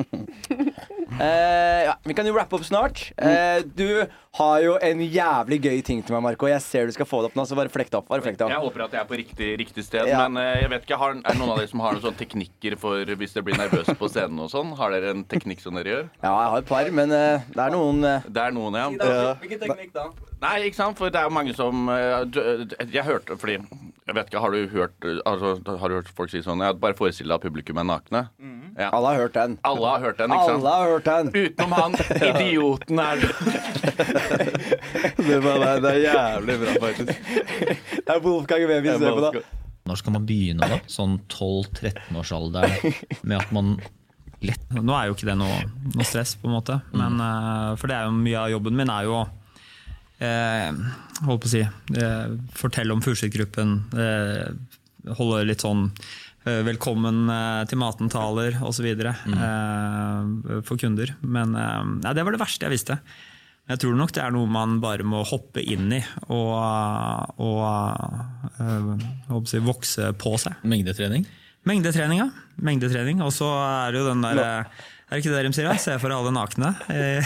S2: [laughs] Eh, ja, vi kan jo rappe opp snart. Eh, du har jo en jævlig gøy ting til meg, Marco. Jeg ser du skal få det opp nå, så bare flekk det opp. Bare flekk det
S3: Jeg
S2: opp.
S3: håper at jeg er på riktig, riktig sted,
S2: Ja.
S3: men eh, jeg vet ikke, har, er det noen av dere som har noen sånne teknikker for hvis dere blir nervøse på scenen og sånn? Har dere en teknikk som dere gjør?
S2: Ja, jeg har et par, men eh, det er noen eh,
S3: Det er noen, ja.
S2: da,
S3: Hvilken teknikk da? Nei, ikke sant, for det er jo mange som eh, d- d- Jeg hørte, fordi Jeg vet ikke, har du hørt altså, Har du hørt folk si sånn ja, Bare forestill deg at publikum er nakne. Ja.
S2: Alle har hørt den.
S3: Alle har hørt den, ikke sant?
S2: Alle har hørt den.
S3: Utenom
S2: [laughs]
S3: han idioten her.
S5: Det, var, det er jævlig bra, faktisk.
S2: Det er Wolfgang Webi som ser på det.
S16: Når skal man begynne, da? Sånn 12-13-årsalderen. Med at man lett Nå er jo ikke det noe, noe stress, på en måte. Men, eh, for det er jo mye av jobben min er jo å eh, holdt på å si eh, fortelle om Furuset-gruppen. Eh, holde litt sånn eh, velkommen eh, til maten-taler osv. Eh, for kunder. Men eh, nei, det var det verste jeg visste. Men Jeg tror nok det er noe man bare må hoppe inn i og, og eh, holdt på å si, vokse på seg. Mengdetrening? Mengdetrening, ja. Mengdetrening. Og så er det jo den der Er det ikke det de sier? da? Se for deg alle nakne. [laughs]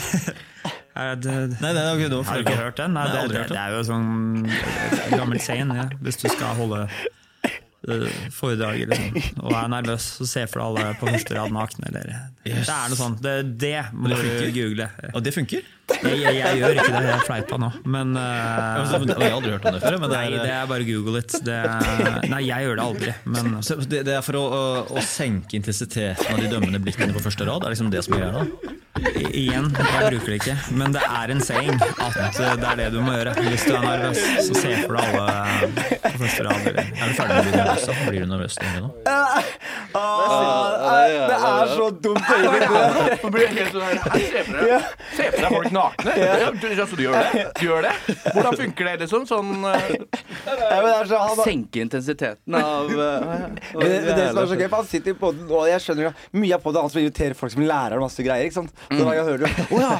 S16: Eh, Er det, nei, nei, har du ikke hørt den? Nei,
S17: Nei,
S16: det,
S17: aldri
S16: det,
S17: hørt
S16: det er jo sånn gammel sein. Ja. Hvis du skal holde eh, foredrag liksom, og er nervøs, så se for deg alle på første rad nakne. Eller.
S17: Yes.
S16: Det er noe sånt. Det, det må
S17: Men det funker?
S16: du google.
S17: Og det funker?
S16: Jeg, jeg, jeg gjør ikke det, jeg fleipa nå, men eh,
S17: Ja, men så- jeg altså, har aldri hørt om det før, men det er-
S16: Nei, det er bare google it. Det,
S2: [laughs]
S16: nei, jeg gjør det aldri. Men
S17: Så det, det er for å, å, å senke intensiteten av de dømmende blikkene på første rad? Er det liksom det som er greia? da?
S16: I- Igjen, jeg bruker det ikke, men det er en saying at eh, det er det du må gjøre. Hvis du er nervøs, så se for deg alle eh, på første rad. Eller. Er du ferdig med å bli nervøs? Blir du nervøs nå?
S2: Ah, det er så dumt øyeblikk.
S3: Nå blir jeg helt sånn her, her, Se for deg- se for deg folk nakne.
S2: [laughs]
S3: Ja, du, altså, du gjør det? Du gjør det? Hvordan funker det, liksom? Sånn eh,
S6: Senke intensiteten av
S5: eh,
S9: [laughs]
S2: Men det, men det som er så gøy, for Han sitter jo på den, og jeg skjønner jo mye av på det, han som inviterer folk som lærer masse greier. ikke sant? Så da jeg hører jo, Å ja,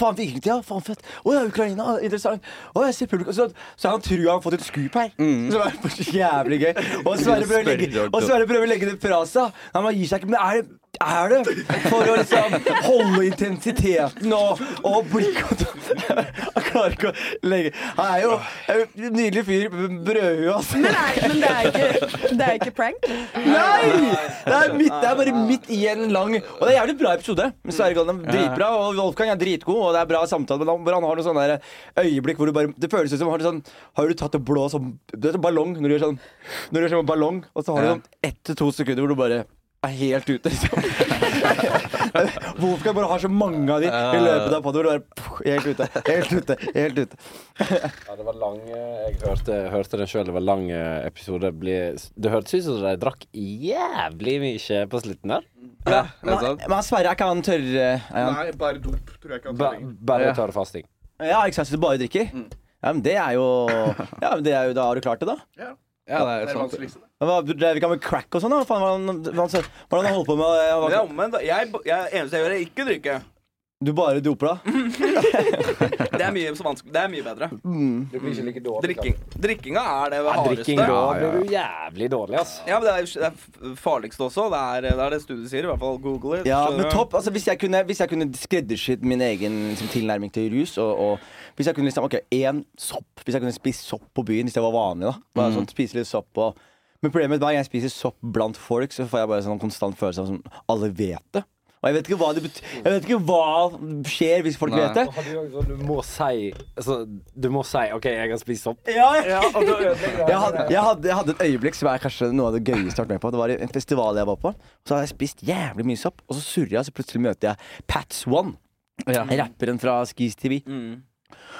S2: faen fikk ikke til, ja, faen fett. Å ja, Ukraina, interessant. Å, jeg ser publikum. Så, så han tror han har fått et skup her. Som er bare så [laughs] jævlig gøy. Og Sverre prøver, å legge- og Sverre prøver å legge det fra seg. Nei, man gir seg ikke, men er det er det for å liksom holde intensiteten og, og blikkontakten? [laughs] Han klarer ikke å legge Han er jo er jo en nydelig fyr. Brødhue, altså.
S14: Men, er, men det, er ikke, [laughs] det er ikke prank?
S2: Nei! Det er, midt, det er bare midt i en lang Og det er jævlig bra episode. Men Sverre Golden er dritbra, og Wolfgang er dritgod, og det er bra samtale. Men han, hvor han har noen sånne der øyeblikk hvor du bare Det føles ut som har du sånn Har du tatt en blå sånn, du vet, sånn ballong? Når du gjør sånn Når du gjør sånn med ballong, og så har du
S6: Ja.
S2: sånn ett til to sekunder hvor du bare er helt ute, [laughs] liksom. Wolfgang bare har så mange av de i løpet av podden hvor du bare pff, Helt ute, helt ute, helt ute.
S15: Ja, det var
S2: [laughs]
S15: lang eh, Jeg hørte, hørte den sjøl, det var lang eh, episode. Bli- Det hørtes ut som de drakk jævlig mye på slutten der. Ja,
S2: Men, men Sverre, er ikke han tørre? eh, Er han,
S9: Nei, bare dop tror jeg ikke han
S15: ba,
S9: trenger.
S15: bare tørre fasting.
S2: Ja, ikke sant, så du bare drikker? Ja, men det er jo Ja, men det er jo Da har du klart det, da.
S9: Ja.
S5: Ja, det er
S9: det
S5: sant.
S9: vanskeligste.
S2: Men hva, drev ikke han med crack og sånn, da? Hva Faen, hva han- hva han sa- hva han holdt på med? eh, hva-
S6: Det er omvendt. da. Jeg, jeg, eneste jeg gjør, er ikke drikke.
S2: Du bare doper, da?
S6: Det er mye, så vanskelig. Det er mye bedre.
S2: Mm.
S15: Du blir ikke like dårlig.
S6: Drikking. Drikkinga er det
S15: Ja,
S6: hardeste.
S15: drikking rå blir du jævlig dårlig, ass.
S6: Ja, men det er, det er f- farligst også. Det er det, er det studiet sier. I hvert fall google it.
S2: Ja,
S6: skjønner
S2: men
S6: du?
S2: topp. Altså, hvis jeg kunne, hvis jeg kunne skreddersydd min egen liksom, tilnærming til rus og, og Hvis jeg kunne liksom, ok, én sopp Hvis jeg kunne spist sopp på byen hvis jeg var vanlig, da. Bare sånn, spise litt sopp og Men problemet er at hver gang jeg spiser sopp blant folk, så får jeg bare sånn konstant følelse av som alle vet det. Og jeg vet ikke hva det betyr Jeg vet ikke hva skjer hvis folk vet det.
S15: Og hadde jo også- Du må si altså, Du må si OK, jeg kan spise sopp.
S2: Ja,
S15: og da ødelegger jeg
S2: jeg, hadde, jeg, hadde, jeg hadde et øyeblikk som er kanskje noe av det gøyeste jeg har vært med på. Det var i en festival jeg var på. Så hadde jeg spist jævlig mye sopp, og så surrer jeg, og så plutselig møter jeg Pats One. Rapperen fra Skis TV.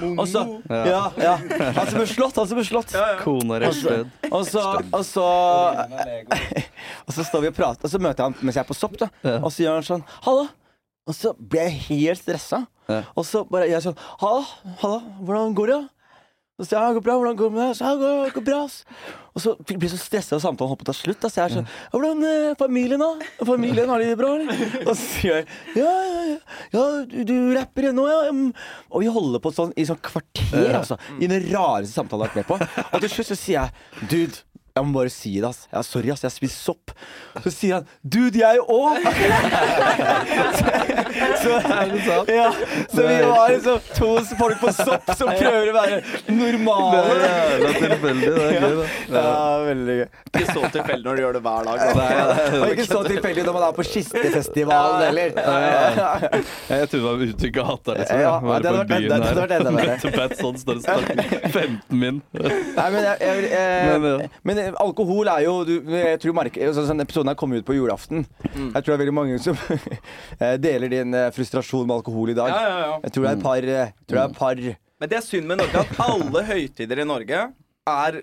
S2: Og så Ja, ja. Han som ble slått, han som ble slått.
S5: Kona
S2: Og
S5: rett
S2: så,
S5: sted.
S2: og så, og så Og så [laughs] står vi og prater, og så møter jeg han mens jeg er på sopp, da. Og så gjør han sånn Halla! Og så blir jeg helt stressa. Og så bare gjør jeg sånn Halla, halla, hvordan går det? Og så, ja, det går bra, hvordan går det med deg? Så, ja, det går, det går bra, ass. Og så blir jeg så stressa av samtalen holdt på å ta slutt. ass. jeg er sånn ja, 'Hvordan eh, familien, da? Familien, Har de det bra, eller?' Og så sier jeg 'Ja, ja, ja, ja du, du rapper ennå, ja?' mm.» Og vi holder på sånn i sånn kvarter, altså. I den rareste samtalen jeg har vært med på. Og til slutt så sier jeg 'Dude, jeg jeg må bare si det, ass. Ja, sorry, ass, jeg spiste sopp. Så sier han dude, jeg òg! [laughs] så, så, ja, så vi var liksom to folk på sopp som prøver å være normale.
S5: jævla tilfeldig. Det er gøy, da.
S8: [laughs]
S2: veldig gøy.
S6: Ikke så tilfeldig når du gjør det hver dag. da.
S2: Og ikke så tilfeldig når man er på kistefestivalen heller.
S5: [laughs] Jeg trodde det var uttrykket hatt der, liksom.
S2: Ja,
S5: Være
S2: det hadde
S5: på
S2: vært enda-
S5: byen
S2: det hadde
S5: her.
S2: vært enda verre.
S5: [laughs] Møtte Batson, står og snakker
S2: [laughs]
S5: 15 min.
S2: Nei, men, jeg, jeg, vil, eh,
S5: Men, ja.
S2: men eh, alkohol er jo du, Jeg tror mark altså, sånn Episoden her kommer ut på julaften. Jeg tror det er veldig mange som [laughs] eh, deler din eh, frustrasjon med alkohol i dag.
S8: Ja, ja, ja.
S2: Jeg tror det er et par, eh, jeg tror det er et par
S8: Men det er synd med Norge at alle høytider i Norge er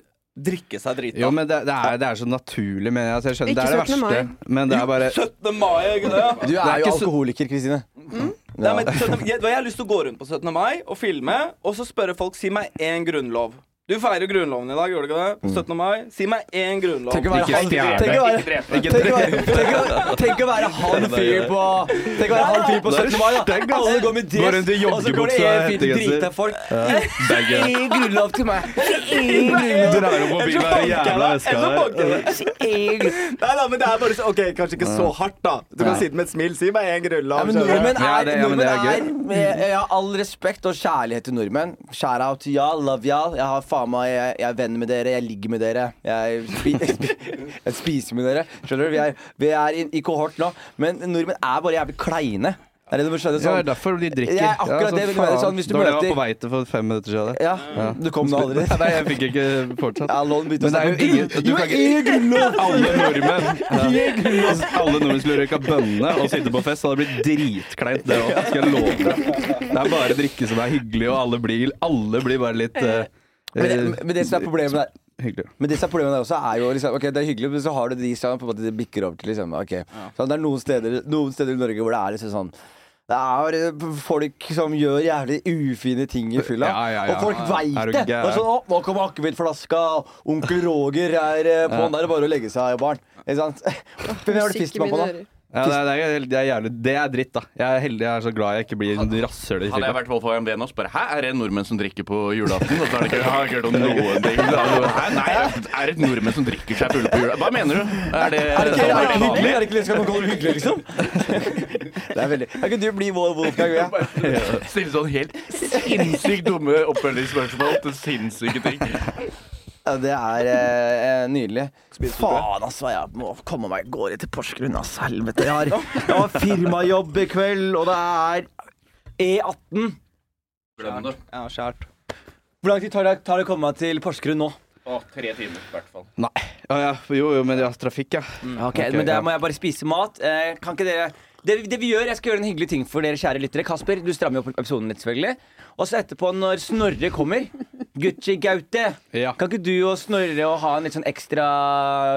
S8: drikke seg drita.
S5: Jo, men det, det, er, det er så naturlig, mener jeg. Altså, jeg skjønner, det er det
S8: Ikke 17.
S5: verste. Men det er bare
S8: 17. mai, er ikke det?
S2: Du
S5: Det
S2: er,
S5: er
S2: jo
S5: ikke så-
S2: alkoholiker, Kristine.
S8: Nei, [laughs] men 17. jeg, jeg har lyst til å gå rundt på 17. mai og filme, og så spørre folk si meg én grunnlov. Du feirer grunnloven i dag, gjorde du ikke det? 17. mai. Si meg én grunnlov.
S2: Mm. Tenk å være han Tenk å være, tenk å være, tenk å være, tenk å være han fyr på Tenk å være han fyr på 17. mai, da. Alle går med
S5: Går rundt i
S2: dress, og så går det
S5: joggebuksa,
S2: en fyr til
S5: hettegenser.
S2: drita folk. Eh,
S5: Ja, det er gøy.
S2: Ingen grunnlov til meg. Ingen
S5: Du drar
S2: grunnlov.
S5: opp mobilen med den jævla veska der.
S6: Nei da, men det er bare så OK, kanskje ikke så hardt, da. Du kan
S2: Nei.
S6: si det med et smil. Si meg én grunnlov.
S2: Ja, men
S6: skjønner du?
S2: nordmenn
S5: Ja,
S2: er,
S5: det- ja, men
S2: nordmenn
S5: det
S2: er,
S5: er
S2: med, Jeg har all respekt og kjærlighet til nordmenn. Shout out til y'all, love y'all. Jeg har faen meg, jeg, jeg er venn med dere, jeg ligger med dere. Jeg, spi, [laughs] jeg spiser med dere. Skjønner du? Vi er, vi er i, i kohort nå. Men nordmenn er bare jævlig kleine. Er det du må skjønne
S5: Ja,
S2: sånn?
S5: det er derfor de drikker.
S2: Ja, akkurat
S5: Ja, så
S2: det vil jeg mene,
S5: faen.
S2: sånn, hvis du
S5: Det var det jeg
S2: møter-
S5: var på vei til for fem minutter siden.
S2: Ja, du kom nå aldri.
S5: [laughs] Nei, jeg fikk ikke fortsatt.
S2: Ja, lån begynte å
S5: Men
S2: snakke om
S5: det er jo ingen
S2: Gud.
S5: du
S2: Jo,
S5: kan
S2: jeg er grunnlov.
S5: Alle [laughs] nordmenn
S2: Jeg er
S5: ja.
S2: grunnlov.
S5: Altså, Alle nordmenn skulle røyka bønne og sitte på fest. Så hadde det blitt dritkleint, det òg. Skal jeg love deg. Det er bare drikke som er hyggelig, og alle blir, alle blir bare litt eh,
S2: Men det,
S5: eh,
S2: men det som er problemet der
S5: Hyggelig.
S2: Men det som er problemet der også er jo liksom, Ok, det er hyggelig, men så har du de som på en måte det bikker over til liksom, ok. Så det er noen steder, noen steder i Norge hvor det er liksom sånn det er eh, folk som gjør jævlig ufine ting i fylla.
S5: Ja, ja, ja.
S2: Og folk
S5: Er du
S2: veit det! Det
S5: gæren?
S2: er sånn, å, 'Nå kommer akevittflaska! Onkel Roger er eh, på'n, da er det bare å legge seg, barn'. Ikke sant? [laughs] Hvem har
S14: Musikk
S2: du
S14: i
S2: fist på,
S14: mine
S2: da?
S14: ører.
S5: Ja, det, er, det, er, det, er jævlig, det er dritt, da. Jeg er heldig jeg er så glad jeg ikke blir en rasshøl. i
S3: Hadde jeg
S5: kirka.
S3: vært på HMD nå, så bare Hæ, er det nordmenn som drikker på julaften? Og så har de ikke, jeg har ikke hørt om noen ting. Da. Hæ, nei, er det nordmenn som drikker seg fulle på jula? Hva mener du? Er det,
S2: Er det ikke, er det ikke
S3: sånn
S2: hyggelig?
S3: vanlig?
S2: Er det ikke, skal man kalle det hyggelig, liksom? [laughs] Det er veldig Kan ikke du bli vår Wolfgang? Ja?
S3: Stille sånn helt sinnssykt dumme oppfølgingsspørsmål til sinnssyke ting.
S2: Ja, det er eh, eh, nydelig. Faen, altså. Jeg må komme meg av gårde til Porsgrunn, ass. Helvete. Jeg har, jeg har firmajobb i kveld, og det er E18.
S3: Glem det.
S8: Ja, skjært.
S2: Hvor lang tid tar det, tar det å komme meg til Porsgrunn nå?
S3: Å, tre timer, i hvert fall.
S5: Nei. Ja, ja. Jo, jo, men det er trafikk, ja.
S2: Ok,
S5: Ok,
S2: men der
S5: ja.
S2: må jeg bare spise mat. Eh, kan ikke dere det, det vi gjør, Jeg skal gjøre en hyggelig ting for dere, kjære lyttere. Kasper, du strammer jo opp episoden litt, selvfølgelig. Og så etterpå, når Snorre kommer, Gucci Gaute,
S5: Ja.
S2: kan ikke du og Snorre og ha en litt sånn ekstra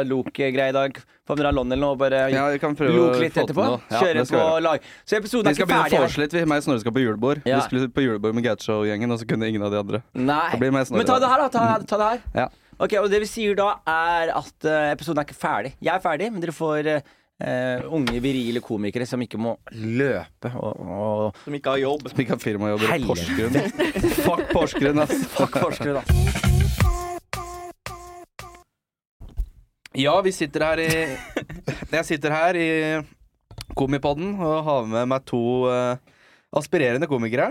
S2: loke-greie i dag? Få med dere Lon eller noe, og bare
S5: Ja, vi kan prøve å
S2: loke litt
S5: få til
S2: etterpå?
S5: noe. Ja,
S2: Kjøre
S5: det
S2: på
S5: skal vi gjøre.
S2: lag. Så episoden
S5: Vi
S2: er
S5: skal
S2: ikke
S5: begynne å
S2: ferdig. her.
S5: foreslå litt. Vi- Meg og Snorre skal på julebord.
S2: Ja.
S5: Vi skulle på julebord med Gatshow-gjengen, og så kunne ingen av de andre.
S2: Nei.
S5: Da blir det meg og Snorre,
S2: Men ta
S5: da.
S2: det her, da. Ta, ta det her.
S5: Ja.
S2: Ok, og Det vi sier da, er at eh, episoden er ikke ferdig. Jeg er ferdig, men dere får eh, eh, unge, virile komikere som ikke må løpe og, og
S8: Som ikke har jobb.
S5: Som ikke har firmajobber i
S2: Helvete.
S5: Porsgrunn. Fuck Porsgrunn, ass.
S2: [laughs] Fuck forskere, da.
S5: Ja, vi sitter her i Jeg sitter her i Komipodden og har med meg to eh, aspirerende komikere.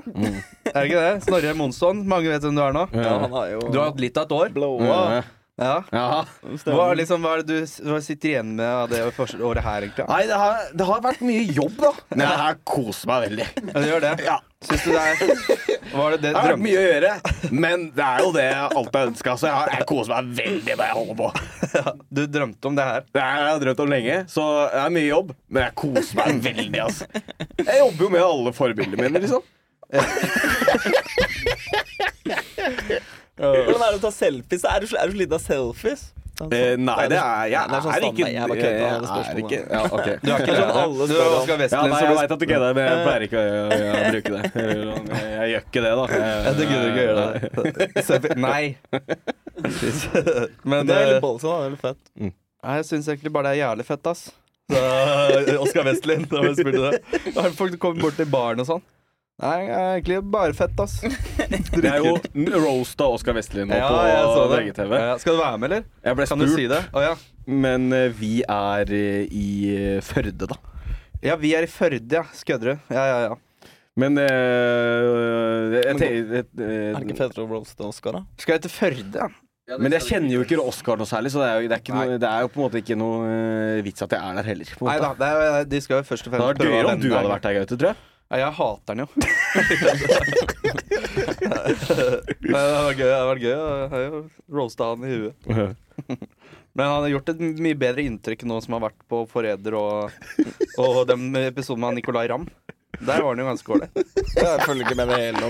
S5: Er det ikke det? Snorre Monsson. Mange vet hvem du er nå.
S8: Ja, han har jo
S5: Du har hatt litt av et år.
S8: Blåa.
S5: Ja. Hva, liksom, hva er det du s- hva sitter igjen med av det fors- året her, egentlig?
S18: Nei, det har, det har vært mye jobb, da. Men jeg har kost meg veldig.
S5: Ja, det gjør det?
S18: Ja.
S5: Syns du det er [laughs] Var det det
S18: Det har vært
S5: drømmen?
S18: mye å gjøre, men det er jo det jeg alltid har ønska. Så jeg, har, jeg koser meg veldig med det jeg
S5: [laughs]
S18: holder på.
S5: Du drømte om det her?
S18: Det har jeg drømt om lenge, så det er mye jobb. Men jeg koser meg veldig,
S5: [laughs]
S18: altså. Jeg jobber jo med alle forbildene mine, liksom.
S8: Hvordan er det å ta selfies? Er du, er du sliten av selfies? sånn-
S18: Eh, nei, det er jeg er, ikke
S8: standard- Jeg
S18: jeg
S8: bare kødder med alle
S18: er ikke
S8: spørsmålene.
S18: ja, ok.
S8: [laughs]
S5: Du er ikke
S18: [laughs] Ja, sånn spør om.
S5: det, du er Oscar Westlin,
S18: Ja, nei,
S5: så
S18: jeg
S5: du-
S18: veit at du kødder, men jeg pleier ikke å å- [laughs] å bruke det. Jeg, jeg gjør ikke det, da.
S5: Ja, du gidder ikke å
S18: Eh,
S5: gjøre
S18: [laughs]
S5: det. Selfie- Nei. Men
S8: det er
S5: eh,
S8: litt bolsomt, da. Det er litt fett.
S18: Mm.
S5: Nei, jeg syns egentlig bare det er jævlig fett, ass. Så, eh, Oscar Westlin, da var jeg spurte det. Da har Folk kommer bort til baren og sånn. Nei, egentlig bare fett, ass.
S18: Det er jo roast av Oskar Vestli nå
S5: Ja, jeg
S18: på
S5: så det.
S18: VGTV.
S5: Ja, skal du være med, eller?
S18: Jeg ble
S5: Kan du
S18: spurt,
S5: si det? Å, ja.
S18: men eh, vi er eh, i eh, Førde, da.
S5: Ja, vi er i Førde, ja. Skødderud. Ja, ja, ja.
S18: Men eh, jeg tenker- eh, jeg-
S5: Er det ikke fedre å roaste Oskar, da? Skal jeg til Førde, ja?
S18: Men jeg kjenner jo ikke Oskar noe særlig, så det er jo, det er ikke noe, det er jo på en måte ikke noe eh, vits at jeg er der heller. På en
S5: Nei
S18: måte.
S5: da, det er, de skal jo først
S18: Det
S5: og fremst
S18: hadde vært
S5: prøve å
S18: gøyere om
S5: vende
S18: du
S5: deg.
S18: hadde vært der, Gaute, tror jeg.
S5: Nei, jeg hater
S18: [laughs]
S5: den jo. Men det hadde vært gøy. Det hadde vært gøy. Jeg har jo roasta han i [laughs] huet. Men han har gjort et mye bedre inntrykk nå som har vært på Forræder og, og den episoden med han Nicolay Ramm. Der var han jo ganske ålreit. Jeg følger ikke med det hele [laughs] nå,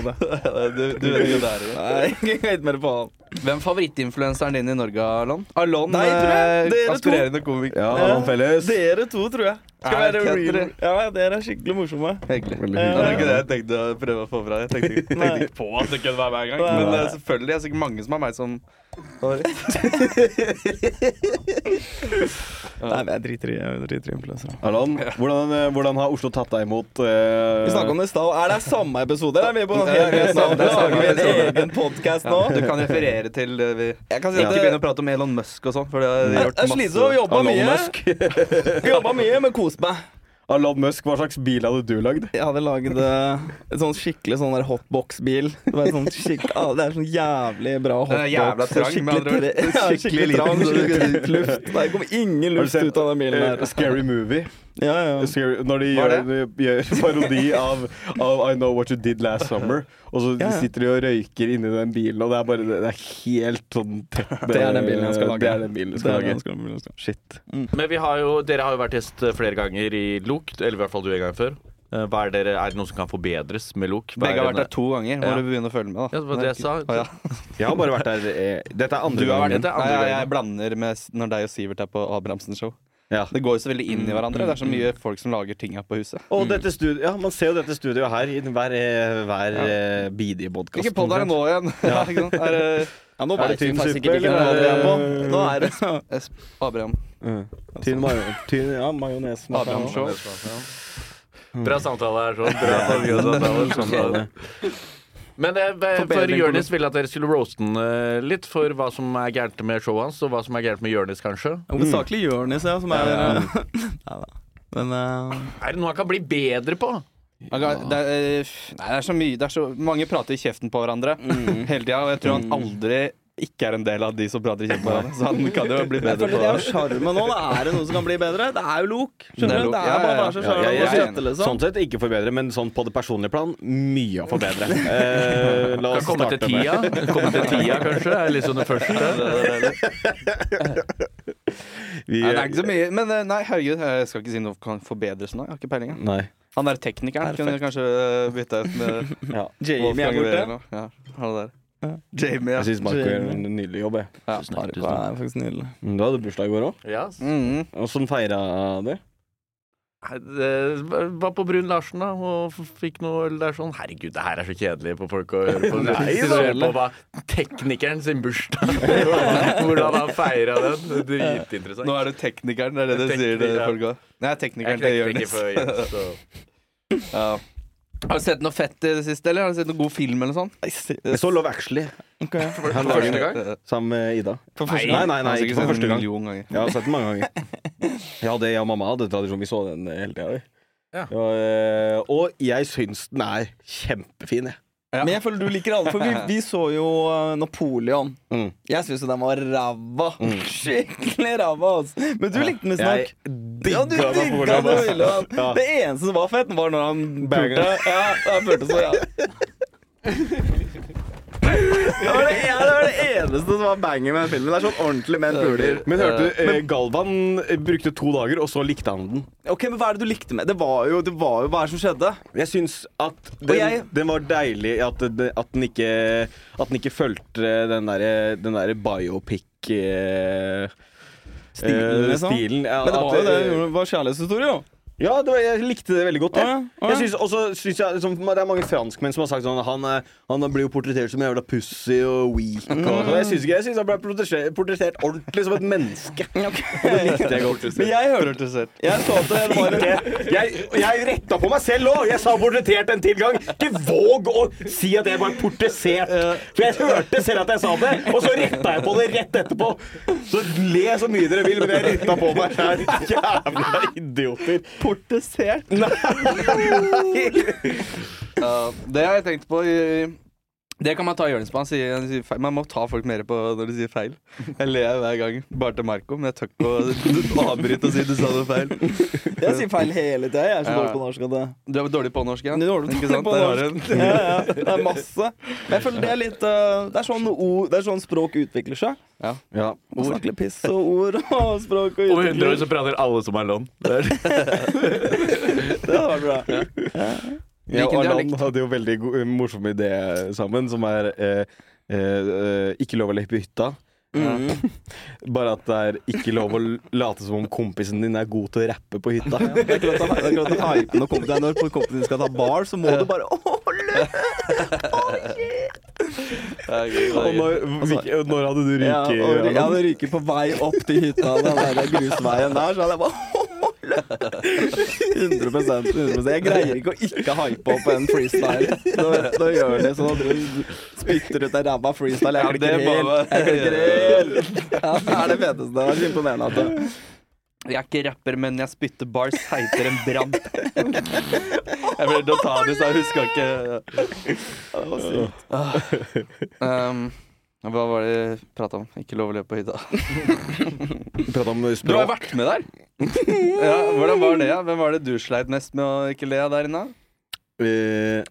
S5: Du, du vet jo der, Nei, helt mer på han. Hvem er favorittinfluenseren din i Norge, Alon? Alon,
S18: Nei, tror jeg.
S5: eh,
S18: Dere to.
S5: aspirerende komiker.
S18: Ja,
S8: Eh,
S18: Alon Felles.
S5: Dere to, tror jeg.
S19: Skal
S5: Nei,
S19: være
S5: Kent,
S19: real.
S5: dere-
S19: Ja, dere er skikkelig morsomme.
S5: Hyggelig.
S19: hyggelig.
S5: Det var Eh, ikke det jeg tenkte å prøve å få fra. Jeg tenkte, ikke- tenkte ikke på at det kunne være hver gang.
S19: Nei.
S5: Men eh, selvfølgelig er det sikkert mange som er meg som [laughs] Nei, men jeg driter i Jeg driter i influensere.
S18: Allan, hvordan, eh, hvordan har Oslo tatt deg imot? eh?
S8: Vi snakket om
S18: [laughs]
S8: det i stad. Er det samme episode? Eller er vi på helt nye navn? Lager vi en egen podcast nå?
S5: Du kan referere til det vi
S8: Jeg kan si at
S5: Ikke
S8: det-
S5: begynne å prate om Elon Musk og sånn, for det har
S8: Jeg-
S5: gjort
S8: jeg sliter og jobber
S5: Elon
S8: mye.
S5: Musk.
S18: Eh,
S8: Vi jobba mye, men koste meg.
S18: Alon Musk, hva slags bil hadde du lagd?
S8: Jeg hadde lagd eh, en sånn skikkelig sånn der hotbox-bil. Det, var en sånn skikk- ah, det er sånn jævlig bra
S5: Den
S8: hotbox.
S5: er jævla trang, med andre ord.
S8: tre-
S18: [laughs]
S8: ja, skikkelig
S5: Skikkelig
S8: trang. så det [laughs]
S5: liten.
S8: skulle ut luft. Det kom ingen
S18: Har du
S8: luft
S18: sett,
S8: ut av den bilen
S18: eh,
S8: der.
S18: Scary Movie?
S8: Ja, ja.
S18: Scary, når de
S8: Hva
S18: gjør,
S8: er
S18: gjør parodi av, av I Know What You Did Last Summer, og så
S8: Ja, ja.
S18: sitter de og røyker inni den bilen, og det er bare det er helt sånn tett
S8: Det er den bilen jeg skal lage.
S18: Det er den bilen du
S8: Det er
S18: skal
S8: den jeg
S18: lage. Shit.
S3: Men vi har jo, dere har jo vært gjest flere ganger i LOK, eller i hvert fall du en gang før. Eh, Hva er, dere, er det noe som kan forbedres med LOK? Hva
S5: Begge
S3: er
S5: har
S3: en-
S5: vært der to ganger. Må
S3: Ja.
S5: du begynne å følge med, da.
S3: Ja, det var det jeg sa.
S5: Å, ja.
S18: [laughs] Jeg har bare vært der eh, Dette er andre
S5: Du har vært
S18: gangen.
S5: der. Nei, jeg, jeg blander med s- når deg og Sivert er på Abrahamsen show. Det går jo så veldig inn i hverandre. Det er så mye folk som lager ting her på huset.
S18: Og
S3: Mm.
S18: dette studio, ja, Man ser jo dette studioet her i den hver, eh, hver eh, bidige podkast.
S5: Hvilken podd er det nå igjen?
S8: [laughs]
S5: Ja, ikke sant? Er,
S3: [laughs]
S5: det-
S18: Ja, nå
S5: er
S18: vet
S5: det
S18: vi faktisk
S5: Tynnsuppe,
S18: ikke hvilken
S5: eller
S18: podd vi er på.
S5: Nå er det Esp- Abraham.
S18: Mm. Tynn majo- tynn- ja, majones.
S5: Abraham Show.
S3: Bra samtale her, sånn. Bra samtale,
S8: [laughs]
S18: [laughs]
S3: samtale. Men eh, for
S5: Forbedring på
S3: Jonis ville at dere skulle roaste han eh, litt for hva som er gærent med showet hans, og hva som er gærent med Jonis, kanskje.
S8: Hovedsakelig Jonis, Mm. ja, som er [laughs]
S3: Ja, ja.
S8: Nei da. Men eh,
S3: Er det noe han kan bli bedre på?
S5: Han kan- Det er, eh, nei, det er så mye det er så, Mange prater i kjeften på hverandre hele tida, og jeg tror han aldri ikke er en del av de som prater i kjeften på hverandre. Så han kan jo bli
S8: Jeg
S5: bedre
S8: føler det
S5: på
S8: er jo sjarmen nå. Da er det noe som kan bli bedre. Det er jo lok. Skjønner du? Det er bare å være
S18: Ja, jeg-
S8: så sjarmerende og
S18: jeg-
S8: skjøtte, liksom.
S18: Sånn sett ikke forbedre, men sånn på det personlige plan mye å forbedre.
S8: [laughs]
S18: Eh, la oss
S3: Kan komme til
S18: starte med-
S3: tida. Komme til
S18: [laughs]
S3: tida, kanskje, er liksom det første.
S18: Vi-
S5: Nei, det er ikke så mye Men eh, nei, herregud, jeg skal ikke si noe kan forbedres nå. Jeg har ikke peiling. jeg.
S18: Nei.
S5: Han der teknikeren kunne
S18: Perfekt.
S5: kanskje eh, bytta ut med
S18: [laughs] Ja.
S5: Wolfgang
S18: Jamie er borte.
S5: Røe nå. Ja, han der. Jamie, ja.
S18: Jeg syns Marco gjør en
S5: [laughs] Jamie.
S18: nydelig jobb. Jeg.
S5: Ja,
S18: Marco
S8: er faktisk nydelig. Mm.
S18: Du hadde bursdag i går òg.
S3: Ja.
S18: Åssen feira det?
S3: Nei, det Var på Brun Larsen, da, og f- fikk noe øl der sånn. Herregud, det her er så kjedelig for folk å høre
S9: [laughs]
S3: på.
S18: Nei,
S3: Sitter og hører på hva teknikeren sin bursdag Hvordan han feira den. [laughs] Dritinteressant.
S5: Nå er du teknikeren, det er det du
S3: Tekniker,
S5: sier? Det,
S3: ja.
S5: folk også. Nei, teknikeren til
S3: Jeg knekte
S5: Jonis.
S3: ikke for Jonis, så-
S5: [laughs] ja. Har du sett noe fett i det siste, eller? Har du sett noen god film eller sånn?
S18: Jeg så Love
S5: [laughs]
S18: Actually.
S5: For
S18: Han lager den Sammen med Ida.
S5: For første
S18: Nei, nei,
S5: gang?
S18: nei,
S5: Han har
S18: ikke for
S5: sikkert sett den
S18: første
S5: en
S18: gang.
S5: million ganger.
S18: Jeg har sett den
S5: [laughs]
S18: mange ganger. Ja, det jeg og mamma hadde tradisjon. Vi så den hele tida.
S3: Ja.
S18: og jeg syns den er kjempefin, jeg.
S8: Men jeg føler du liker alle, for vi, vi så jo eh, Napoleon.
S18: Mm.
S8: Jeg syns jo den var ræva. [laughs] Skikkelig ræva, altså. Men du likte den visstnok.
S18: Jeg
S8: Ja, du
S18: digga
S8: digga
S18: Napoleon,
S8: den
S18: ass.
S8: ville. han.
S18: Ja.
S8: Det eneste som var fett, var når han
S18: Banger.
S8: pulte. Ja, han pulte så,
S18: [laughs]
S8: ja. Det var det, ja, det var det eneste som var banger med den filmen. Det er sånn ordentlig menn puler.
S18: Men hørte du, eh,
S8: Men-
S18: Galvan eh, brukte to dager, og så likte han den.
S8: Ok, men Hva er det du likte med det? var jo, det var jo Hva er det som skjedde?
S18: Jeg syns at
S8: Og
S18: den,
S8: jeg-
S18: den var deilig at, det- at, den ikke, at den ikke fulgte den derre der biopic... eh, eh,
S8: Stilen, liksom.
S18: stilen, ja, at
S8: men det var jo det.
S18: det-
S8: Det var kjærlighetshistorie, jo.
S18: Ja, det var, jeg likte det veldig godt. Jeg. Jeg synes, også synes jeg, liksom, det er mange franskmenn som har sagt sånn Han, eh, han blir jo portrettert som en jævla pussy og weak.
S8: Mm.
S18: Og, sånn. jeg syns ikke jeg synes han ble portrettert, portrettert ordentlig som et
S8: [laughs]
S18: menneske. Og det likte jeg godt.
S8: Men jeg hørte Jeg så at det var en
S18: Jeg, jeg retta på meg selv òg! Jeg sa portrettert en til gang. Ikke våg å si at jeg var portrettert! For jeg hørte selv at jeg sa det, og så retta jeg på det rett etterpå. Så le så mye dere vil, men jeg retta på meg sjæl. Jævla idioter.
S8: Portrettert?
S5: Uh, det har jeg tenkt på i Det kan man ta i hjørnet på. Han sier, han sier feil. Man må ta folk mer på når de sier feil. Jeg ler hver gang. Bare til Marco, men jeg tør ikke å avbryte og si du sa noe feil.
S8: Jeg sier feil hele tida. Jeg er så
S5: Ja.
S8: dårlig på norsk. at det-
S5: Du er dårlig på norsk, ja?
S8: Du er dårlig
S5: Ikke sant?
S8: på
S5: Der har
S8: norsk.
S5: du en.
S8: Ja, ja. Det er
S5: [laughs]
S8: masse. Men jeg føler det er litt eh, Det er sånn, ord, det er sånn språk utvikler seg.
S5: Ja.
S8: Man snakker litt piss og ord og språk og
S3: Om 100
S8: utvikler
S3: år så prater alle som er land.
S8: Det var bra.
S18: Jeg og
S3: Hvilken
S18: Arlan
S3: dialekt?
S18: hadde jo veldig go- eh, morsom idé sammen, som er eh, eh, eh, ikke lov å le på hytta. Eh,
S8: Mm.
S18: [laughs] Bare at det er ikke lov å l- late som om kompisen din er god til å rappe på hytta.
S8: Det er klart at- det er klart
S18: [laughs]
S8: at hypen og kompisen- det er Når kompisen din skal ta bar, så må du bare
S18: Og når, hvilke- når hadde du
S8: Altså, Ja,
S18: ryket?
S8: og ry-
S18: Arlan?
S8: ja, det ryker på vei opp til hytta, den der grusveien der, så hadde jeg bare [laughs] 100, 100 Jeg greier ikke å ikke hype opp en freestyle. Nå, nå gjør det sånn at du spytter ut en ræva freestyle. Jeg
S5: Ja,
S8: klikker
S5: det må
S8: helt. Jeg klikker helt. Ja, det er det feteste. Det er så imponerende at det
S5: Jeg er ikke rapper, men jeg spytter bars heitere enn brann.
S8: [laughs]
S5: Jeg vurderte å ta det, så jeg huska ikke
S8: Det var sykt.
S5: um, Hva var det vi prata om? Ikke lov å løpe på hytta.
S18: Prata om
S5: Du har
S18: språk.
S5: vært med der! Ja, hvordan var det? ja? Hvem var det du sleit mest med å ikke le av der inne?
S18: Eh,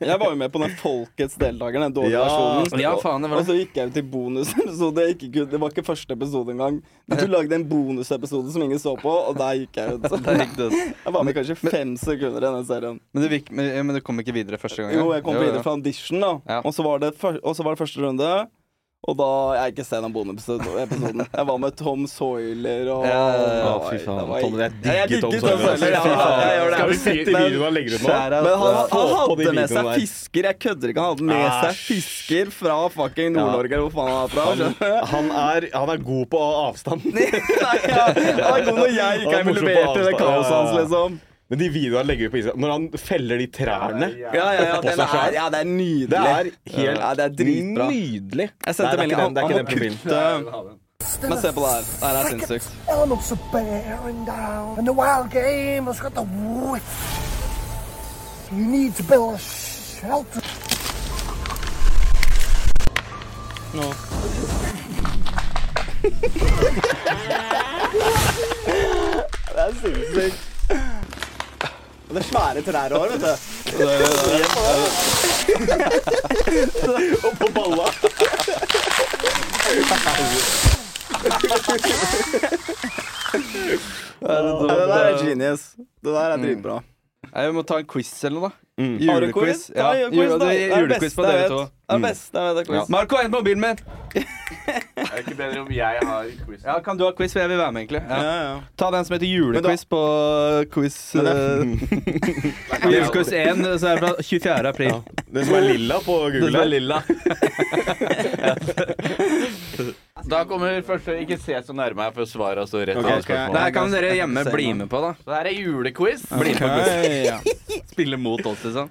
S8: Jeg var jo med på den Folkets deltaker, den dårlige
S5: Ja.
S8: versjonen.
S5: Ja, faen, det var det.
S8: Og så gikk jeg jo til [laughs] bonusepisode. Jeg gikk ikke ut- Det var ikke første episode engang. Du lagde en bonusepisode som ingen så på, og der gikk jeg ut.
S5: Der gikk du ut.
S8: Jeg var med kanskje fem sekunder i den serien.
S5: Men du, gikk- men, men du kom ikke videre første gang? ja?
S8: Jo, jeg kom
S5: Jo, ja.
S8: videre fra audition, da. Og, så var det fyr- og så var det første runde. Og da Jeg har ikke sett den [laughs] bonusepisoden. Jeg var med Tom Soiler og
S5: Ja, ja, ja.
S8: Nei,
S5: Å, fy faen.
S8: det var-
S5: Tom, jeg digger
S8: Ja,
S5: Tom
S8: digger
S5: Sawyer.
S8: ja,
S5: Fy faen.
S8: jeg gjør det.
S5: Skal vi si de videoene han legger ut nå?
S8: Skjær av- Men han,
S5: Få
S8: han
S5: på de
S8: hadde med seg
S5: videoene der.
S8: fisker. Jeg kødder ikke. Han hadde med seg fisker fra fucking Nord-Norge, eller hvor faen han er fra.
S18: han,
S8: skjønner du?
S18: han, er, han er god på
S8: [laughs]
S18: avstand.
S8: Han er god når jeg ikke
S18: Han
S8: er
S18: morsom på
S8: involvert i det
S18: avstand.
S8: kaoset hans,
S18: Ja, ja, ja.
S8: liksom.
S18: Men de videoene han legger ut på Instagram Når han feller de trærne
S8: Ja, ja, ja,
S18: oppå
S8: den
S18: seg
S8: er,
S18: selv.
S8: ja, det er nydelig.
S18: Det er helt
S8: ja, det er dritbra.
S18: nydelig. Nei,
S8: Jeg sendte
S18: det er ikke
S8: melding
S18: den, det er ikke den profilen.
S8: han må kutte Men se på det her. Det
S18: Ah,
S8: her er sinnssykt.
S12: Elements are bearing down, and the wild game has got the whip. You need to build a shelter.
S8: Det er sinnssykt. Og det er svære trær òg, vet du.
S18: Og på balla.
S8: Nei, det der er genius. Det der er dritbra.
S5: Mm.
S8: Mm.
S5: Nei, Vi må ta en quiz eller noe. da.
S8: Har du quiz?
S5: Mm. Ja,
S8: Ta en quiz,
S5: jule-
S8: da. Det
S5: det
S8: er
S5: er
S8: det
S5: Julequiz
S8: beste
S5: på
S8: jeg
S5: dere
S8: vet.
S5: to. Mm.
S8: Det er det beste jeg vet. det er
S5: Ja.
S8: quiz.
S5: Marco, hent mobilen min!
S3: Er det ikke bedre om jeg har quiz?
S5: Ja, Kan du ha quiz? For jeg vil være med, egentlig.
S8: Ja, ja.
S5: Ta den som heter julequiz på quiz
S8: Men
S5: eh,
S8: [laughs]
S5: Julequiz 1, så er det fra 24. april.
S18: Den som er lilla på Google.
S5: Den som er
S18: [laughs]
S5: lilla.
S3: Da kommer første Ikke se så nærme her, for svaret er så rett.
S5: Ok,
S3: av
S5: ok.
S3: spørsmålet.
S5: Det her kan dere hjemme bli med på, da.
S3: Så her er julequiz.
S5: Bli med på quiz. [laughs] Spille mot oss, liksom.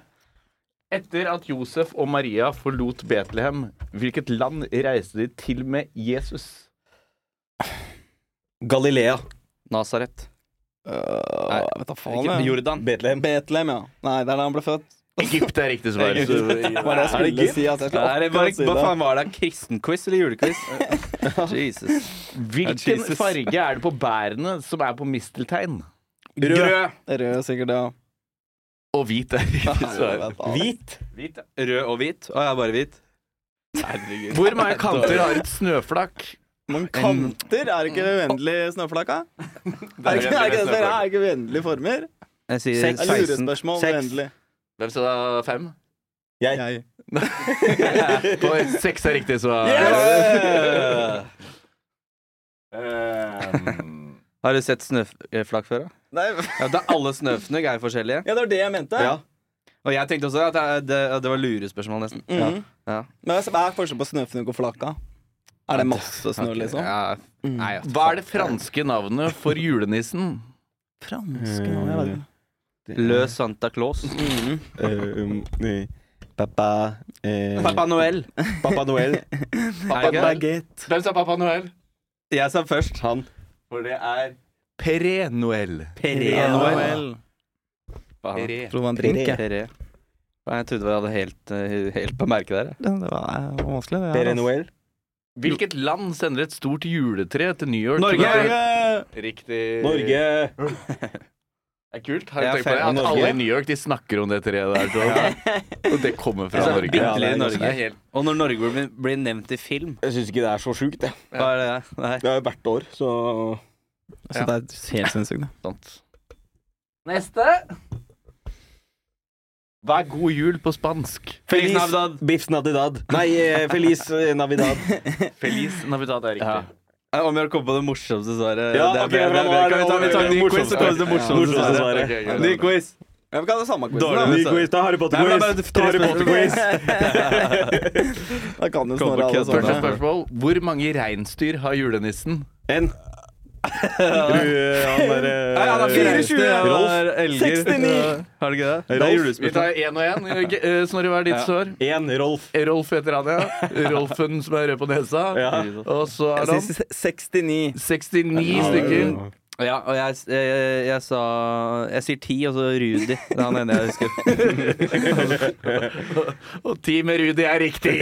S3: Etter at Josef og Maria forlot Betlehem, hvilket land reiste de til med Jesus?
S18: Galilea.
S5: Nasaret.
S8: Nei, Øh, vet da faen.
S5: ikke
S8: jeg.
S5: Jordan.
S18: Betlehem.
S8: Betlehem, ja. Nei, det er der han ble født.
S3: Egypt er
S8: [laughs]
S3: riktig svar.
S8: Egypt.
S3: så-
S8: Det var det jeg
S3: Er det
S8: skulle
S3: Egypt?
S8: si, altså. Jeg
S5: Nei,
S8: klarte
S5: det
S8: ikke
S5: var
S8: å si
S5: ikke, hva
S8: det.
S5: faen var det? Kristenquiz eller
S3: [laughs]
S5: julequiz? Jesus.
S3: Hvilken
S5: Jesus.
S3: farge er det på bærene som er på misteltein?
S5: Rød.
S8: Rød, sikkert, ja.
S3: Og hvit er riktig svar.
S18: Hvit?
S5: Rød og hvit? Å, jeg er bare hvit. Herregud.
S3: Hvor mange kanter har et snøflak?
S8: Men kanter? Er det ikke uendelig snøflaka?
S3: [laughs]
S8: Er det ikke, er det ikke, det som er, er det ikke uendelige former?
S5: Jeg sier
S8: Seks.
S5: 16.
S8: Lurespørsmål.
S3: Seks.
S8: Uendelig.
S3: [laughs] Hvem sa fem?
S8: Jeg.
S3: [laughs] På seks er riktig, så
S8: Yes!
S5: Har du sett snøflak før, da?
S20: Nei.
S5: Ja, da alle snøfnugg er jo forskjellige.
S20: Ja, det var det jeg mente.
S5: Ja. Og jeg tenkte også at det, det, det var lurespørsmål, nesten.
S20: Mhm.
S5: Ja. Ja.
S20: Men
S8: altså,
S20: hva er forskjellen på snøfnugg og flaka? Er det masse snø, liksom?
S5: Ja. Nei, ja.
S3: Hva er det franske navnet for julenissen?
S20: Franske navn, jeg vet ikke.
S5: Lø Santa Claus.
S20: Mm.
S18: Eh, [laughs] Pappa um, eh,
S5: Pappa Noel.
S18: Pappa Noel.
S3: [laughs]
S5: Pappa
S18: Baguette.
S3: Hvem sa Pappa Noel?
S5: Jeg sa først han.
S3: For det er
S5: Pere Noel.
S3: Pere Noel.
S5: Faen.
S3: Pere.
S5: Trodde det var en drink, jeg. Pere. Faen, Jeg trodde vi hadde helt, eh, helt på merket der. jeg.
S20: Det var, det var vanskelig, det. her,
S5: Pere
S20: altså.
S5: Noel.
S3: Hvilket land sender et stort juletre til New York?
S5: Norge!
S3: Riktig.
S5: [laughs] Norge!
S3: Det er kult. Har du tenkt
S5: Jeg
S3: på det?
S5: feirer
S3: At
S5: Norge.
S3: alle i New York de snakker om det treet der. Så. Og det kommer fra
S5: Altså,
S3: Norge.
S5: bitte lille
S3: det er
S5: Norge.
S3: ganske- det er helt-
S5: Og når Norge blir, blir nevnt i film Jeg syns ikke det er så sjukt, det. Hva er det? Nei. Altså, Det er hvert år, så
S20: Så det er helt sinnssykt, det.
S3: Neste. Hva er god jul på spansk?
S18: Feliz Navidad. Biffs Navidad. Nei, eh, Feliz eh, Navidad.
S3: Feliz Navidad er riktig.
S5: Nei, Om jeg har kommet på det morsomste svaret
S18: Ja,
S5: det er
S18: ok,
S5: bedre,
S18: bra,
S5: det er
S18: nå
S5: bedre.
S18: er det
S5: Kan vi ta en
S18: over.
S5: ny quiz, så kommer det
S18: Morsomste
S5: morsomste,
S18: svaret.
S5: svaret.
S18: Ok, greit.
S5: Ny quiz.
S20: Ja, vi kan ha samme quiz.
S5: Dårlig
S20: da.
S5: med svar. Nei, men det er bare
S20: Harry
S5: tre
S20: Potter-quiz. [laughs]
S3: Da
S20: kan du
S5: Kom på
S3: Snorre alle
S5: kødd,
S8: sånn.
S3: sånne.
S5: Snorre.
S3: spørsmål. Hvor mange reinsdyr har julenissen? [laughs]
S18: En. han der, eh,
S5: Nei, han er 24!
S18: Rolf.
S5: Han er elger.
S18: 69.
S5: Har du ikke det?
S18: Rolf.
S5: Det er julespørsmål.
S3: Vi tar én og én. eh, Snorre, hva er ditt
S5: Ja.
S3: svar?
S18: Én Rolf.
S3: Rolf heter han, ja. Rolfen som er rød på nesa. Og så er han
S5: Jeg sier 69.
S3: 69 stykker.
S5: Ja, og jeg, jeg, jeg sa Jeg sier ti, og så Rudi. Det er han ene jeg husker.
S3: [laughs] og ti med Rudi er riktig!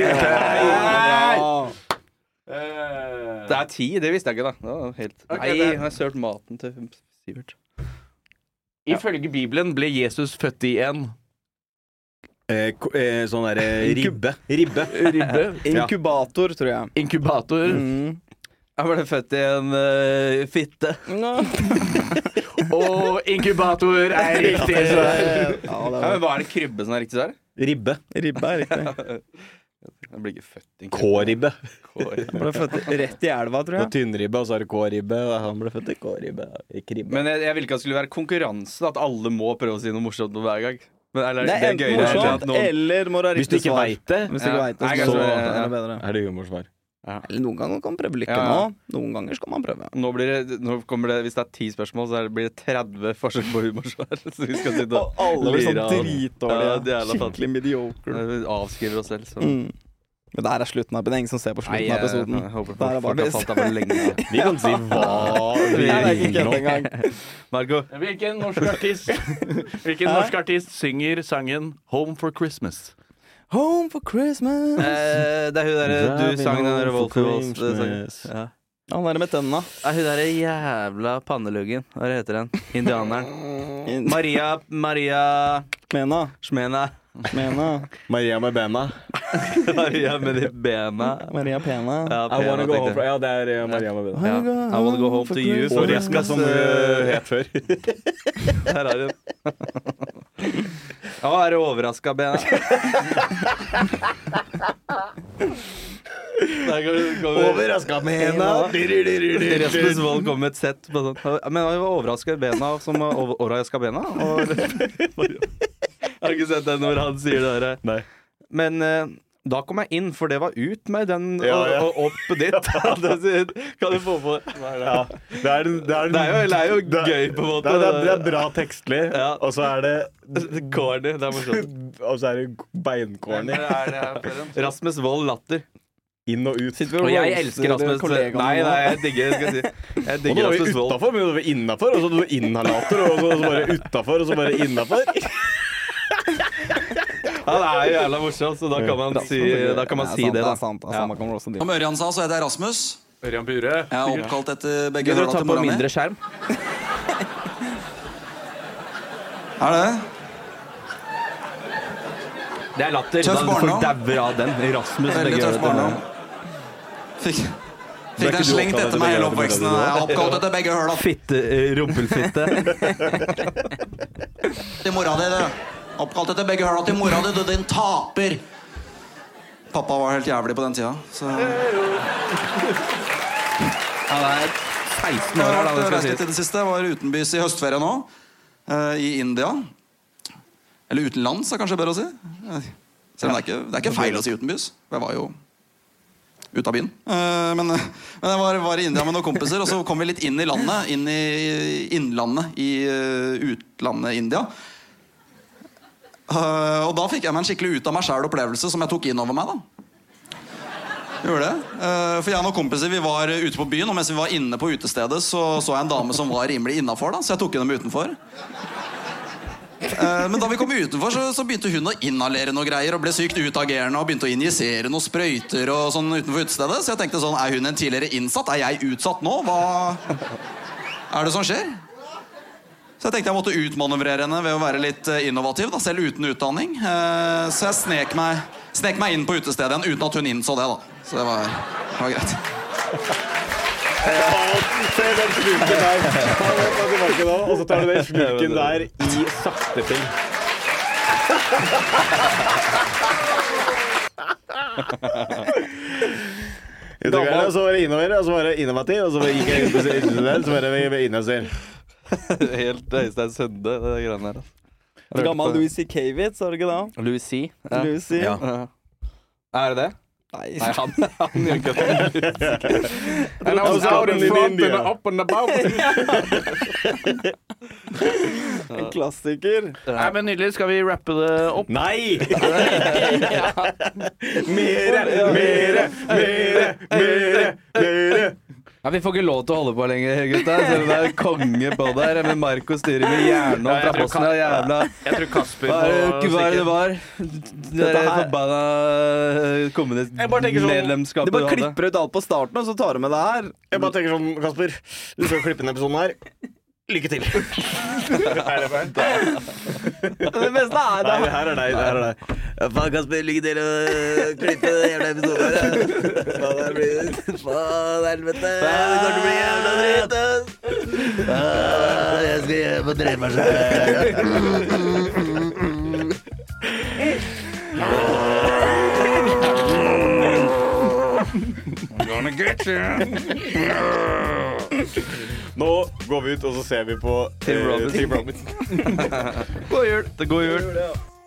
S5: Det er ti, det visste jeg ikke, da. Det var helt...
S3: Ok,
S5: Nei,
S3: det-
S5: jeg har sølt maten til Sivert.
S3: [laughs] Ifølge Bibelen ble Jesus født i en
S18: Eh, ko- eh, sånn derre ribbe. Ribbe.
S3: Ribbe.
S18: [laughs]
S20: [laughs]
S18: Ja.
S20: Inkubator, tror jeg.
S3: Inkubator.
S20: Mm.
S5: Jeg ble født i en eh, fitte. [laughs]
S3: Og inkubator er riktig svar.
S5: Ja, men Hva er det krybbe som er riktig svar?
S18: Ribbe.
S20: Ribbe er riktig.
S5: Jeg blir ikke født i en krybbe.
S18: K-ribbe.
S20: Han ble født rett i elva, tror
S18: Og
S20: jeg.
S18: tynnribbe, og så er det K-ribbe. og Han ble født i K-ribbe. Ikke ribbe.
S5: Men jeg, jeg ville ikke at det skulle være konkurranse, at alle må prøyde å si noe morsomt på hver gang. Men, liksom eller,
S20: Det er enten morsomt eller må det være
S18: Hvis du
S20: riktig
S18: ikke
S20: svar.
S18: veit det,
S20: Hvis du ikke
S5: Ja.
S20: vet det,
S5: Nei,
S20: så
S5: kanskje-
S20: er det bedre.
S18: er det humorsvar.
S20: Eller noen ganger kan man prøve lykken
S5: Ja.
S20: òg. Noen ganger skal man prøve.
S5: Nå blir det, nå kommer det, Hvis det er ti spørsmål, så er det, blir det 30 forsøk på humorsvar. [laughs] Så vi skal sitte og
S20: Alle blir sånn
S5: lire av-
S20: dritdårlige.
S5: Ja, det er jævla fattig.
S20: Skikkelig mediocre.
S5: Vi avskriver oss selv. Så.
S20: Mm. Men der er slutten av Det er ingen som ser på slutten
S5: Sånn. Nei,
S20: av
S5: jeg-
S20: episoden.
S5: jeg håper
S20: Der er
S5: folk har
S20: bare-
S5: falt av for
S20: [laughs]
S5: lenge siden.
S18: Vi kan si hva vi
S20: Nei, det er ikke
S18: vil
S20: kødd
S18: nå.
S20: engang.
S5: Marco,
S3: Hvilken norsk artist Hvilken norsk artist synger sangen 'Home for Christmas'?
S20: Home for Christmas.
S5: eh, det er hun derre du
S18: Driving
S5: sang den
S18: home
S5: der
S18: for
S5: Wolf of Wall Street-
S18: Christmas.
S5: sangen. Ja.
S20: Han er med tenna.
S5: Nei, hun derre jævla panneluggen. Hva heter den? Indianeren. Maria Maria
S20: Mena.
S5: Smena.
S20: Mena.
S18: Maria med bena.
S5: [laughs] Maria med de bena.
S20: Maria Pena.
S5: Ja,
S18: I wanna
S5: pena,
S18: go
S5: tenkte
S18: home
S5: jeg.
S18: for Ja, det er eh, Maria med bena.
S5: Ja. I wanna go home to you.
S18: Og Reska som eh, het før.
S5: [laughs] Her er hun. Ja, er du overraska, Bena?
S20: [laughs]
S5: Der kommer, kommer
S18: Overraska med henda.
S5: Rasmus Wold kom med et sett på sånn. Men han var overraska i bena som var over- overraska bena.
S20: [laughs]
S5: Og, har du ikke sett den hvor han sier det der?
S18: Nei.
S5: Men eh, da kom jeg inn, for det var ut med den
S18: Ja,
S5: og,
S18: ja.
S5: og opp
S20: [laughs]
S5: dit. Det sier- kan du få på
S18: Ja, det er, en- det er, en-
S5: Det er jo, det er jo
S18: det er-
S5: gøy, på en måte.
S18: Det er, det er, det er bra tekstlig, og så er det
S5: Corny. Det er morsomt.
S18: [laughs] Og så er det beincorny.
S5: Rasmus Wold latter.
S18: Inn og ut.
S20: Sitter vi
S5: Og jeg
S20: roaster
S5: elsker Rasmus
S20: kollegaene
S5: Nei,
S20: nå?
S5: nei, jeg digger, skal jeg si.
S18: Og
S5: Jeg
S18: nå
S5: digger
S18: var vi
S5: Rasmus Wold.
S18: utafor, men nå var vi innafor. Og så hadde du inhalator, og så og så bare utafor, og så bare innafor.
S5: Han er jo jævla morsom, så da kan man si, da kan man
S20: Ja,
S5: si
S20: sant, det
S5: det, da.
S20: er sant, altså, man kommer også dit.
S13: Som Ørjan sa, så heter jeg Rasmus.
S3: Ørjan Bure.
S13: Jeg er oppkalt etter begge
S5: Gidder du
S13: høla
S5: ta
S13: til
S5: på
S13: mora mi.
S5: mindre skjerm?
S13: Er det?
S5: Det er latter.
S13: Tøff
S5: Da
S13: barndom.
S5: Folk dauer av den. Rasmus
S13: Veldig
S5: begge
S13: tøff
S5: ører.
S13: barndom. Fikk,
S5: Det
S13: fikk
S5: er ikke
S13: den
S5: du
S13: slengt etter
S5: oppkalt etter
S13: meg hele
S5: begge høla til
S13: oppveksten.
S5: mora
S13: Jeg
S5: di,
S13: er
S5: da.
S13: oppkalt
S5: [laughs]
S13: etter begge høla
S5: Fitte, eh,
S18: [laughs]
S5: rumpelfitte.
S13: [laughs] til mora di, du. Oppkalt etter begge høla til mora di, du din taper. Pappa var helt jævlig på den tida, så
S5: Han er 16
S13: Jeg har
S5: år, er det
S13: vært
S5: det
S13: reist
S5: skal
S13: litt i
S5: sies.
S13: det siste. Jeg var utenbys i høstferie nå, eh, i India. Eller utenlands, er kanskje bedre å si. Eh, Selv om det er ikke, det er ikke feil å si utenbys. for Jeg var jo ute av byen. Eh, Men, eh, men jeg var, var i India med noen kompiser, og så kom vi litt inn i landet. Inn i innlandet i eh, utlandet India. Eh, Og da fikk jeg meg en skikkelig ut av meg sjæl-opplevelse som jeg tok inn over meg. da. Gjorde det? Eh, For jeg og noen kompiser vi var ute på byen, og mens vi var inne på utestedet, så så jeg en dame som var rimelig innafor, så jeg tok henne med utenfor. Eh, Men da vi kom utenfor, så, så begynte hun å inhalere noe greier og ble sykt utagerende og begynte å injisere noen sprøyter og sånn utenfor utestedet. Så jeg tenkte sånn, er hun en tidligere innsatt? Er jeg utsatt nå? Hva er det som skjer? Så jeg tenkte jeg måtte utmanøvrere henne ved å være litt eh, innovativ, da, selv uten utdanning. Eh, Så jeg snek meg, snek meg inn på utestedet igjen uten at hun innså det. da. Så det var, det var greit.
S18: Se den sluken der. Han er på tilbake nå, Og så tar du den sluken der i sakte film. Dama, og så var det innover, og så var det innovativ, og så bare gikk jeg inn på siden, så bare vi- vi [laughs] innover.
S5: Helt Øystein Sunde, det greiene der. altså.
S18: Gammel Louis C.K.-vits, har du ikke det?
S5: Louis C.
S18: Ja. Louis C. Ja.
S5: Er det det?
S18: Nei.
S5: Nei, han, han gjør ikke det.
S18: [laughs]
S21: And I was out in front and up and
S2: [laughs]
S21: about.
S18: En klassiker.
S21: Nei, men Nydelig. Skal vi rappe det opp? [laughs]
S18: Nei! Mere, mere, mere, mere, mere.
S5: Ja, vi får ikke lov til å holde på lenger, gutta. Selv om det er konge på der. Men Marco styrer med hjernen
S21: Ja,
S5: opp
S21: jeg
S5: fra
S21: tror
S5: Bosnia.
S21: Ka-
S5: Jævla
S21: Jeg tror Kasper
S5: Hva er
S21: må
S5: det- hva er det
S21: stikke.
S5: det var? Det
S18: Dette
S5: der
S18: her-
S5: forbanna
S18: Jeg bare
S5: eh,
S18: tenker sånn,
S5: kommunistmedlemskapet
S18: Du bare klipper ut alt på starten, og så tar du med det her. Jeg bare tenker sånn, Kasper, du skal klippe denne episoden her. Lykke til.
S21: Det beste er
S18: Nei, det her er deg. det her er deg. Faen, Kasper, lykke til å klippe hele episoden her. ja. Faen, det [laughs] blir Faen, helvete. Det kommer til å bli jævla dritt. ass. Faen, Jeg skal hjem og drepe meg
S11: [laughs]
S18: Nå går vi ut, og så ser vi på
S5: Tim
S18: eh,
S5: Robbins.
S18: Tim Robbins.
S5: God jul. God jul.